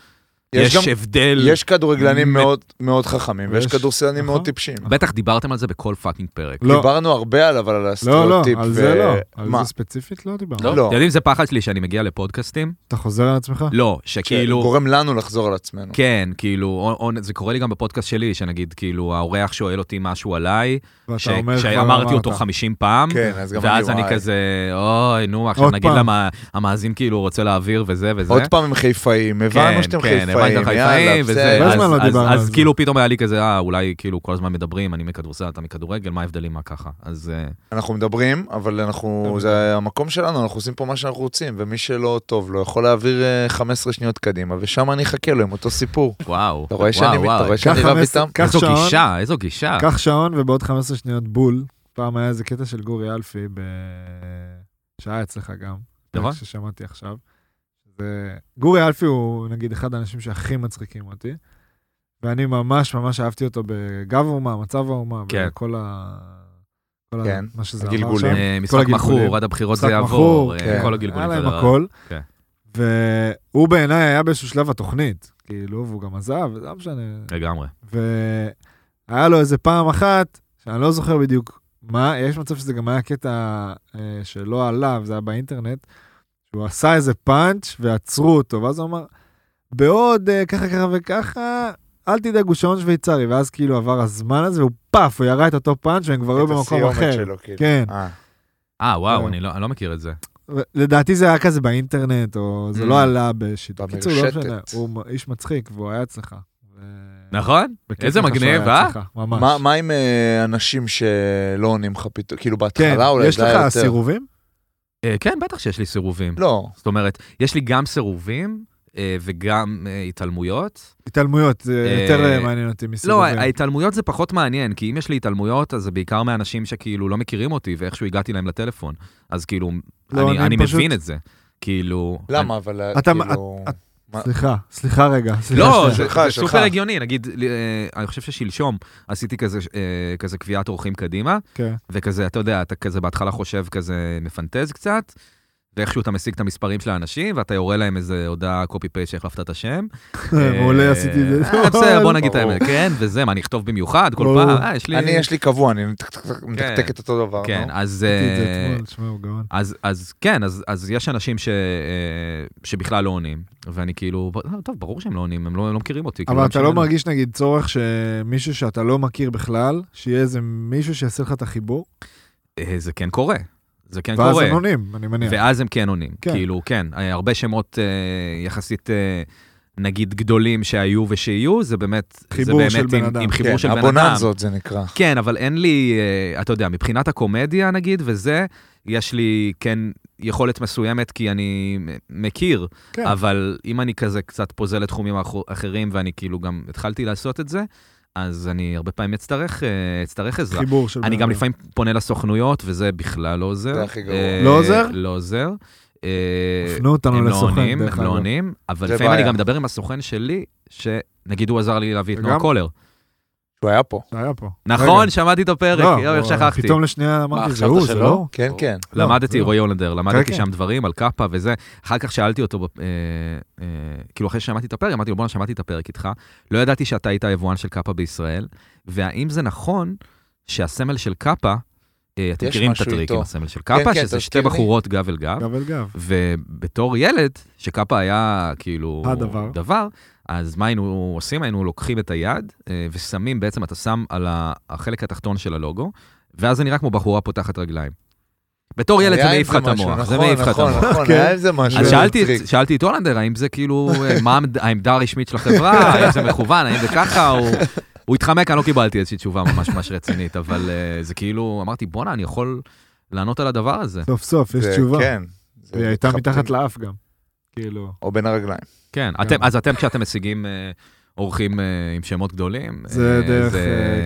D: יש
B: יש
D: גם-
B: הבדל.
D: יש כדורגלנים
B: מ-
D: מאוד- מאוד חכמים, ויש
C: יש-
D: כדורסלנים מאוד
C: נכון.
D: טיפשים.
B: בטח דיברתם על זה בכל פאקינג פרק.
C: לא.
D: דיברנו הרבה עליו, אבל על
C: לא, לא,
D: הסטריאוטיפ.
C: על
D: ו-
C: זה לא. על
D: אה, מה?
C: זה ספציפית לא דיברנו.
D: לא.
B: אתם יודעים, זה פחד שלי שאני מגיע לפודקאסטים?
C: אתה חוזר על עצמך?
B: לא, שכאילו...
D: שגורם לנו לחזור על עצמנו.
B: כן, כאילו, או- או- זה קורה לי גם בפודקאסט שלי, שנגיד, כאילו, האורח שואל אותי משהו עליי,
C: ואתה
B: ש-
C: אומר כבר
B: שאמרתי אותו
C: אמרת.
B: 50 פעם,
D: כן, אז גם
B: ואז אני
D: וואי.
B: כזה, אוי, נו, עכשיו
C: עוד
B: נגיד
C: פעם.
B: למה המאזין כאילו רוצה להעביר וזה וזה.
D: עוד פעם הם חיפאים, הבנו שאתם חיפאים,
B: כן, הבנתי שאתם
D: יאללה,
B: חיפאים, וזה.
D: בסדר.
C: הרבה זמן
B: אז-
C: לא
B: אז-
C: דיברנו על
B: אז
C: זה.
B: כאילו פתאום היה לי כזה, אה, אולי כאילו כל הזמן מדברים, אני מכדורסל, אתה מכדורגל, מה ההבדלים, מה ככה? אז אה,
D: אנחנו מדברים, אבל אנחנו, זה המקום שלנו, אנחנו עושים פה מה שאנחנו רוצים, ומי שלא טוב לו יכול להעביר אה, 15 שניות קדימה, ושם אני אחכה לו עם אותו סיפור.
B: וואו.
D: אתה רואה שאני
B: וואו,
D: מת-
B: וואו.
D: אתה רואה שאני לא
C: קח
D: רב
C: חמש-
D: איתם?
C: קח
B: איזו
C: שעון.
B: גישה, איזו גישה.
C: קח שעון ובעוד 15 שניות בול. פעם היה איזה קטע של גורי אלפי ב... שהיה אצלך גם.
B: נכון.
C: פרק ששמעתי עכשיו. זה... גורי אלפי הוא נגיד אחד האנשים שהכי מצחיקים אותי. ואני ממש ממש אהבתי אותו בגב האומה, מצב האומה,
B: כן.
C: וכל ה... כל ה-
D: כן,
C: מה שזה אמר
D: הגלגולים.
C: שם.
B: אה, משחק
C: הגלגולים.
B: מכור, עד הבחירות זה
C: משחק
B: יעבור,
C: מכור,
B: אה,
D: כן.
B: כל הגלגולים.
C: היה להם
B: זה-
C: הכל.
B: כן.
C: והוא בעיניי היה באיזשהו שלב התוכנית, כאילו, והוא גם עזב, וזה לא משנה.
B: לגמרי.
C: והיה לו איזה פעם אחת, שאני לא זוכר בדיוק מה, יש מצב שזה גם היה קטע אה, שלא עליו, זה היה באינטרנט, שהוא עשה איזה פאנץ' ועצרו אותו, ואז הוא אמר, בעוד אה, ככה ככה וככה, אל תדאג, הוא שעון שוויצרי, ואז כאילו עבר הזמן הזה, והוא פאף, הוא ירה את אותו פאנץ' והם כבר היו
D: את
C: במקום
D: הסיומת
C: אחר.
D: שלו, כאילו.
C: כן.
D: אה,
B: אה, וואו,
C: אה.
B: אני לא אני לא מכיר את זה.
C: לדעתי זה היה כזה באינטרנט, או זה
B: Mm.
C: לא עלה בשידור. בקיצור, לא
D: במרשתת.
C: משנה, הוא מ- איש מצחיק, והוא היה אצלך. ו-
B: נכון?
C: בכיף
B: איזה
C: לך שהוא
B: מגניב,
C: היה
B: אה?
C: אצלך, ממש.
D: מה- מה עם אה, אנשים שלא עונים לך פתאום, כאילו
C: כן,
D: בהתחלה אולי
C: יש
D: זה היה
C: לך
D: יותר.
C: סירובים?
B: אה, כן, בטח שיש לי סירובים.
D: לא,
B: זאת אומרת, יש לי גם סירובים אה, וגם אה, התעלמויות.
C: התעלמויות, זה
B: אה,
C: יותר אה, מעניין אותי
B: לא,
C: מסירובים.
B: ההתעלמויות זה פחות מעניין, כי אם יש לי התעלמויות, אז זה בעיקר מאנשים שכאילו לא מכירים אותי, ואיכשהו הגעתי להם לטלפון. אז כאילו,
C: לא,
B: אני-
C: אני
B: אני
C: פשוט-
B: מבין את זה. כאילו...
D: למה אבל אה,
C: אתה-
D: כאילו... מה?
C: סליחה, סליחה רגע. סליחה
B: לא,
C: שנייה.
B: זה
D: שלך,
B: זה
D: שלך.
B: סופר הגיוני, נגיד, אה, אני חושב ששלשום עשיתי כזה, אה, כזה קביעת אורחים קדימה,
C: כן.
B: וכזה, אתה יודע, אתה כזה בהתחלה חושב כזה, מפנטז קצת, ואיכשהו אתה משיג את המספרים של האנשים, ואתה יורה להם איזה הודעה קופי פייסט שהחלפת את השם.
C: מעולה
B: אה,
C: עשיתי את זה.
B: אה, בסדר, בוא נגיד את
D: ברור.
B: האמת, כן, וזה, מה, נכתוב במיוחד כל
C: ברור.
B: פעם? אה, יש לי...
D: אני, יש לי קבוע, אני מתקתק- מתקתק
B: כן.
D: את אותו דבר.
B: כן,
D: נו.
B: אז...
C: עשיתי את זה
B: אה,
C: אתמול, תשמע, הוא גאון.
B: אז, אז כן, אז, אז יש אנשים ש, אה, שבכלל לא עונים, ואני כאילו, "אה, טוב, ברור שהם לא עונים, הם לא, לא מכירים אותי. כאילו,
C: אבל אתה לא
B: משנה.
C: מרגיש נגיד צורך שמישהו שאתה לא מכיר בכלל, שיהיה איזה מישהו שיעשה לך את החיבור?
B: אה, זה כן קורה, זה כן
C: ואז
B: קורה.
C: הם לא עונים, אני מניח.
B: ואז הם כן עונים,
C: כן.
B: כאילו, כן, אה, הרבה שמות אה, יחסית, אה, נגיד, גדולים שהיו ושיהיו, זה באמת, זה
C: חיבור
B: באמת
C: של בן
B: עם,
C: אדם.
B: עם חיבור
D: כן,
B: של בן אדם.
D: הבוננזות זה נקרא.
B: כן, אבל אין לי, אה, אתה יודע, מבחינת הקומדיה נגיד, וזה, יש לי כן יכולת מסוימת כי אני מ- מכיר,
C: כן.
B: כן. אבל אם אני כזה קצת פוזל לתחומים האחו- אחרים ואני כאילו גם התחלתי לעשות את זה, אז אני הרבה פעמים אצטרך, אה, אצטרך עזרה.
C: חיבור של בן אדם.
B: אני גם לפעמים פונה לסוכנויות, וזה בכלל לא עוזר.
D: זה הכי גרוע.
B: אה,
C: לא עוזר?
B: לא עוזר. אה,
C: הפנו אותנו
B: הם לא
C: לסוכן,
B: עונים,
C: דרך
B: הם לא
C: אגב.
B: עונים, אבל
D: זה
B: לפעמים
D: בעיה.
B: אני גם מדבר עם הסוכן שלי, שנגיד הוא עזר לי להביא את נועה
C: וגם-
B: קולר.
D: שהוא היה פה.
C: זה היה פה.
B: נכון,
C: רגע.
B: שמעתי את הפרק,
C: לא,
B: יואו, איך
C: אבל
B: שכחתי.
C: פתאום לשנייה אמרתי, זה
E: חשבת
C: הוא, זה
E: שלא?
C: לא?
D: כן,
E: או.
D: כן.
C: לא,
B: למדתי
C: זה-
B: רועי הולנדר, למדתי
C: כן.
B: שם דברים על קאפה וזה. אחר כך שאלתי אותו, ב- אה, אה, כאילו אחרי ששמעתי את הפרק, אמרתי לו, בואנה, שמעתי את הפרק איתך, לא ידעתי שאתה היית היבואן של קאפה בישראל, והאם זה נכון שהסמל של קאפה, אה, אתם
D: יש
B: מכירים את
D: משהו
B: הטריק
D: איתו.
B: עם הסמל של קאפה,
D: כן,
B: שזה שתי
D: תזכיר לי.
B: בחורות גב אל גב,
C: גב אל גב.
B: ובתור ילד, שקאפה היה כאילו...
C: הדבר.
B: דבר, אז מה היינו עושים? היינו לוקחים את היד אה, ושמים, בעצם אתה שם על ה- החלק התחתון של הלוגו, ואז זה נראה כמו בחורה פותחת רגליים. בתור ילד זה
D: היה עם
B: מעיף לך את
D: משהו,
B: המוח, זה
D: נכון,
B: מעיף לך את
D: נכון,
B: המוח.
D: נכון,
C: כן.
D: היה עם זה משהו.
B: אז
D: זה
B: שאלתי
D: טריק.
B: את- שאלתי את הולנדר, האם זה כאילו, אה, מה העמד- העמדה הרשמית של החברה, האם זה מכוון, האם זה ככה, הוא- הוא התחמק, אני לא קיבלתי איזושהי תשובה ממש ממש רצינית, אבל אה, זה כאילו, אמרתי, בואנה, אני יכול לענות על הדבר הזה.
C: סוף סוף, יש
D: זה-
C: תשובה.
D: כן. זה
C: היא הייתה
D: מתחבטים.
C: מתחת לאף גם. כאילו,
D: או בין הרגליים.
B: כן,
C: גם.
B: אתם, אז אתם כשאתם משיגים אה, אורחים אה, עם שמות גדולים,
C: זה
B: אה,
C: דרך
B: זה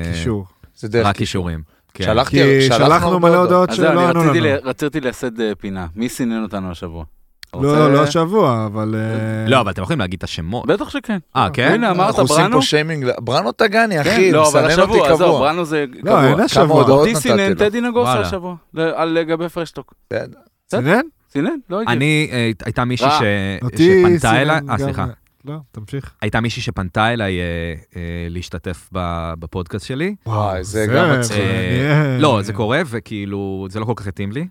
C: אה, קישור.
D: זה דרך...
B: רק כישורים. כן.
D: שלחתי,
C: כי שלחנו מלא הודעות
D: לא,
E: אז זהו,
C: שלא
E: אני
C: ענו לנו.
E: רציתי ל- רציתי לייסד אה, פינה. מי סינן אותנו השבוע?
C: לא, לא השבוע, אבל... אה,
B: לא, אבל אתם יכולים להגיד את השמות.
E: בטח שכן.
B: אה, כן?
E: הנה, אמרת
D: אנחנו עושים
E: בראנו?
D: פה שיימינג, ל- בראנו טגני,
E: כן,
D: אחי,
E: לא, אבל
D: מסנן אותי
E: השבוע, עזוב,
D: קבוע.
E: בראנו זה
C: לא, אין
E: קבוע.
D: כמה
C: השבוע.
D: הודעות
E: אותי סינן
D: נתתי לו.
E: טדי נגוסה
B: וואלה.
E: השבוע, ל- על לגבי פרשטוק.
D: בסדר.
C: סינן?
E: סינן? לא הגיע.
B: אני, אה, הייתה מישהי
E: רע.
B: ש-
C: אותי
B: אה, שפנתה
C: סינן
B: אליי, אה,
C: גם-
B: סליחה,
C: לא, תמשיך.
B: הייתה מישהי שפנתה אליי אה, אה, להשתתף ב- בפודקאסט שלי.
D: וואי, זה גם מצחיק.
C: מעניין.
B: לא, זה קורה, וכאילו, זה לא כל כך התאים לי.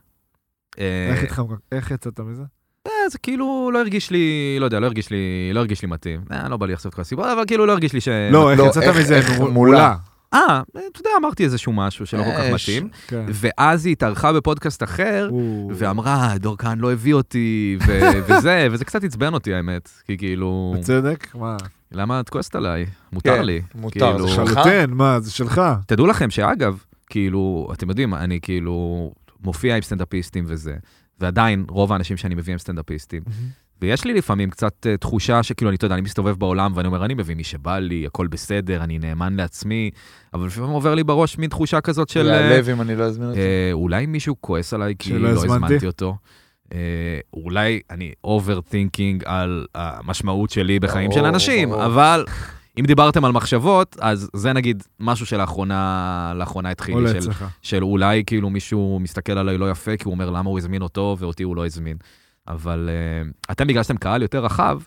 B: אה,
C: איך התחמק- איך יצאת מזה?
B: אה, זה כאילו לא הרגיש לי, לא יודע, לא הרגיש לי, לא הרגיש לי מתאים. אה, לא בא לי לחשוף את כל הסיפור, אבל כאילו לא הרגיש לי ש...
C: לא, איך
D: לא,
C: יצאת
D: איך-
C: מזה?
D: איך
C: נו,
D: מולה.
B: אה, אתה יודע, אמרתי איזשהו משהו שלא כל כך
D: אה,
B: מתאים.
C: כן.
B: ואז היא התארחה בפודקאסט אחר,
C: הוא-
B: ואמרה, דור כהן לא הביא אותי, ו- וזה, וזה קצת עצבן אותי האמת, כי כאילו,
C: בצדק? מה?
B: למה את כועסת עליי? מותר
D: כן,
B: לי.
D: מותר, זה
B: כאילו-
D: שלך.
C: לחלוטין, מה, זה שלך.
B: תדעו לכם שאגב, כאילו, אתם יודעים, אני כאילו מופיע עם סטנדאפיסטים וזה, ועדיין רוב האנשים שאני מביא הם סטנדאפיסטים. ויש לי לפעמים קצת אה, תחושה שכאילו, אני, אתה יודע, אני מסתובב בעולם ואני אומר, אני מביא מי שבא לי, הכל בסדר, אני נאמן לעצמי, אבל לפעמים עובר לי בראש מין תחושה כזאת של... אה,
D: להלב אם אני לא אזמין אותי.
B: אה, אולי מישהו כועס עליי כי
C: אוקיי. שלא
B: לא
C: הזמנתי.
B: הזמנתי אותו. אה, אולי אני אוברטינקינג על המשמעות שלי בחיים של
D: ברור,
B: אנשים,
D: ברור.
B: אבל אם דיברתם על מחשבות, אז זה נגיד משהו שלאחרונה לאחרונה התחיל לי,
C: עולה
B: של,
C: אצלך.
B: של אולי כאילו מישהו מסתכל עליי לא יפה, כי הוא אומר למה הוא הזמין אותו ואותי הוא לא הזמין. אבל אה, אתם, בגלל שאתם קהל יותר רחב,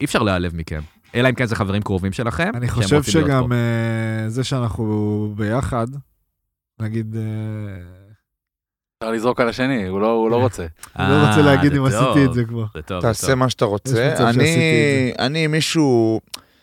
B: אי אפשר להיעלב מכם. אלא אם כן זה חברים קרובים שלכם,
C: אני
B: שהם
C: חושב
B: רוצים להיות פה.
C: שגם אה, זה שאנחנו ביחד, נגיד, אה,
E: אפשר לזרוק על השני, הוא לא הוא לא רוצה.
C: אני לא רוצה
B: אה,
C: להגיד
B: זה
C: אם
B: טוב,
C: עשיתי את זה כבר.
B: זה טוב, זה
D: תעשה
B: טוב.
D: מה שאתה
C: יש
D: רוצה.
C: מצב
D: אני,
C: שעשיתי
D: אני מישהו,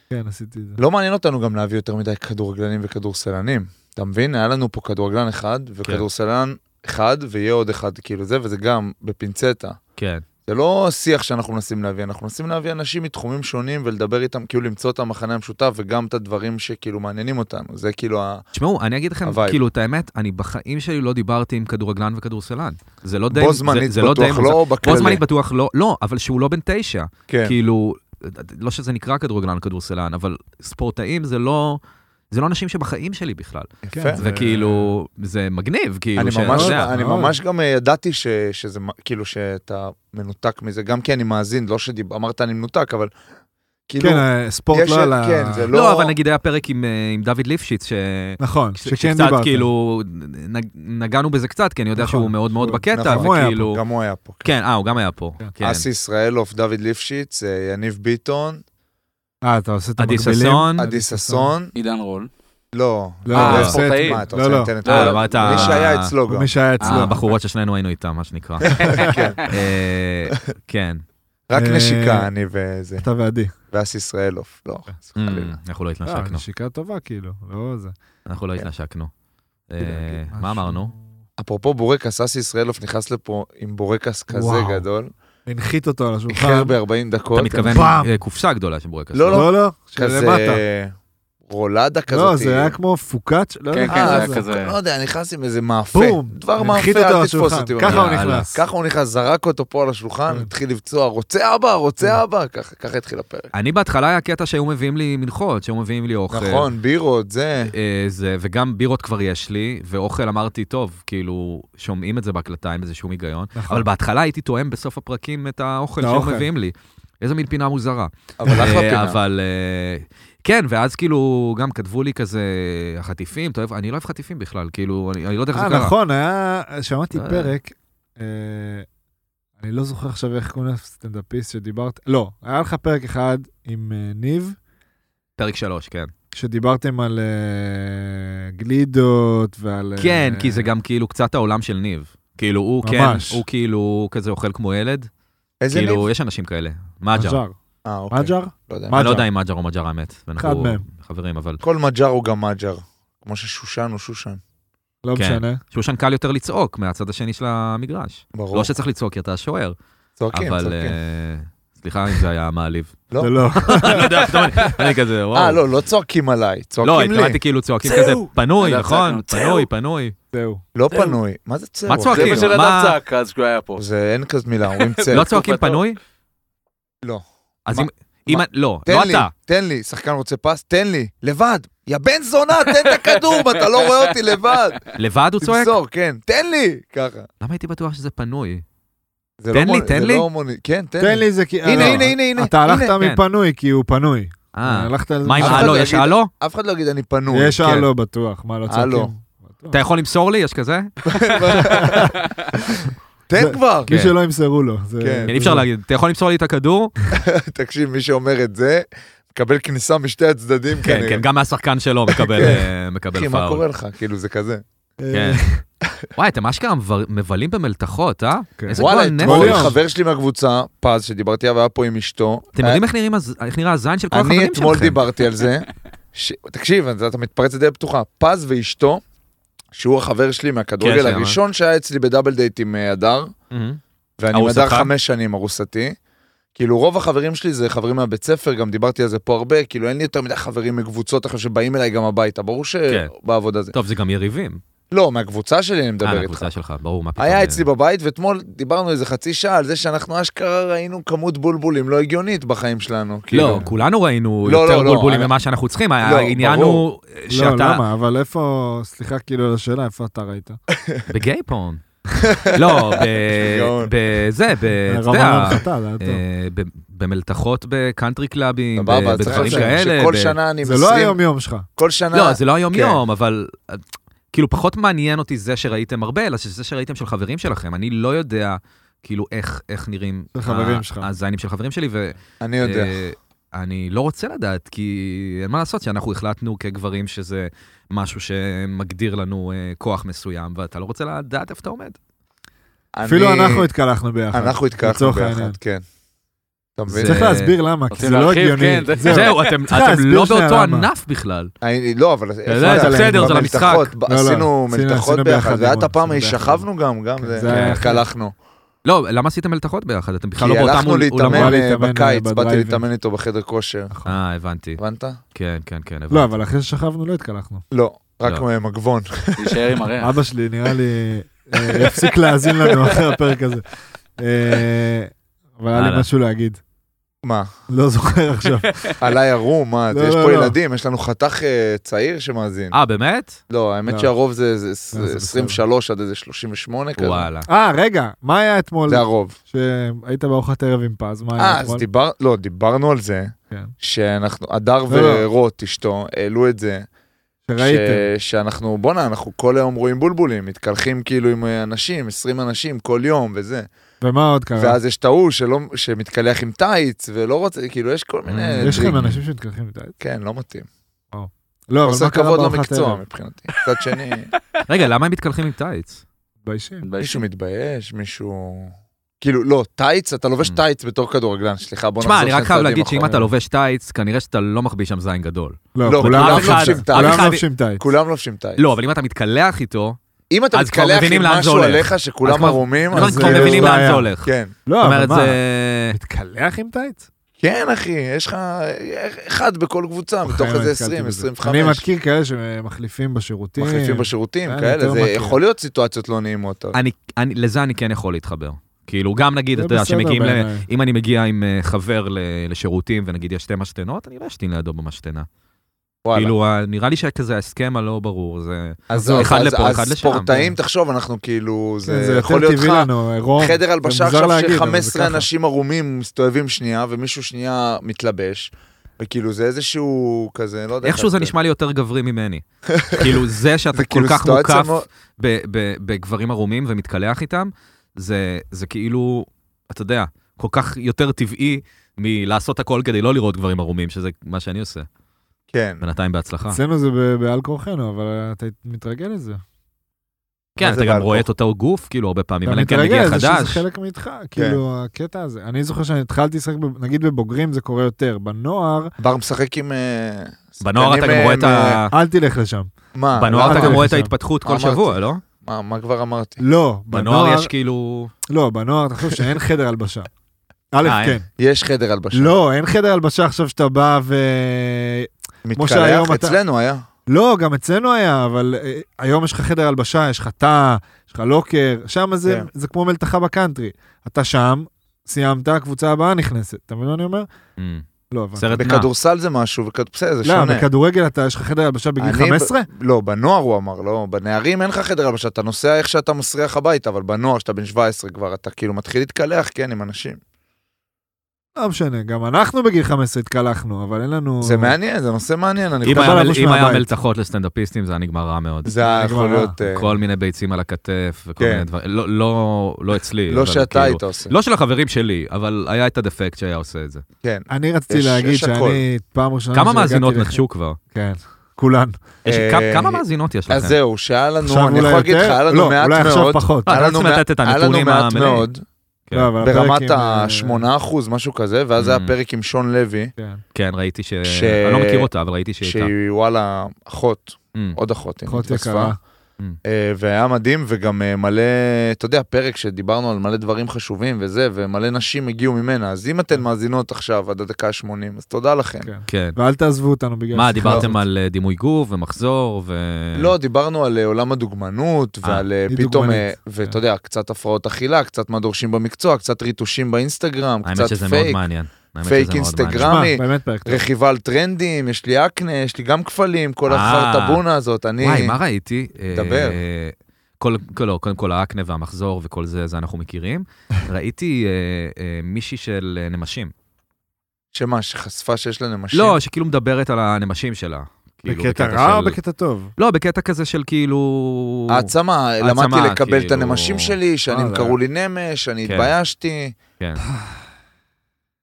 C: כן, עשיתי את זה.
D: לא מעניין אותנו גם להביא יותר מדי כדורגלנים וכדורסלנים. אתה מבין? היה לנו פה כדורגלן אחד,
E: כן.
D: וכדורסלן אחד, ויהיה עוד אחד כאילו זה, וזה גם בפינצטה.
B: כן,
D: זה לא שיח שאנחנו מנסים להביא, אנחנו מנסים להביא אנשים מתחומים שונים ולדבר איתם, כאילו למצוא את המחנה המשותף וגם את הדברים שכאילו מעניינים אותנו. זה כאילו ה...
B: תשמעו, אני אגיד לכם,
D: הווייב.
B: כאילו, את האמת, אני בחיים שלי לא דיברתי עם כדורגלן וכדורסלן. זה לא די...
D: בו
B: זה-
D: זמנית
B: זה לא די
D: בטוח,
B: מוזר.
D: לא בכללי.
B: בו זמנית בטוח לא, לא, אבל שהוא לא בן תשע.
D: כן.
B: כאילו, לא שזה נקרא כדורגלן וכדורסלן, אבל ספורטאים זה לא... זה לא אנשים שבחיים שלי בכלל.
D: יפה.
B: כן, זה כאילו, זה מגניב, כאילו,
D: כן. אני
B: שאתה
D: ממש,
B: יודע.
D: אני
C: מאוד.
D: ממש גם אה, ידעתי ש, שזה, מ- כאילו שאתה מנותק מזה, גם כי אני מאזין, לא שאמרת אני מנותק, אבל כאילו,
C: כן, אה, ספורט
D: יש-
C: לא על ה...
D: כן, זה
B: לא,
D: לא-
B: אבל נגיד היה פרק עם, אה, עם דוד ליפשיץ, ש...
C: נכון,
B: ש-
C: שכן
B: שקצת
C: דיברת.
B: כאילו, נג- נגענו בזה קצת, כי אני יודע
C: נכון,
B: שהוא מאוד מאוד
C: נכון.
B: בקטע,
D: נכון, הוא
C: היה
B: וכאילו...
D: גם הוא היה פה. כן.
B: כן, אה, הוא גם היה פה. כן.
D: אסי ישראלוף, דוד ליפשיץ, אה, יניב ביטון,
C: אה, אתה עושה את
B: עדי
C: המקבילים? אה,
B: ששון.
D: עדי ששון,
E: עידן רול.
D: לא.
C: לא,
B: אה,
D: זה
E: ספורטאי.
D: ספורט, מה, אתה
C: לא,
D: רוצה
C: לא.
D: אינטרנט?
B: אה,
D: לא,
B: אבל אתה-
D: מי שהיה אצלו לא גם.
C: מי
B: אה,
C: שהיה
D: אה,
C: אצלו.
B: הבחורות ששנינו היינו איתן, מה שנקרא. אה, כן.
D: רק
C: אה,
D: נשיקה, אני וזה,
C: אתה ועדי.
D: ואסי ישראלוף, לא.
C: אוקיי.
D: אז חלילה.
B: Mm, אנחנו לא
C: אה,
B: התנשקנו.
C: נשיקה טובה כאילו, לא זה.
B: אנחנו לא התנשקנו. אה,
C: להגיד משהו.
B: מה אמרנו?
D: אפרופו בורקס, אסי ישראלוף נכנס לפה עם בורקס כזה
C: וואו.
D: גדול,
C: הנחית אותו על השולחן.
D: איחר ב-40 דקות.
B: אתה מתכוון
C: פעם.
B: אה, קופסה גדולה של בורקס.
D: כן, לא,
C: לא, לא, שלמטה.
D: כזה רולדה כזאת.
C: לא, זה היה כמו פוקאץ', לא
E: כן,
C: יודע.
E: כן,
C: אה,
E: זה היה
C: זה-
E: כזה.
D: לא יודע, נכנס עם איזה מאפה.
C: בום.
D: דבר
C: הנחית
D: מאפה,
C: אותו על
D: אל תתפוס
C: השולחן.
D: אותי.
C: ככה הוא
B: יאללה.
C: נכנס.
D: ככה הוא נכנס, זרק אותו פה על השולחן,
C: כן.
D: התחיל לבצוע, רוצה אבא, רוצה אבא, ככה ככה התחיל הפרק.
B: אני בהתחלה היה קטע שהיו מביאים לי מנחות, שהיו מביאים לי אוכל.
C: אוקיי.
D: נכון, בירות, זה.
B: אה, זה, וגם בירות כבר יש לי, ואוכל אמרתי, טוב, כאילו, שומעים את זה בהקלטה, אין בזה שום היגיון.
C: נכון.
B: אבל בהתחלה הייתי תואם בסוף הפרקים את האוכל
C: את
B: שהם
C: האוכל.
B: מביאים לי. איזה מין פינה מוזרה.
D: אבל אחלה
B: אה,
D: פינה.
B: אבל... אה, כן, ואז כאילו, גם כתבו לי כזה, החטיפים, אתה אוהב, אני לא אוהב חטיפים בכלל, כאילו, אני, אני לא יודע איך זה
C: אה,
B: קרה.
C: נכון, היה, שמעתי
B: אה.
C: פרק, אה, אני לא זוכר עכשיו איך קוראים לסטנדאפיסט שדיברת, לא, היה לך פרק אחד עם אה, ניב,
B: פרק שלוש, כן.
C: שדיברתם על אה, גלידות ועל... אה,
B: כן, כי זה גם כאילו קצת העולם של ניב. כאילו, הוא כן,
C: ממש.
B: הוא כאילו כזה אוכל כמו ילד.
D: איזה ניב?
B: כאילו, יש אנשים כאלה. מג'ר.
C: מג'ר.
D: אה, אוקיי.
C: מג'ר?
D: לא יודע.
C: מג'ר.
B: אני לא יודע אם מג'ר או מג'רה מת. ואנחנו
C: מהם.
B: חברים, אבל...
D: כל מג'ר הוא גם מג'ר. כמו ששושן הוא שושן.
C: לא
B: כן.
C: משנה.
B: שושן קל יותר לצעוק מהצד השני של המגרש.
D: ברור.
B: לא שצריך לצעוק, כי אתה השוער.
D: צועקים,
B: אבל...
D: צועקים.
B: אה, סליחה אם זה היה מעליב.
D: לא.
C: זה לא.
B: אני לא יודע, פתאום אני- אני כזה, וואו.
D: אה, לא, לא צועקים עליי,
B: לא,
D: צועקים לי.
B: התכוונתי כאילו צועקים כזה, פנוי,
E: אתה
B: נכון?
E: צעקנו, צאו.
B: פנוי, פנוי.
C: זהו.
D: לא פנוי. מה זה צעק?
B: מה
E: זה
B: צועקים?
E: מה שנדב
B: מה-
E: צעק אז כשהוא היה פה.
D: זה אין כזאת מילה, אומרים צעק.
B: לא צועקים
E: בתקופתו.
B: פנוי?
D: לא.
B: אז
D: מה-
B: אם... אם...
D: מה-
B: לא,
D: תן
B: לא
D: לי,
B: אתה.
D: תן לי, שחקן רוצה פס, תן לי, לבד. יא בן זונה, תן את הכדור, מה, אתה לא רואה אותי לבד.
B: לבד הוא צועק?
D: תמסור, כן, תן לי, ככה.
B: למה הייתי בטוח שזה פנוי?
D: זה
B: תן
D: לא
B: לי,
D: מוני-
B: תן
D: זה
B: לי.
D: לא מוני- כן, תן
C: תן
D: לי.
C: לי זה כי...
D: הנה,
C: אה,
D: הנה, הנה, הנה.
C: אתה הלכת
B: כן.
C: מפנוי כי הוא פנוי.
B: אה,
C: הלכת על...
B: מה עם
D: אף אחד
B: הלו?
D: לא
B: יש אה,
D: יגיד-
B: הלו?
D: אף אחד לא יגיד אני פנוי.
C: יש
D: כן.
C: הלו בטוח, מה לא צועקים?
D: הלו.
C: בטוח.
B: אתה יכול למסור לי? יש כזה?
D: תן כבר.
C: מי
B: כן.
C: שלא ימסרו לו. זה-
D: כן,
B: כן, אי אפשר להגיד, אתה יכול למסור לי את הכדור?
D: תקשיב, מי שאומר את זה, מקבל כניסה משתי הצדדים
B: כן,
D: כנראה.
B: כן, גם מהשחקן שלו מקבל אה,
D: כן.
B: מקבל
D: אחי, מה
B: פאול.
D: קורה לך? כאילו, זה כזה.
C: אה,
B: כן. וואי, אתם אשכרה מבר- מבלים במלתחות, אה?
C: כן.
B: איזה
D: וואלה,
B: גועל
D: אתמול
B: נפש.
D: חבר שלי מהקבוצה, פז, שדיברתי עליו, היה פה עם אשתו. אה,
B: אתם יודעים איך נראים הז- איך נראה הזין של כל החברים
D: אני
B: שלכם?
D: אתמול דיברתי על זה. ש- תקשיב, אתה אתה מתפרץ לדלת פתוחה. פז ואשתו, שהוא החבר שלי
B: כן,
D: מהכדורגל
B: שמה.
D: הראשון שהיה אצלי בדאבל דייט עם אה, הדר,
B: מהמם.
D: ואני עם הדר
B: ארוסתך?
D: חמש שנים, ארוסתי. כאילו רוב החברים שלי זה חברים מהבית ספר, גם דיברתי על זה פה הרבה, כאילו אין לי יותר מדי חברים מקבוצות עכשיו שבאים אליי גם הביתה, ברור
B: כן.
D: שבעבודה זה.
B: טוב, זה גם יריבים.
D: לא, מהקבוצה שלי אני
B: אה,
D: מדבר איתך.
B: לקבוצה שלך, ברור, מה פתאום.
D: היה
B: אה,
D: אצלי בבית, ואתמול דיברנו איזה חצי שעה על זה שאנחנו אשכרה ראינו כמות בולבולים לא הגיונית בחיים שלנו. כאילו.
B: לא, כולנו ראינו
D: לא,
B: יותר
D: לא, לא,
B: בולבולים
D: אני-
B: ממה שאנחנו צריכים,
D: לא,
B: העניין הוא
D: ברור.
B: שאתה... אה,
C: לא, למה? אבל איפה, סליחה כאילו על השאלה, איפה אתה ראית?
B: בגיי פורן. לא, ב-
D: גאון.
B: בזה, ב... אתה
C: רמה
B: יודע,
C: להנחתה, זה היה טוב.
B: אה, ב- במלתחות בקאנטרי קלאבים, ב-
D: סבבה, צריך
B: בדברים
D: לחשוב
B: כאלה.
D: שכל
B: ב-
D: שנה כן. אני
C: זה לא
D: מסרים,
C: היום-יום שלך.
D: כל שנה...
B: לא, זה לא היום-יום, אבל אה, כאילו פחות מעניין אותי זה שראיתם הרבה, אלא שזה שראיתם של חברים שלכם. אני לא יודע כאילו איך איך נראים
C: של חברים
B: ה-
C: שלך.
B: הזיינים של חברים שלי, ו-
D: אני יודע.
B: אה, אני לא רוצה לדעת, כי אין מה לעשות, שאנחנו החלטנו כגברים שזה משהו שמגדיר לנו אה, כוח מסוים, ואתה לא רוצה לדעת איפה אתה עומד.
C: אפילו
D: אני-
C: אנחנו התקלחנו ביחד.
D: אנחנו התקלחנו
C: לצורך העניין.
D: ביחד, כן. אתה מבין?
B: זה-
C: צריך להסביר למה, כי
E: רוצים
C: זה לא
E: להרחיב?
C: הגיוני.
E: כן, זה-
C: זהו.
B: זהו, אתם
C: צריך
B: אתם
C: להסביר
B: לא
C: שנייה
B: באותו
C: למה.
B: ענף בכלל.
D: אני- לא, אבל...
B: יודע, זה בסדר, זה למשחק.
D: במלתחות,
C: לא, לא,
D: עשינו
C: עשינו-
D: מלתחות
C: עשינו
D: ביחד,
C: ביחד,
D: ואת
C: לימון,
D: הפעם
C: עשינו ביחד.
D: שכבנו גם, גם
C: כן,
D: זה,
C: זה היה יפה.
D: התקלחנו.
B: לא, למה עשיתם מלתחות ביחד? אתם
D: כי
B: בכלל לא באותם
D: הלכנו
B: אול-
D: להתאמן
B: אולמות.
D: אה,
C: להתאמן, אה,
D: בקיץ, באתי
C: בדרייב-אין.
D: להתאמן איתו בחדר כושר.
B: אה, הבנתי.
D: הבנת?
B: כן, כן, כן, הבנתי.
C: לא, אבל אחרי ששכבנו לא התקלחנו.
D: לא, רק
B: לא.
D: מגבון.
E: להישאר עם
B: כן.
E: הריח.
C: אבא שלי, נראה לי, אה, הפסיק להאזין לנו אחרי הפרק הזה. אה, אבל היה לי
B: הלאה.
C: משהו להגיד.
D: מה?
C: לא זוכר עכשיו.
D: עליי ערום, מה?
C: לא,
D: יש
C: לא,
D: פה
C: לא.
D: ילדים, יש לנו חתך אה, צעיר שמאזין.
B: אה, באמת?
D: לא, האמת
C: לא.
D: שהרוב זה- זה
C: לא, זה בסדר.
D: 23 עד איזה 38 כזה.
B: וואלה.
C: אה, רגע, מה היה אתמול?
D: זה הרוב.
C: שהיית בארוחת ערב עם פז, מה
D: אה,
C: היה
D: אז
C: אתמול?
D: דיבר, לא, דיברנו על זה,
C: כן.
D: שאנחנו, הדר
C: לא, לא.
D: ורוט, אשתו, העלו את זה,
C: שראיתם.
D: ש- שאנחנו, בואנה, אנחנו כל היום רואים בולבולים, מתקלחים כאילו עם אה, אנשים, 20 אנשים כל יום וזה.
C: ומה עוד קרה?
D: ואז יש את ההוא שלא, שמתקלח עם טייץ ולא רוצה, כאילו, יש כל מיני...
C: אה, יש לכם
D: טריקים.
C: אנשים שמתקלחים איתה?
D: כן, לא מתאים.
C: לא, אבל
D: עושה
C: מה קרה
D: כבוד
C: בארוחת
D: למקצוע
C: ערב?
D: מבחינתי. מצד שני,
B: רגע, למה הם מתקלחים עם טייץ?
C: מתביישים.
D: מישהו מתבייש, מישהו... כאילו, לא, טייץ, אתה לובש
B: Mm.
D: טייץ בתור כדורגלן, סליחה, בוא
B: תשמע,
D: נחזור
B: אני רק
D: שני
B: חייב
D: צעדים
B: להגיד שאם
D: אחורה.
B: אתה לא- לובש טייץ, כנראה שאתה לא מחביא שם זין גדול.
D: לא,
C: כולם
D: כולם
B: אף אחד-
D: לובשים טייץ.
B: אף
C: כולם
B: אחד-
C: לובשים טייץ.
D: כולם לובשים טייץ.
B: לא, אבל אם אתה מתקלח איתו,
D: אם אתה
B: אז כבר
D: מתקלח
B: מבינים
D: עם
B: לאן זה
D: משהו
B: הולך.
D: עליך
B: אז
D: שכולם
B: כבר-
D: ערומים,
B: אז
D: אז...
B: לא, כבר
D: אה,
C: זה
B: מבינים לאן
C: בעיה.
B: זה הולך. זאת
D: כן.
C: לא, אבל
B: אומרת,
C: מה?
B: זה...
C: מתקלח עם טייץ?
D: כן, אחי, יש לך אחד בכל קבוצה, מתוך
C: בחיים לא
D: איזה
C: נתקלתי
D: 20,
C: בזה.
D: 25.
C: אני מכיר כאלה שמחליפים בשירותים.
D: מחליפים בשירותים,
C: אני
D: כאלה,
C: יותר
D: זה
C: מכיר.
D: יכול להיות סיטואציות לא נעימות. אבל-
B: אני, אני, לזה אני כן יכול להתחבר. כאילו, גם נגיד,
C: זה
B: אתה יודע,
C: בסדר
B: שמגיעים ל...
C: בעיניי.
B: אם אני מגיע עם אה, חבר ל- לשירותים, ונגיד יש שתי משתנות, אני לא אשתין לידו במשתנה.
D: וואלה.
B: כאילו, ה- נראה לי שכזה ההסכם הלא ברור, זה...
D: אז
B: זהו,
D: זהו,
B: אחד
D: אז-
B: לפה,
D: אז
B: אחד לשם. כן.
D: ספורטאים, תחשוב, אנחנו כאילו,
C: כן,
D: זה יכול
C: יותר
D: להיות
C: טבעי
D: לך
C: לנו, עירום.
D: חדר הלבשה
C: נכון, מוזר
D: עכשיו
C: להגיד, אבל זה
D: ש-15
C: ככה.
D: אנשים ערומים מסתובבים שנייה, ומישהו שנייה מתלבש, וכאילו זה איזשהו כזה, לא יודע.
B: איכשהו
D: איך
B: זה
D: להסביר.
B: נשמע לי יותר גברי ממני. כאילו, זה שאתה
D: זה
B: כל
D: כאילו
B: כך
D: סיטואציה
B: מוקף
D: מאוד-
B: ב- ב- בגברים ערומים ומתקלח איתם, זה זה כאילו, אתה יודע, כל כך יותר טבעי מלעשות הכל כדי לא לראות גברים ערומים, שזה מה שאני עושה.
D: כן.
B: בינתיים בהצלחה.
C: אצלנו זה ב- בעל כורחנו, אבל אתה מתרגל לזה.
B: כן,
D: מה זה
B: אתה גם
D: בעל
B: רואה
D: כוח?
B: את אותו גוף, כאילו, הרבה פעמים,
C: אתה
B: אלא אם כן
C: מתרגל
B: מגיע
C: לזה שזה
B: חדש.
C: חלק מאיתך,
D: כן.
C: כאילו הקטע הזה. אני זוכר שאני התחלתי לשחק, ב- נגיד בבוגרים זה קורה יותר, בנוער,
D: בר משחק עם... אה,
B: בנוער אתה
D: שחקנים,
B: גם רואה את
D: אה,
B: ה...
C: אל תלך לשם.
D: מה?
B: בנוער אתה
C: למה
B: גם
C: אתה
B: רואה את
C: שם?
B: ההתפתחות כל
D: אה, אמרתי.
B: שבוע, לא?
D: מה- מה כבר אמרתי?
C: לא,
B: בנוער יש כאילו...
C: לא, בנוער תחשוב שאין חדר הלבשה. א',
B: אה,
C: כן.
B: אין.
D: יש חדר הלבשה.
C: לא, אין חדר הלבשה עכשיו שאתה בא ו... כמו שהיום
D: מתקלח?
C: אתה-
D: אצלנו היה.
C: לא, גם אצלנו היה, אבל אה, היום יש לך חדר הלבשה, יש לך תא, יש לך לוקר, שם זה,
D: כן.
C: זה כמו מלתחה בקאנטרי. אתה שם, סיימת, הקבוצה הבאה נכנסת. אתה מבין מה אני אומר?
B: אמ,
C: לא, אבל...
B: סרט נע.
D: בכדורסל זה משהו, וכד- בסדר, זה
C: לא,
D: שונה.
C: בכדורגל אתה, יש לך חדר הלבשה בגיל
D: אני ב-
C: 15?
D: לא, בנוער הוא אמר, לא, בנערים אין לך חדר הלבשה, אתה נוסע איך שאתה מסריח הביתה, אבל בנוער, שאתה בן 17 כבר, אתה כאילו מתחיל להתקלח, כן, עם אנשים.
C: לא משנה, גם אנחנו בגיל 15 התקלחנו, אבל אין לנו...
D: זה מעניין, זה נושא מעניין, אני
B: אם
C: בא
B: היה מל-
C: לבוש
B: אם היה
C: מהבית.
B: מלתחות לסטנדאפיסטים, זה היה נגמר רע מאוד.
D: זה היה יכול להיות... אה,
B: כל מיני ביצים על הכתף וכל
D: כן.
B: מיני דברים. לא- לא לא אצלי.
D: לא
B: אבל
D: שאתה
B: כאילו-
D: היית עושה.
B: לא של החברים שלי, אבל היה את הדפקט שהיה עושה את זה.
D: כן.
C: אני רציתי
D: יש-
C: להגיד
D: יש הכל.
C: שאני פעם ראשונה...
B: כמה
C: שהגעתי
B: מאזינות
C: לכאן-
B: נחשו כבר?
C: כן, כולן.
B: יש-
D: אה,
B: כמה- כמה מאזינות יש
D: אז
B: לכם?
D: זהו, שהיה לנו,
C: עכשיו
D: אני
C: אולי
D: יכול להגיד לך, היה
C: יותר?
D: לנו
C: לא,
D: מעט
C: אולי עכשיו
D: מאוד,
C: פחות.
B: אה,
D: היה
B: אתם
D: לנו
B: צריכים
D: מעט-
B: לתת את
D: היה לנו
B: הנתונים
D: מעט
B: המלאים.
D: מאוד,
B: כן.
C: לא, אבל הפרק
D: ברמת
C: עם, אה,
D: ה-8%, משהו כזה, ואז היה
B: Mm.
D: פרק עם שון לוי,
C: כן.
B: כן, ראיתי ש...
D: ש-
B: אני לא מכיר אותה, אבל ראיתי שהיא הייתה.
D: שהיא וואלה, אחות,
B: אמ,
D: עוד אחות, היא
C: אחות
D: התווספה.
C: יקרה.
D: אה, והיה מדהים, וגם אה, מלא, אתה יודע, פרק שדיברנו על מלא דברים חשובים וזה, ומלא נשים הגיעו ממנה, אז אם אתן מאזינות עכשיו עד הדקה ה-80, אז תודה לכם.
C: כן.
B: כן.
C: ואל תעזבו אותנו בגלל...
B: מה,
C: השיחה
B: דיברתם
C: הזאת.
B: על אה, דימוי גוף ומחזור ו...
D: לא, דיברנו על אה, עולם הדוגמנות,
B: כן. אה, כן.
D: ועל אה,
C: היא
D: פתאום, אה,
C: דוגמנית.
D: ואתה יודע, קצת הפרעות אכילה, קצת מה דורשים במקצוע, קצת ריטושים באינסטגרם,
B: האמת
D: קצת
B: שזה מאוד
D: פייק,
B: מעניין. האמת שזה
D: פייק
B: מאוד
D: אינסטגרם.
B: מעניין.
C: שמע,
D: רמי,
C: באמת פרק. טוב.
D: רכיבה על טרנדים, יש לי אקנה, יש לי גם כפלים, כל
B: אה.
D: החרטבונה הזאת, אני...
B: וואי, מה ראיתי?
D: דבר.
B: אה, כל, כל, לא, קודם כל האקנה והמחזור וכל זה, זה אנחנו מכירים. ראיתי אה, אה, מישהי של אה, נמשים.
D: שמה, שחשפה שיש לה נמשים?
B: לא, שכאילו מדברת על הנמשים שלה. כאילו,
C: בקטע רע או
B: של-
C: בקטע טוב?
B: לא, בקטע כזה של כאילו...
D: העצמה,
B: העצמה,
D: למדתי לקבל את
B: כאילו.
D: הנמשים שלי, שנים
C: וואלה.
D: קראו לי נמש, אני
B: כן.
D: התביישתי.
B: כן.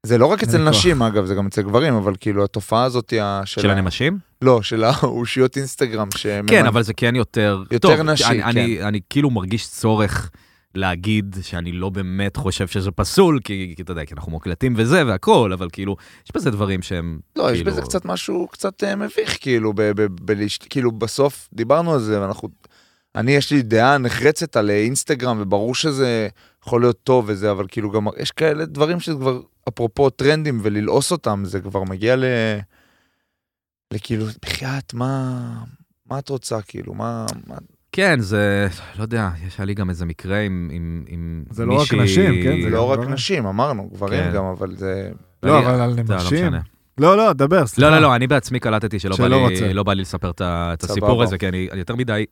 D: זה לא רק
C: אין
D: אצל
C: לי כוח.
D: נשים, אגב, זה גם אצל גברים, אבל כאילו התופעה הזאת היא ה-
B: של
D: של...
B: הנמשים?
D: לא, של האושיות אינסטגרם. שממנ-
B: כן, אבל זה כן יותר...
D: יותר
B: טוב,
D: נשי,
B: אני-
D: כן.
B: אני, אני כאילו מרגיש צורך להגיד שאני לא באמת חושב שזה פסול, כי, כי אתה יודע, כי אנחנו מוקלטים וזה והכל, אבל כאילו, יש בזה דברים שהם...
D: לא, יש
B: כאילו-
D: בזה קצת משהו קצת אה, מביך, כאילו, ב- ב- בלהש- כאילו, בסוף דיברנו על זה, ואנחנו... אני, יש לי דעה נחרצת על אה, אינסטגרם, וברור שזה יכול להיות טוב וזה, אבל כאילו גם יש כאלה דברים שזה כבר, אפרופו טרנדים וללעוס אותם, זה כבר מגיע ל... לכאילו, בחייאת, מה... מה את רוצה, כאילו, מה... מה...
B: כן, זה, לא יודע, יש היה לי גם איזה מקרה עם, עם, עם
C: זה לא רק נשים, כן,
D: זה
C: זה
D: לא
C: גם
D: רק
C: גברים.
D: נשים, אמרנו, גברים
B: כן.
D: גם, אבל זה...
C: לא,
B: ואני-
C: אבל על
B: זה לא
C: נמשים.
B: משנה.
C: לא, לא, דבר, סליחה.
B: לא, לא, לא, אני בעצמי קלטתי שלא בא
C: שלא
B: לי-
C: רוצה.
B: לא בא לי לספר את ה- את הסיפור הזה, כי אני אני יותר מדי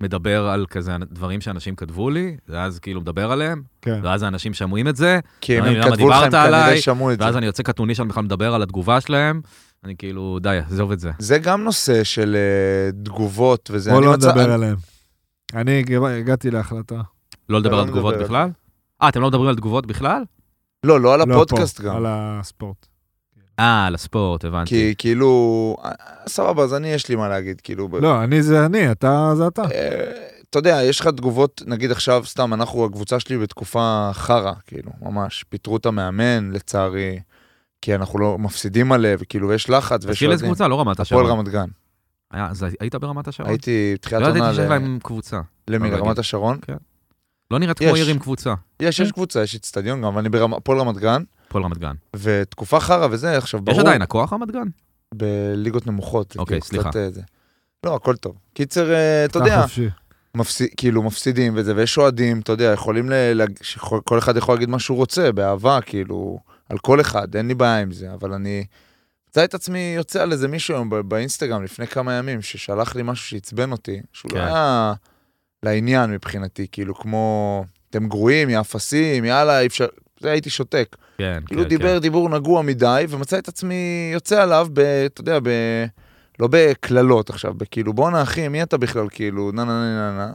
B: מדבר על כזה דברים שאנשים כתבו לי, ואז כאילו מדבר עליהם,
C: כן.
B: ואז האנשים שמועים את זה,
D: כי אם
B: לא, אני
D: הם
B: יודע מה,
D: כתבו לך, הם
B: דיברת עליי,
D: כנראה שמעו את זה.
B: ואז אני יוצא קטנוני שאני בכלל מדבר על התגובה שלהם, אני כאילו, די, עזוב את זה.
D: זה גם נושא של אה, תגובות וזה.
C: בוא
D: אני
C: לא
D: מצא-
C: נדבר
D: אני-
C: עליהם. אני הג- הגעתי להחלטה.
B: לא לדבר
D: לא
B: על תגובות
D: מדבר.
B: בכלל? אה, אתם לא מדברים על תגובות בכלל?
D: לא, לא על
C: לא
D: הפודקאסט
C: פה,
D: גם.
C: על הספורט.
B: אה, על הספורט, הבנתי.
D: כי כאילו, אה, סבבה, אז אני יש לי מה להגיד, כאילו. ב-
C: לא, אני זה אני, אתה זה אתה.
D: אה, אתה יודע, יש לך תגובות, נגיד עכשיו, סתם, אנחנו, הקבוצה שלי בתקופה חרא, כאילו, ממש. פיטרו את המאמן, לצערי, כי אנחנו לא מפסידים מלא, וכאילו, יש לחץ, ויש
B: תתחיל איזה
D: אוהדים.
B: קבוצה, לא רמת
D: הפועל
B: השרון.
D: רמת גן.
B: היה- אז היית ברמת השרון?
D: הייתי בתחילת
B: לא
D: עונה
B: ידעתי שיש
D: ל-
B: להם קבוצה.
D: למי?
B: אבל
D: לרמת
B: להגיד.
D: השרון.
B: לא נראית כמו
D: יש.
B: עיר עם קבוצה,
D: יש, יש קבוצה, יש אצטדיון גם, אבל אני ברמ- הפועל רמת גן,
B: הפועל רמת גן.
D: ותקופה חרא וזה, עכשיו, ברור.
B: יש עדיין הכוח רמת גן?
D: בליגות נמוכות. זה
B: אוקיי,
D: כאילו
B: סליחה.
D: קצת, אה, זה. לא, הכל טוב. קיצר, אה, אתה יודע,
C: חופשי.
D: מפסיד, כאילו מפסידים וזה, ויש אוהדים, אתה יודע, יכולים, ל... ל- שכל כל אחד יכול להגיד מה שהוא רוצה, באהבה, כאילו, על כל אחד, אין לי בעיה עם זה, אבל אני... מצא את עצמי יוצא על איזה מישהו היום ב- באינסטגרם לפני כמה ימים, ששלח לי משהו שעצבן אותי, שהוא
B: כן.
D: לא היה לעניין מבחינתי, כאילו, כמו, אתם גרועים, יא אפסים, יאללה, אי אפשר... זה הייתי שותק.
B: כן, כן,
D: כאילו
B: כן.
D: דיבר עדיין. דיבור נגוע מדי, ומצא את עצמי יוצא עליו, ב, אתה יודע, ב, לא בקללות עכשיו, בכאילו, בואנה אחי, מי אתה בכלל, כאילו, נה נה נה נה נה.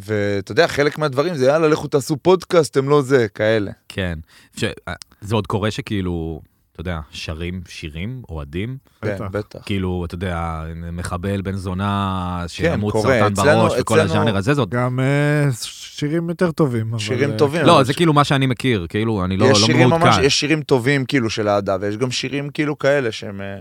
D: ואתה יודע, חלק מהדברים זה, יאללה, לכו תעשו פודקאסט, הם לא זה, כאלה.
B: כן. ש- אה, זה עוד קורה שכאילו, אתה יודע, שרים שירים, אוהדים,
D: כן,
C: בטח.
D: בטח.
B: כאילו, אתה יודע, מחבל, בן זונה, שימות
D: כן, קורה.
B: סרטן
D: אצלנו-
B: בראש, וכל
D: אצלנו-
B: הז'אנר הזה, זה עוד...
C: גם אה, שירים יותר טובים. אבל,
D: שירים
C: אה,
D: טובים.
B: לא,
D: כן, אבל
B: זה
D: ש-
B: כאילו מה שאני מכיר, כאילו, אני לא
D: יש
B: לא
D: שירים ממש,
B: מעודכן.
D: יש שירים טובים כאילו של אהדה, ויש גם שירים כאילו כאלה שהם אה,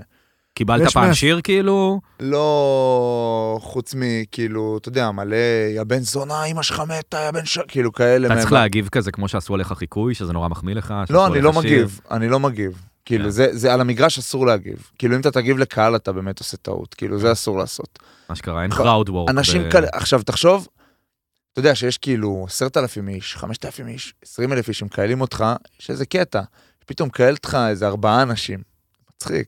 B: קיבלת
C: יש
B: פעם
C: מה-
B: שיר, כאילו?
D: לא חוץ מכאילו, אתה יודע, מלא, יא בן זונה, אמא שלך מתה, יא בן ש... כאילו כאלה.
B: אתה
D: מה-
B: צריך להגיב כזה, כמו שעשו עליך חיקוי, שזה נורא מחמיא לך. שעשו
D: לא, אני
B: עליך
D: לא
B: שיר.
D: מגיב, אני לא מגיב.
B: כן.
D: כאילו, זה, זה על המגרש אסור להגיב. כאילו, אם אתה תגיב לקהל, אתה באמת עושה טעות. כאילו,
B: כן.
D: זה אסור לעשות.
B: מה שקרה, אין
D: ח-
B: crowd work.
D: אנשים
B: ב-
D: כאלה, עכשיו, תחשוב, אתה יודע שיש כאילו 10,000 איש, 5,000 איש, 20,000 איש, שמקהלים אותך, יש איזה קטע. פתאום מקהלת לך איזה ארבעה אנשים. מצחיק.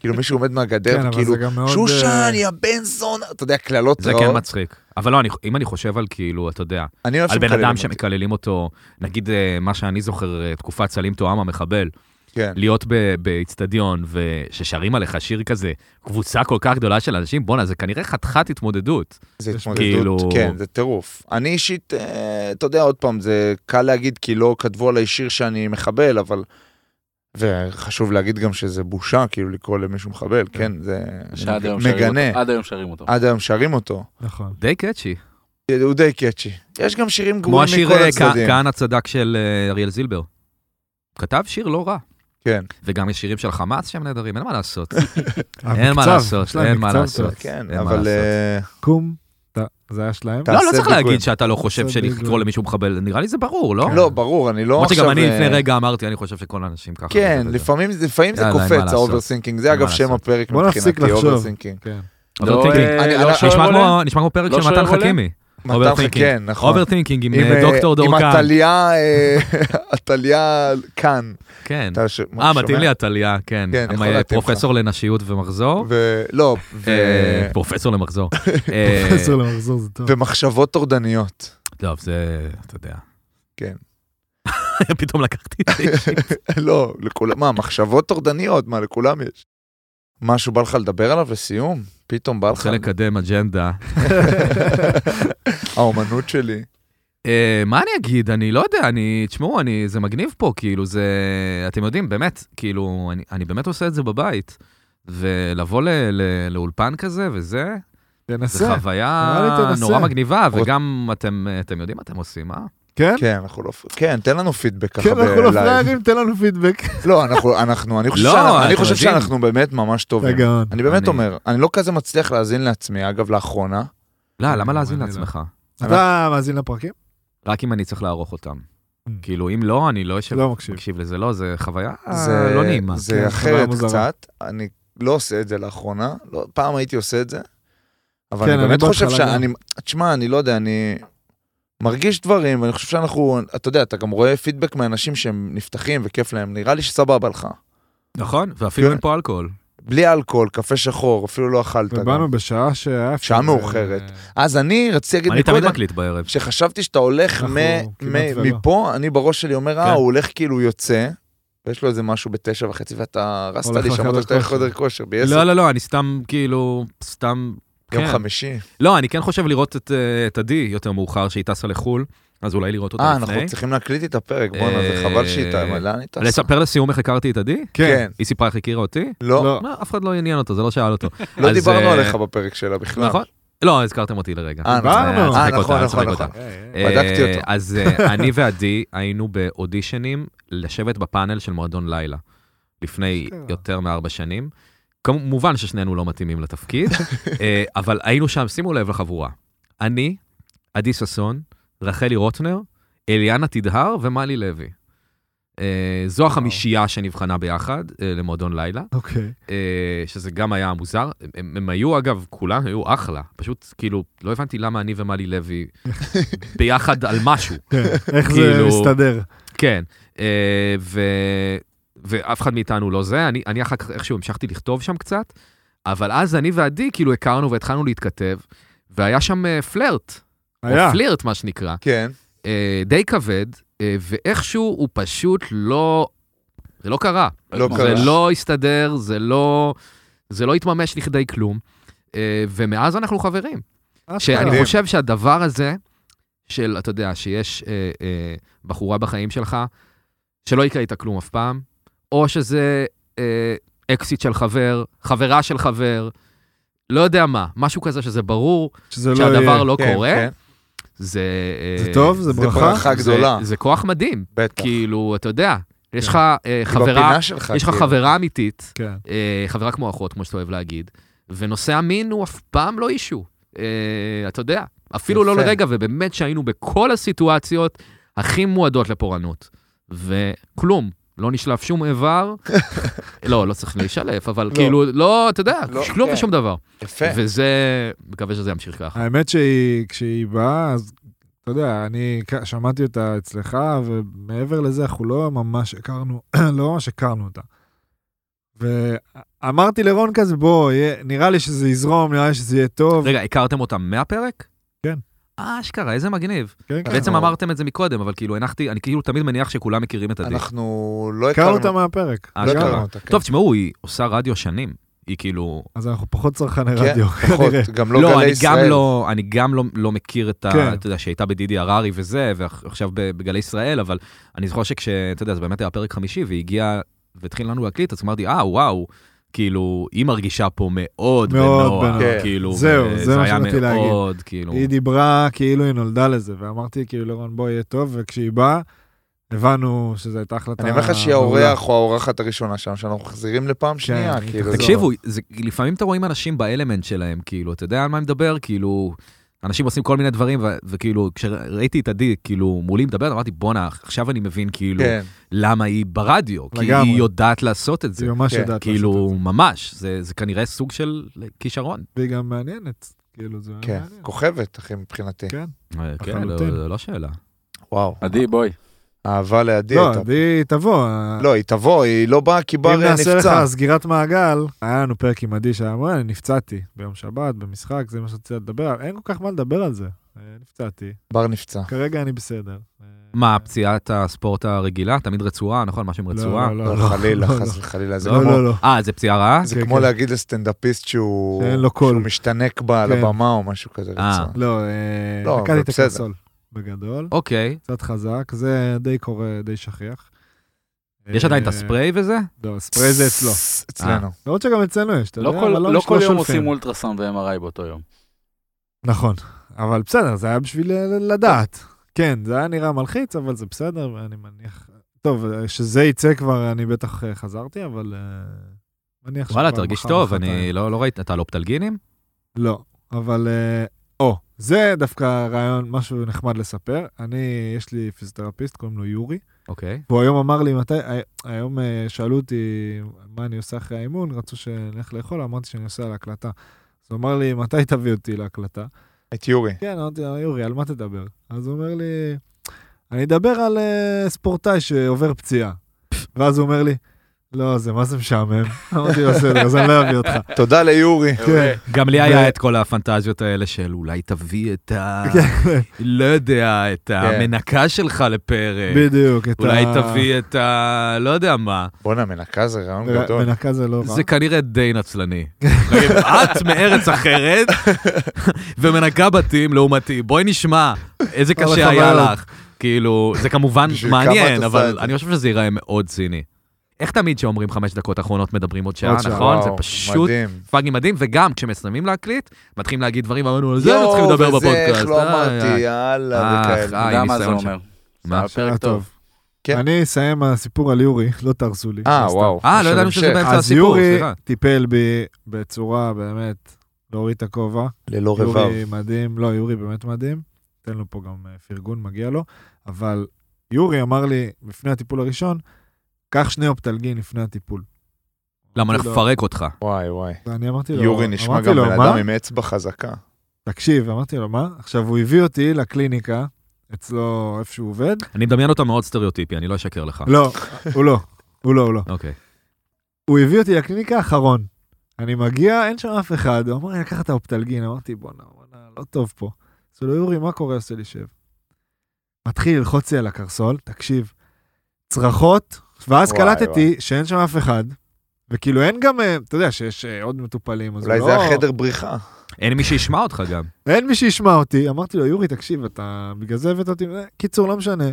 D: כאילו, מישהו עומד
C: כן,
D: מהגדר,
C: אבל
D: כאילו,
C: זה גם מאוד... אה,
D: שושן, יא בן זונה, אתה יודע, קללות
B: זה
D: רעות.
B: כן מצחיק. אבל לא, אני- אם אני חושב על כאילו, אתה יודע,
D: אני אוהב
B: על בן
D: שמקללים
B: אדם
D: אותי.
B: שמקללים אותו, נגיד אה, מה שאני זוכר, אה, תקופת סלים טועם המחבל,
D: כן.
B: להיות ב- באיצטדיון וששרים עליך שיר כזה, קבוצה כל כך גדולה של אנשים, בואנה, זה כנראה חתיכת התמודדות.
D: זה
C: יש
B: כאילו-
D: התמודדות, כן, זה טירוף. אני אישית, אה, אתה יודע, עוד פעם, זה קל להגיד, כי לא כתבו עליי שיר שאני מחבל, אבל... וחשוב להגיד גם שזה בושה, כאילו, לקרוא למישהו מחבל, כן, זה...
E: שעד היום שרים
D: מגנה. אה,
E: אותו. עד היום שרים אותו.
D: עד היום שרים אותו.
C: נכון.
B: די קאצ'י.
D: הוא די קאצ'י. יש גם שירים
B: כמו
D: גרועים
B: השיר
D: מכל
B: אה,
D: הצדדים.
B: כ- כהנא צדק של אה, אריאל זילבר. כתב שיר לא רע.
D: כן.
B: וגם יש שירים של חמאס שהם נהדרים, אין מה לעשות. אין מה
C: המקצב,
B: לעשות,
C: יש להם
B: אין מה
C: אה, מקצב
B: לעשות.
C: טוב.
D: כן,
B: אין מה
D: אבל...
B: לעשות.
D: אה,
C: קום, ת- זה היה שלהם.
D: ת-
B: לא, לא
D: תעשה
B: צריך
D: ביגוד.
B: להגיד שאתה לא חושב
C: תעשה
B: שלקרוא
C: ביגוד.
B: למישהו מחבל, נראה לי זה ברור, לא?
D: לא, ברור, אני לא
B: למרות
D: עכשיו...
B: שגם אני
D: אה,
B: לפני רגע אמרתי, אני חושב שכל האנשים ככה.
D: כן,
B: וזה וזה.
D: לפעמים זה- לפעמים זה
B: יאללה, אין מה
D: קופץ,
B: לעשות.
D: האוברסינקינג. זה
B: אין
D: אגב
B: מה
D: שם
B: לעשות.
D: הפרק
C: בוא נפסיק
D: מבחינתי,
C: לחשוב.
D: overthinking.
C: כן.
B: אבל
E: לא,
B: תגיד,
E: אה,
D: אני-
E: לא
D: אני-
E: שוער
B: נשמע
E: עולה?
B: כמו- נשמע כמו פרק
E: לא
B: של מתן
E: שוער עולה?
B: חכימי.
D: מתן
B: Overthinking.
D: חכן, נכון.
B: אוברטינקינג עם
D: עם,
B: אה,
D: אה,
B: דוקטור
D: עם
B: דורקן.
D: עתליה, אה, עתליה כאן.
B: כן.
D: אתה ש-
B: אה,
D: שומע?
B: מתאים לי עתליה, כן.
D: כן, יכול
B: עם, אה,
D: להתאים לך.
B: פרופסור לנשיות ומחזור.
D: ו- לא, ו-
B: אה, פרופסור למחזור. אה,
C: פרופסור למחזור זה טוב.
D: ומחשבות טורדניות.
B: טוב, זה, אתה יודע.
D: כן. נכון.
B: פתאום לקחתי את זה. אישית.
D: לא, לכולם, מה, מחשבות טורדניות, מה, לכולם יש. משהו בא לך לדבר עליו לסיום? פתאום בא לך.
B: רוצה לקדם אג'נדה.
D: האומנות שלי.
B: אה, מה אני אגיד? אני לא יודע, אני, תשמעו, אני, זה מגניב פה, כאילו, זה, אתם יודעים, באמת, כאילו, אני, אני באמת עושה את זה בבית. ולבוא ל, ל, לאולפן כזה וזה,
C: תנסה.
B: זו חוויה
C: נראה לי תנסה.
B: נורא מגניבה,
D: רוצ-
B: וגם אתם, אתם יודעים מה אתם עושים, אה?
C: כן?
D: כן, אנחנו לא... כן, תן לנו פידבק ככה
C: כן, אנחנו לא
D: בלייב.
C: פליירים, תן לנו פידבק.
D: לא, אנחנו- אנחנו, אני חושב
B: לא,
D: שאנחנו- אני
B: אתם
D: חושב
B: יודעים.
D: שאנחנו באמת ממש
C: אתה
D: טובים.
C: גאון.
D: אני באמת
B: אני-
D: אומר, אני לא כזה מצליח להאזין לעצמי, אגב, לאחרונה.
B: לא, למה להאזין
C: אני לא.
B: לעצמך?
D: כן.
C: אתה מאזין לפרקים?
B: רק אם אני צריך לערוך אותם.
C: Mm.
B: כאילו, אם לא, אני לא יושב
C: לא מקשיב.
B: מקשיב לזה, לא, זה חוויה
D: זה,
B: לא נעימה.
D: זה
C: כן, חוויה
D: אחרת
C: מוזרה.
D: קצת, אני לא עושה את זה לאחרונה, לא, פעם הייתי עושה את זה, אבל
C: כן,
D: אני
C: אני
D: באמת חושב
C: בהתחלה
D: שאני, תשמע, אני לא יודע, אני מרגיש דברים, ואני חושב שאנחנו, אתה יודע, אתה גם רואה פידבק מאנשים שהם נפתחים וכיף להם, נראה לי שסבבה לך.
B: נכון, ואפילו
D: כן.
B: אין פה אלכוהול.
D: בלי אלכוהול, קפה שחור, אפילו לא אכלת. גם.
C: ובאנו בשעה שהיה אפשר...
D: שעה מאוחרת. אז אני רציתי להגיד
B: אה, אני תמיד
D: מקודם,
B: מקליט בערב.
D: כשחשבתי שאתה הולך
C: אנחנו
D: מ-
C: כמעט
D: מ-
C: ולא.
D: מפה, אני בראש שלי אומר,
B: כן.
D: אה, הוא הולך כאילו הוא יוצא, ויש לו איזה משהו בתשע וחצי, ואתה רסת
C: הולך
D: לי,
C: לחדר
D: שמעת שאתה הולך
C: כושר.
D: לחדר כושר,
B: לא,
D: ב-10,
B: לא, לא, אני סתם, כאילו, סתם...
D: יום
B: כן.
D: חמישי.
B: לא, אני כן חושב לראות את, אה, את עדי יותר מאוחר, שהיא טסה לחו"ל, אז אולי לראות אותה
D: אה,
B: לפני.
D: אנחנו צריכים להקליט את הפרק, בואנה, זה
B: אה,
D: חבל שהיא טעמה, לאן היא טסה?
B: לספר לסיום איך הכרתי את עדי?
C: כן.
B: היא סיפרה איך הכירה אותי?
D: לא,
C: לא.
B: מה, אף אחד לא עניין אותו, זה לא שאל אותו.
D: לא
B: אז,
D: דיברנו
B: אה,
D: עליך בפרק שלה בכלל.
B: נכון. לא, הזכרתם אותי לרגע.
D: אה, נכון.
B: אה,
C: דיברנו.
B: צחק
D: אה, נכון,
B: אותה,
D: נכון,
B: צחק
D: נכון.
B: אותה.
D: בדקתי
B: אה,
D: אותו.
B: אז אה, אני ועדי היינו באודישנים לשבת בפאנל של מועדון לילה, לפני
C: אשכרה.
B: יותר מארבע שנים. כמובן ששנינו לא מתאימים לתפקיד, אה, אבל היינו שם, שימו לב לחבורה. אני, עדי ששון, רחלי רוטנר, אליאנה תדהר ומלי לוי. אה, זו החמישייה שנבחנה ביחד אה, למועדון לילה.
C: אוקיי.
B: אה, שזה גם היה מוזר. הם, הם היו, אגב, כולם היו אחלה. פשוט, כאילו, לא הבנתי למה אני ומלי לוי ביחד על משהו.
C: כן. איך זה
B: כאילו-
C: מסתדר?
B: כן. אה, ו, ואף אחד מאיתנו לא זה. אני, אני אחר כך איכשהו המשכתי לכתוב שם קצת, אבל אז אני ועדי כאילו הכרנו והתחלנו להתכתב, והיה שם אה, פלרט,
C: היה.
B: או פלירט, מה שנקרא.
D: כן.
B: אה, די כבד, אה, ואיכשהו הוא פשוט לא... זה לא קרה.
D: לא
B: זה
C: אוקיי.
D: קרה.
B: לא הסתדר, זה לא... זה לא התממש לכדי כלום. אה, ומאז אנחנו חברים.
C: אה, אוקיי.
B: שאני
D: מדהים.
B: חושב שהדבר הזה, של, אתה יודע, שיש אה, אה, בחורה בחיים שלך, שלא יקרה איתה כלום אף פעם, או שזה אה, אקסיט של חבר, חברה של חבר, לא יודע מה, משהו כזה שזה ברור
C: שזה לא
B: שהדבר
C: יהיה.
B: לא
D: כן,
B: קורה,
D: כן.
B: זה... אה,
C: זה טוב? זה
D: זה
C: ברכה?
D: ברכה גדולה,
B: זה, זה כוח מדהים,
D: בטח.
B: כאילו, אתה יודע, יש
C: כן.
B: לך אה, חברה,
D: בפינה שלך,
B: יש לך
D: כאילו.
B: חברה אמיתית,
C: כן.
B: אה, חברה כמו אחות, כמו שאתה אוהב להגיד, ונושא המין הוא אף פעם לא אישו, אה, אתה יודע, אפילו לא
D: יפה.
B: לרגע, ובאמת שהיינו בכל הסיטואציות הכי מועדות לפורענות, וכלום. לא נשלף שום איבר, לא, לא צריך להישלף, אבל כאילו, לא, אתה יודע,
D: לא,
B: כלום
D: כן.
B: ושום דבר.
D: יפה.
B: וזה, מקווה שזה ימשיך ככה.
C: האמת שהיא, כשהיא באה, אז אתה יודע, אני כ- שמעתי אותה אצלך, ומעבר לזה, אנחנו לא ממש הכרנו, לא ממש הכרנו אותה. ואמרתי לרון כזה, בוא, יהיה- נראה לי שזה יזרום, נראה לי שזה יהיה טוב.
B: רגע, הכרתם אותם מהפרק?
C: כן.
B: אה, אשכרה, איזה מגניב.
C: כן, כן.
B: בעצם
D: אנחנו-
B: אמרתם את זה מקודם, אבל כאילו הנחתי, אני כאילו תמיד מניח שכולם מכירים את עדי.
D: אנחנו לא
C: הכרנו
D: הכרנו
C: אותה מהפרק.
B: אה,
D: לא
B: אשכרה.
D: הכרנו אותה. כן.
B: טוב, תשמעו, היא עושה רדיו שנים. היא כאילו...
C: אז אנחנו פחות
D: כן,
C: צרכני רדיו,
D: פחות,
C: כנראה.
D: גם לא
B: לא,
D: גלי
B: אני גם
D: ישראל.
B: לא, אני גם לא, לא מכיר את ה...
C: כן.
B: אתה יודע, שהייתה בדידי הררי וזה, ועכשיו בגלי ישראל, אבל אני זוכר שכש... אתה יודע, זה באמת היה פרק חמישי, והיא הגיעה והתחיל לנו להקליט, אז אמרתי, אה, וואו, כאילו, היא מרגישה פה מאוד בנוח,
C: מאוד
D: בנוח.
B: כאילו,
C: זהו,
B: וזה
C: זה מה
B: היה
C: שבאתי להגיד.
B: מאוד, כאילו...
C: היא דיברה כאילו היא נולדה לזה, ואמרתי כאילו לרון, בוא, יהיה טוב, וכשהיא באה, הבנו שזו הייתה החלטה...
D: אני אומר
B: אה,
D: לך שהיא
C: מעולה.
D: האורח או האורחת הראשונה שלנו, שאנחנו מחזירים לפעם
C: כן.
D: שנייה,
C: אני
D: כאילו.
C: איתך.
B: תקשיבו, זה, לפעמים אתה רואים אנשים באלמנט שלהם, כאילו, אתה יודע על מה אני מדבר? כאילו, אנשים עושים כל מיני דברים, ו- וכאילו, כשראיתי את עדי, כאילו, מולי מדברת, אמרתי, בואנה, עכשיו אני מבין, כאילו,
D: כן,
C: אה,
B: למה היא ברדיו, כי
C: לגמרי.
B: היא יודעת לעשות את זה.
C: היא ממש
D: כן,
C: יודעת. לעשות את
B: כאילו, ממש, זה, זה כנראה סוג של כישרון.
C: זה. והיא גם מעניינת, כאילו, זה היה
D: כן.
C: מעניין.
D: כוכבת, אחי, מבחינתי.
C: כן.
B: אה, כן,
C: לחלוטין.
B: לא, לא שאלה.
D: וואו.
E: עדי, בואי.
D: אהבה לידי.
C: לא,
D: אתה-
C: עדי תבוא.
D: לא, היא תבוא, היא לא באה כי בר
C: אם נעשה לך
D: נפצע.
C: סגירת מעגל, היה לנו פרק עם עדי שהיה אומר, אני נפצעתי ביום שבת, במשחק, זה מה שרציתי לדבר עליו. אין כל כך מה לדבר על זה. אה, נפצעתי,
D: בר נפצע.
C: כרגע אני בסדר. אה,
B: מה, פציעת הספורט הרגילה? תמיד רצועה, נכון? מה שהם
C: לא,
B: רצועה?
C: לא,
D: לא,
C: לא,
D: חלילה,
C: לא,
D: חס וחלילה. זה
C: לא,
D: כמו-
C: לא, לא.
B: אה, זה פציעה רעה?
D: זה
C: כן,
D: כמו
C: כן.
D: להגיד לסטנדאפיסט שהוא
C: שאין לא. לו קול.
D: שהוא משתנק בה על
C: כן.
D: הבמה או משהו כזה.
B: אה.
D: רצוע.
C: לא, אה,
D: לא,
C: רקדתי
D: אבל
C: את
D: בסדר.
C: הקונסול. בגדול,
B: אוקיי.
C: קצת חזק, זה די קורה, די שכיח.
B: יש עדיין את
C: אה,
B: הספרי וזה?
C: לא, הספרי זה אצלו.
D: אצלנו.
C: למרות שגם אצלנו יש, אתה יודע,
E: לא
C: אבל
E: כל-
C: לא
E: לא כל יום
C: שולפים.
E: עושים אולטרסאונד ו-MRI באותו יום.
C: נכון, אבל בסדר, זה היה בשביל אה, לדעת. כן, זה היה נראה מלחיץ, אבל זה בסדר, ואני מניח... טוב, אה, שזה יצא כבר, אני בטח אה, חזרתי, אבל... אה, מניח
B: וואלה,
C: שכבר
B: תרגיש
C: מחר,
B: טוב,
C: מחרתיים.
B: אני לא לא ראיתי, אתה לא פטלגינים?
C: לא, אבל... אה, או, זה דווקא רעיון, משהו נחמד לספר. אני, יש לי פיזיותרפיסט, קוראים לו יורי.
B: אוקיי.
C: והוא היום אמר לי מתי, הי- היום אה, שאלו אותי מה אני עושה אחרי האימון, רצו שנלך לאכול, אמרתי שאני עושה על ההקלטה. אז הוא אמר לי, מתי תביא אותי להקלטה?
B: אה.
D: את יורי.
C: כן, אמרתי לו, יורי, על מה תדבר? אז הוא אומר לי, אני אדבר על אה, ספורטאי שעובר פציעה. ואז הוא אומר לי, לא, זה מה זה משעמם. אמרתי לו, בסדר, אז אני לא אביא אותך.
D: תודה ליורי.
C: כן,
B: גם לי
C: ו-
B: היה את כל הפנטזיות האלה של אולי תביא את ה...
D: כן.
B: לא יודע, את המנקה שלך לפרק.
C: כן, בדיוק. את
B: אולי
C: ה-
B: תביא את ה... לא יודע מה.
D: בואנה, מנקה זה רעיון
C: מנ-
D: גדול.
C: מנקה זה
D: נכון.
C: לא רע.
B: זה כנראה די נצלני. נגיד, את מארץ אחרת ומנקה בתים לעומתי. בואי נשמע איזה
C: אבל
B: קשה
C: חבל.
B: היה לך. כאילו, זה כמובן
D: בשביל כמה את
B: מעניין,
D: עושה את
B: אבל
D: זה?
B: אני חושב שזה ייראה מאוד ציני. איך תמיד שאומרים חמש דקות אחרונות מדברים עוד שעה,
C: עוד שעה.
B: נכון? זה
D: וואו,
B: פשוט
D: מדהים.
B: פאגים מדהים, וגם כשמסיימים להקליט, מתחילים להגיד דברים, אמרנו, על זה
D: יואו,
B: לא צריכים לדבר
D: וזה, איך
B: בפודקאסט.
C: אה,
D: לא
B: איי,
D: אמרתי, לא.
B: איי.
D: יאללה,
B: אה,
D: וכאלה.
B: אה,
E: גם מה זה
B: ניסיון
E: אומר.
B: מה?
C: אה,
E: פרק טוב.
D: כן.
C: אני אסיים הסיפור על יורי, לא תהרסו לי.
D: אה,
C: לא סתם.
D: וואו.
B: אה, לא
D: של
B: ידענו שזה
D: המשך.
B: באמצע
C: אז
B: הסיפור,
C: יורי
B: סליחה.
C: טיפל בי בצורה באמת להוריד את הכובע.
D: ללא רבב.
C: יורי מדהים, לא, יורי באמת מדהים. תן לו פה גם אה, פרגון, מגיע לו. אבל יורי אמר לי, לפני הטיפול הראשון, קח שני אופטלגין לפני הטיפול.
B: למה אנחנו
C: אמרתי לו-
B: נפרק אותך?
D: וואי וואי.
C: ואני אמרתי לו,
D: יורי נשמע
C: אמרתי
D: גם
C: לו,
D: בן
C: "מה?"
D: אדם עם אצבע חזקה.
C: תקשיב, אמרתי לו, מה? עכשיו, הוא הביא אותי לקליניקה, אצלו, איפה שהוא עובד.
B: אני מדמיין אותה מאוד סטריאוטיפי, אני לא אשקר לך.
D: אה.
C: לא, הוא לא, הוא לא, הוא לא.
B: אוקיי.
C: הוא הביא אותי לקליניקה האחרון. אני מגיע, אין שם אף אחד, הוא אמר לי, לקח את האופטלגין, אמרתי, בואנה, בואנה, לא טוב פה. אז הוא לא, יורי, מה קורה? עושה לי שב. מתחיל ללחוץ לי על הקרסול, תקשיב, צרחות, ואז
D: וואי,
C: קלטתי שאין שם אף אחד, וכאילו אין גם, אה, אתה יודע שיש אה, עוד מטופלים, אז
D: אולי
C: הוא
D: זה
C: לא-
D: החדר בריחה.
B: אין מי שישמע אותך גם.
C: אין מי שישמע אותי. אמרתי לו, יורי, תקשיב, אתה בגלל זה הבאת אותי... אה, קיצור, לא משנה.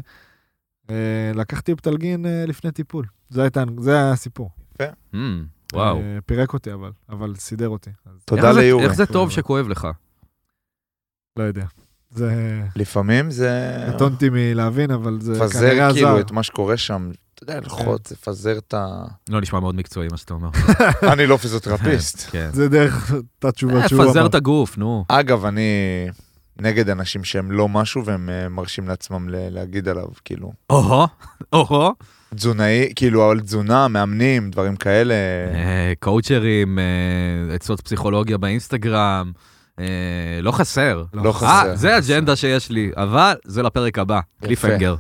C: אה, לקחתי אופטלגין אה, לפני טיפול. זה, הייתה, זה היה הסיפור.
B: Mm, וואו.
C: אה, פירק אותי, אבל, אבל סידר אותי. אז
D: תודה
B: איך זה-
D: ליורי.
B: איך זה טוב שכואב לך?
C: לא יודע. זה...
D: לפעמים זה...
C: קטונתי מלהבין, אבל זה כנראה
D: אה. לפזר
C: עזר. כן.
D: כאילו את מה שקורה שם. אתה יודע, ללחוץ, לפזר את ה...
B: לא נשמע מאוד מקצועי מה שאתה אומר.
D: אני לא פיזיותרפיסט.
B: כן.
C: זה דרך אותה תשובה שהוא אמר.
B: לפזר את הגוף, נו.
D: אגב, אני נגד אנשים שהם לא משהו והם אה, מרשים לעצמם ל- להגיד עליו, כאילו.
B: או-הו, או-הו.
D: תזונאי, כאילו, על תזונה, מאמנים, דברים כאלה.
B: אה, קואוצ'רים, אה, עצות פסיכולוגיה באינסטגרם, אה, לא חסר.
D: לא
B: אה,
D: חסר.
B: זה האג'נדה שיש לי, אבל זה לפרק הבא, קליפהנגר.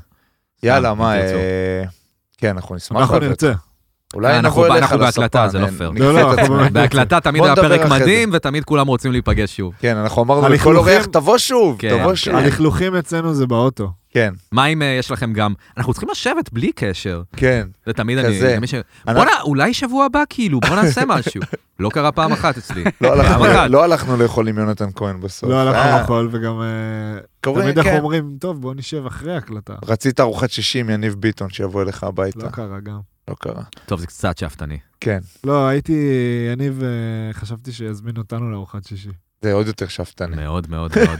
D: יאללה,
B: סתם,
D: מה,
B: אם תרצו. אה,
D: אה, כן, אנחנו נשמח.
C: אנחנו
D: לעבוד.
C: נרצה.
D: אולי
B: אנחנו-
D: נבוא אליך
B: אנחנו
D: לספן,
B: בהקלטה, זה לא
D: אה,
B: פייר.
D: נכפה
C: לא, לא,
D: את
C: אנחנו
D: עצמנו.
C: באמת-
B: בהקלטה תמיד
D: בוא
B: היה
D: נדבר
B: פרק
D: אחרי זה.
B: מדהים, ותמיד כולם רוצים להיפגש שוב.
D: כן, אנחנו אמרנו לכל
C: הלכלוכים-
D: אורח, תבוא שוב,
B: כן,
D: תבוא
B: כן.
D: שוב.
C: הלכלוכים אצלנו זה באוטו.
D: כן,
B: מה אם אה, יש לכם גם, אנחנו צריכים לשבת בלי קשר.
D: כן.
B: זה תמיד אני...
D: כזה.
B: מי ש-
D: אנחנו-
B: בואנה, אולי שבוע הבא כאילו, בוא נעשה משהו. לא קרה פעם אחת אצלי.
D: לא הלכנו-
B: פעם אחת.
D: לא הלכנו לאכול עם יונתן כהן בסוף.
C: לא
D: אה,
C: הלכנו לאכול, וגם אה,
D: קורה,
C: תמיד אנחנו
D: כן.
C: אומרים, טוב, בוא נשב אחרי ההקלטה.
D: רצית ארוחת שישי עם יניב ביטון שיבוא אליך הביתה.
C: לא קרה גם.
D: לא קרה.
B: טוב, זה קצת שאפתני.
D: כן,
C: לא, הייתי, יניב, אה, חשבתי שיזמין אותנו לארוחת שישי.
D: זה עוד יותר שאפתני.
B: מאוד מאוד מאוד.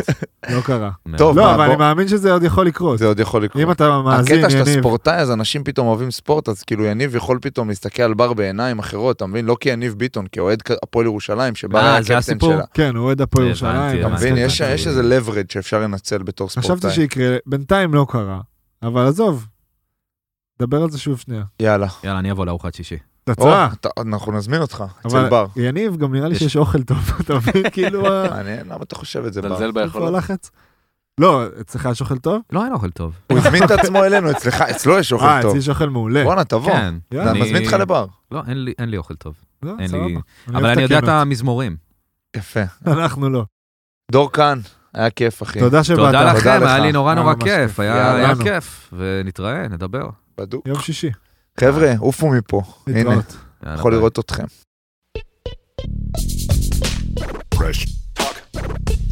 C: לא קרה.
B: מאוד.
D: כן. טוב, מה,
C: לא, אבל
D: בוא-
C: אני מאמין שזה עוד יכול לקרות.
D: זה עוד יכול לקרות.
C: אם אתה מאזין,
D: הקטע שאתה
C: יניב,
D: ספורטאי, אז אנשים פתאום אוהבים ספורט, אז כאילו יניב יכול פתאום להסתכל על בר בעיניים אחרות, אתה מבין? לא כיניב ביטון, כאוהד כ- הפועל ירושלים, שבר
B: אה,
D: היה
B: זה
D: הקפטן
B: הסיפור?
D: שלה.
C: כן, הוא אוהד הפועל
B: הבנתי,
C: ירושלים.
D: אתה
B: הבנתי.
D: מבין? יש
B: הבנתי.
D: יש איזה leverage שאפשר לנצל בתור
C: כן, חשבתי
D: ספורטאי.
C: שיקרה, בינתיים לא קרה, אבל עזוב, דבר על זה שוב שנייה.
D: יאללה.
C: אה.
B: יאללה, אני אבוא לארוחת שישי.
D: או,
C: תצאה,
D: אתה- אנחנו נזמין אותך, אצל
C: אבל
D: בר.
C: יניב, גם נראה לי
D: יש- לא
C: שיש אוכל טוב, אתה מבין? כאילו, ה-
D: מעניין, למה אתה חושב את זה, בר?
E: זלזל
C: איפה
E: ביכולות.
C: הלחץ? לא, אצלך יש אוכל טוב?
B: לא, אין אוכל טוב.
D: הוא הזמין את עצמו אלינו, אצלך, אצלו יש אוכל
C: אה,
D: טוב.
C: אצלי יש אוכל מעולה.
D: בואנה, תבוא.
B: כן.
C: יאללה,
D: אני
B: אני-
D: מזמין אותך לבר.
B: לא, אין לי- אין לי אוכל טוב.
C: לא,
B: אין
C: סבבה.
B: לי...
C: אוהב
B: אבל אני יודע את
C: הכנות.
B: המזמורים.
D: יפה.
C: אנחנו לא.
D: דור כאן, היה כיף, אחי.
C: תודה שבאת.
B: כן. תודה
D: לך.
B: לכם, היה לי נורא
C: היה
B: נורא
C: ממש
B: כיף.
C: כיף.
B: היה
D: יאללה.
B: היה כיף. ונתראה, נדבר.
D: בדוק.
C: יום שישי,
D: חבר'ה, עופו מפה. הנה,
C: להתראות.
B: יאללה,
D: יכול
B: ביי.
D: לראות אתכם.
H: Fresh. Talk.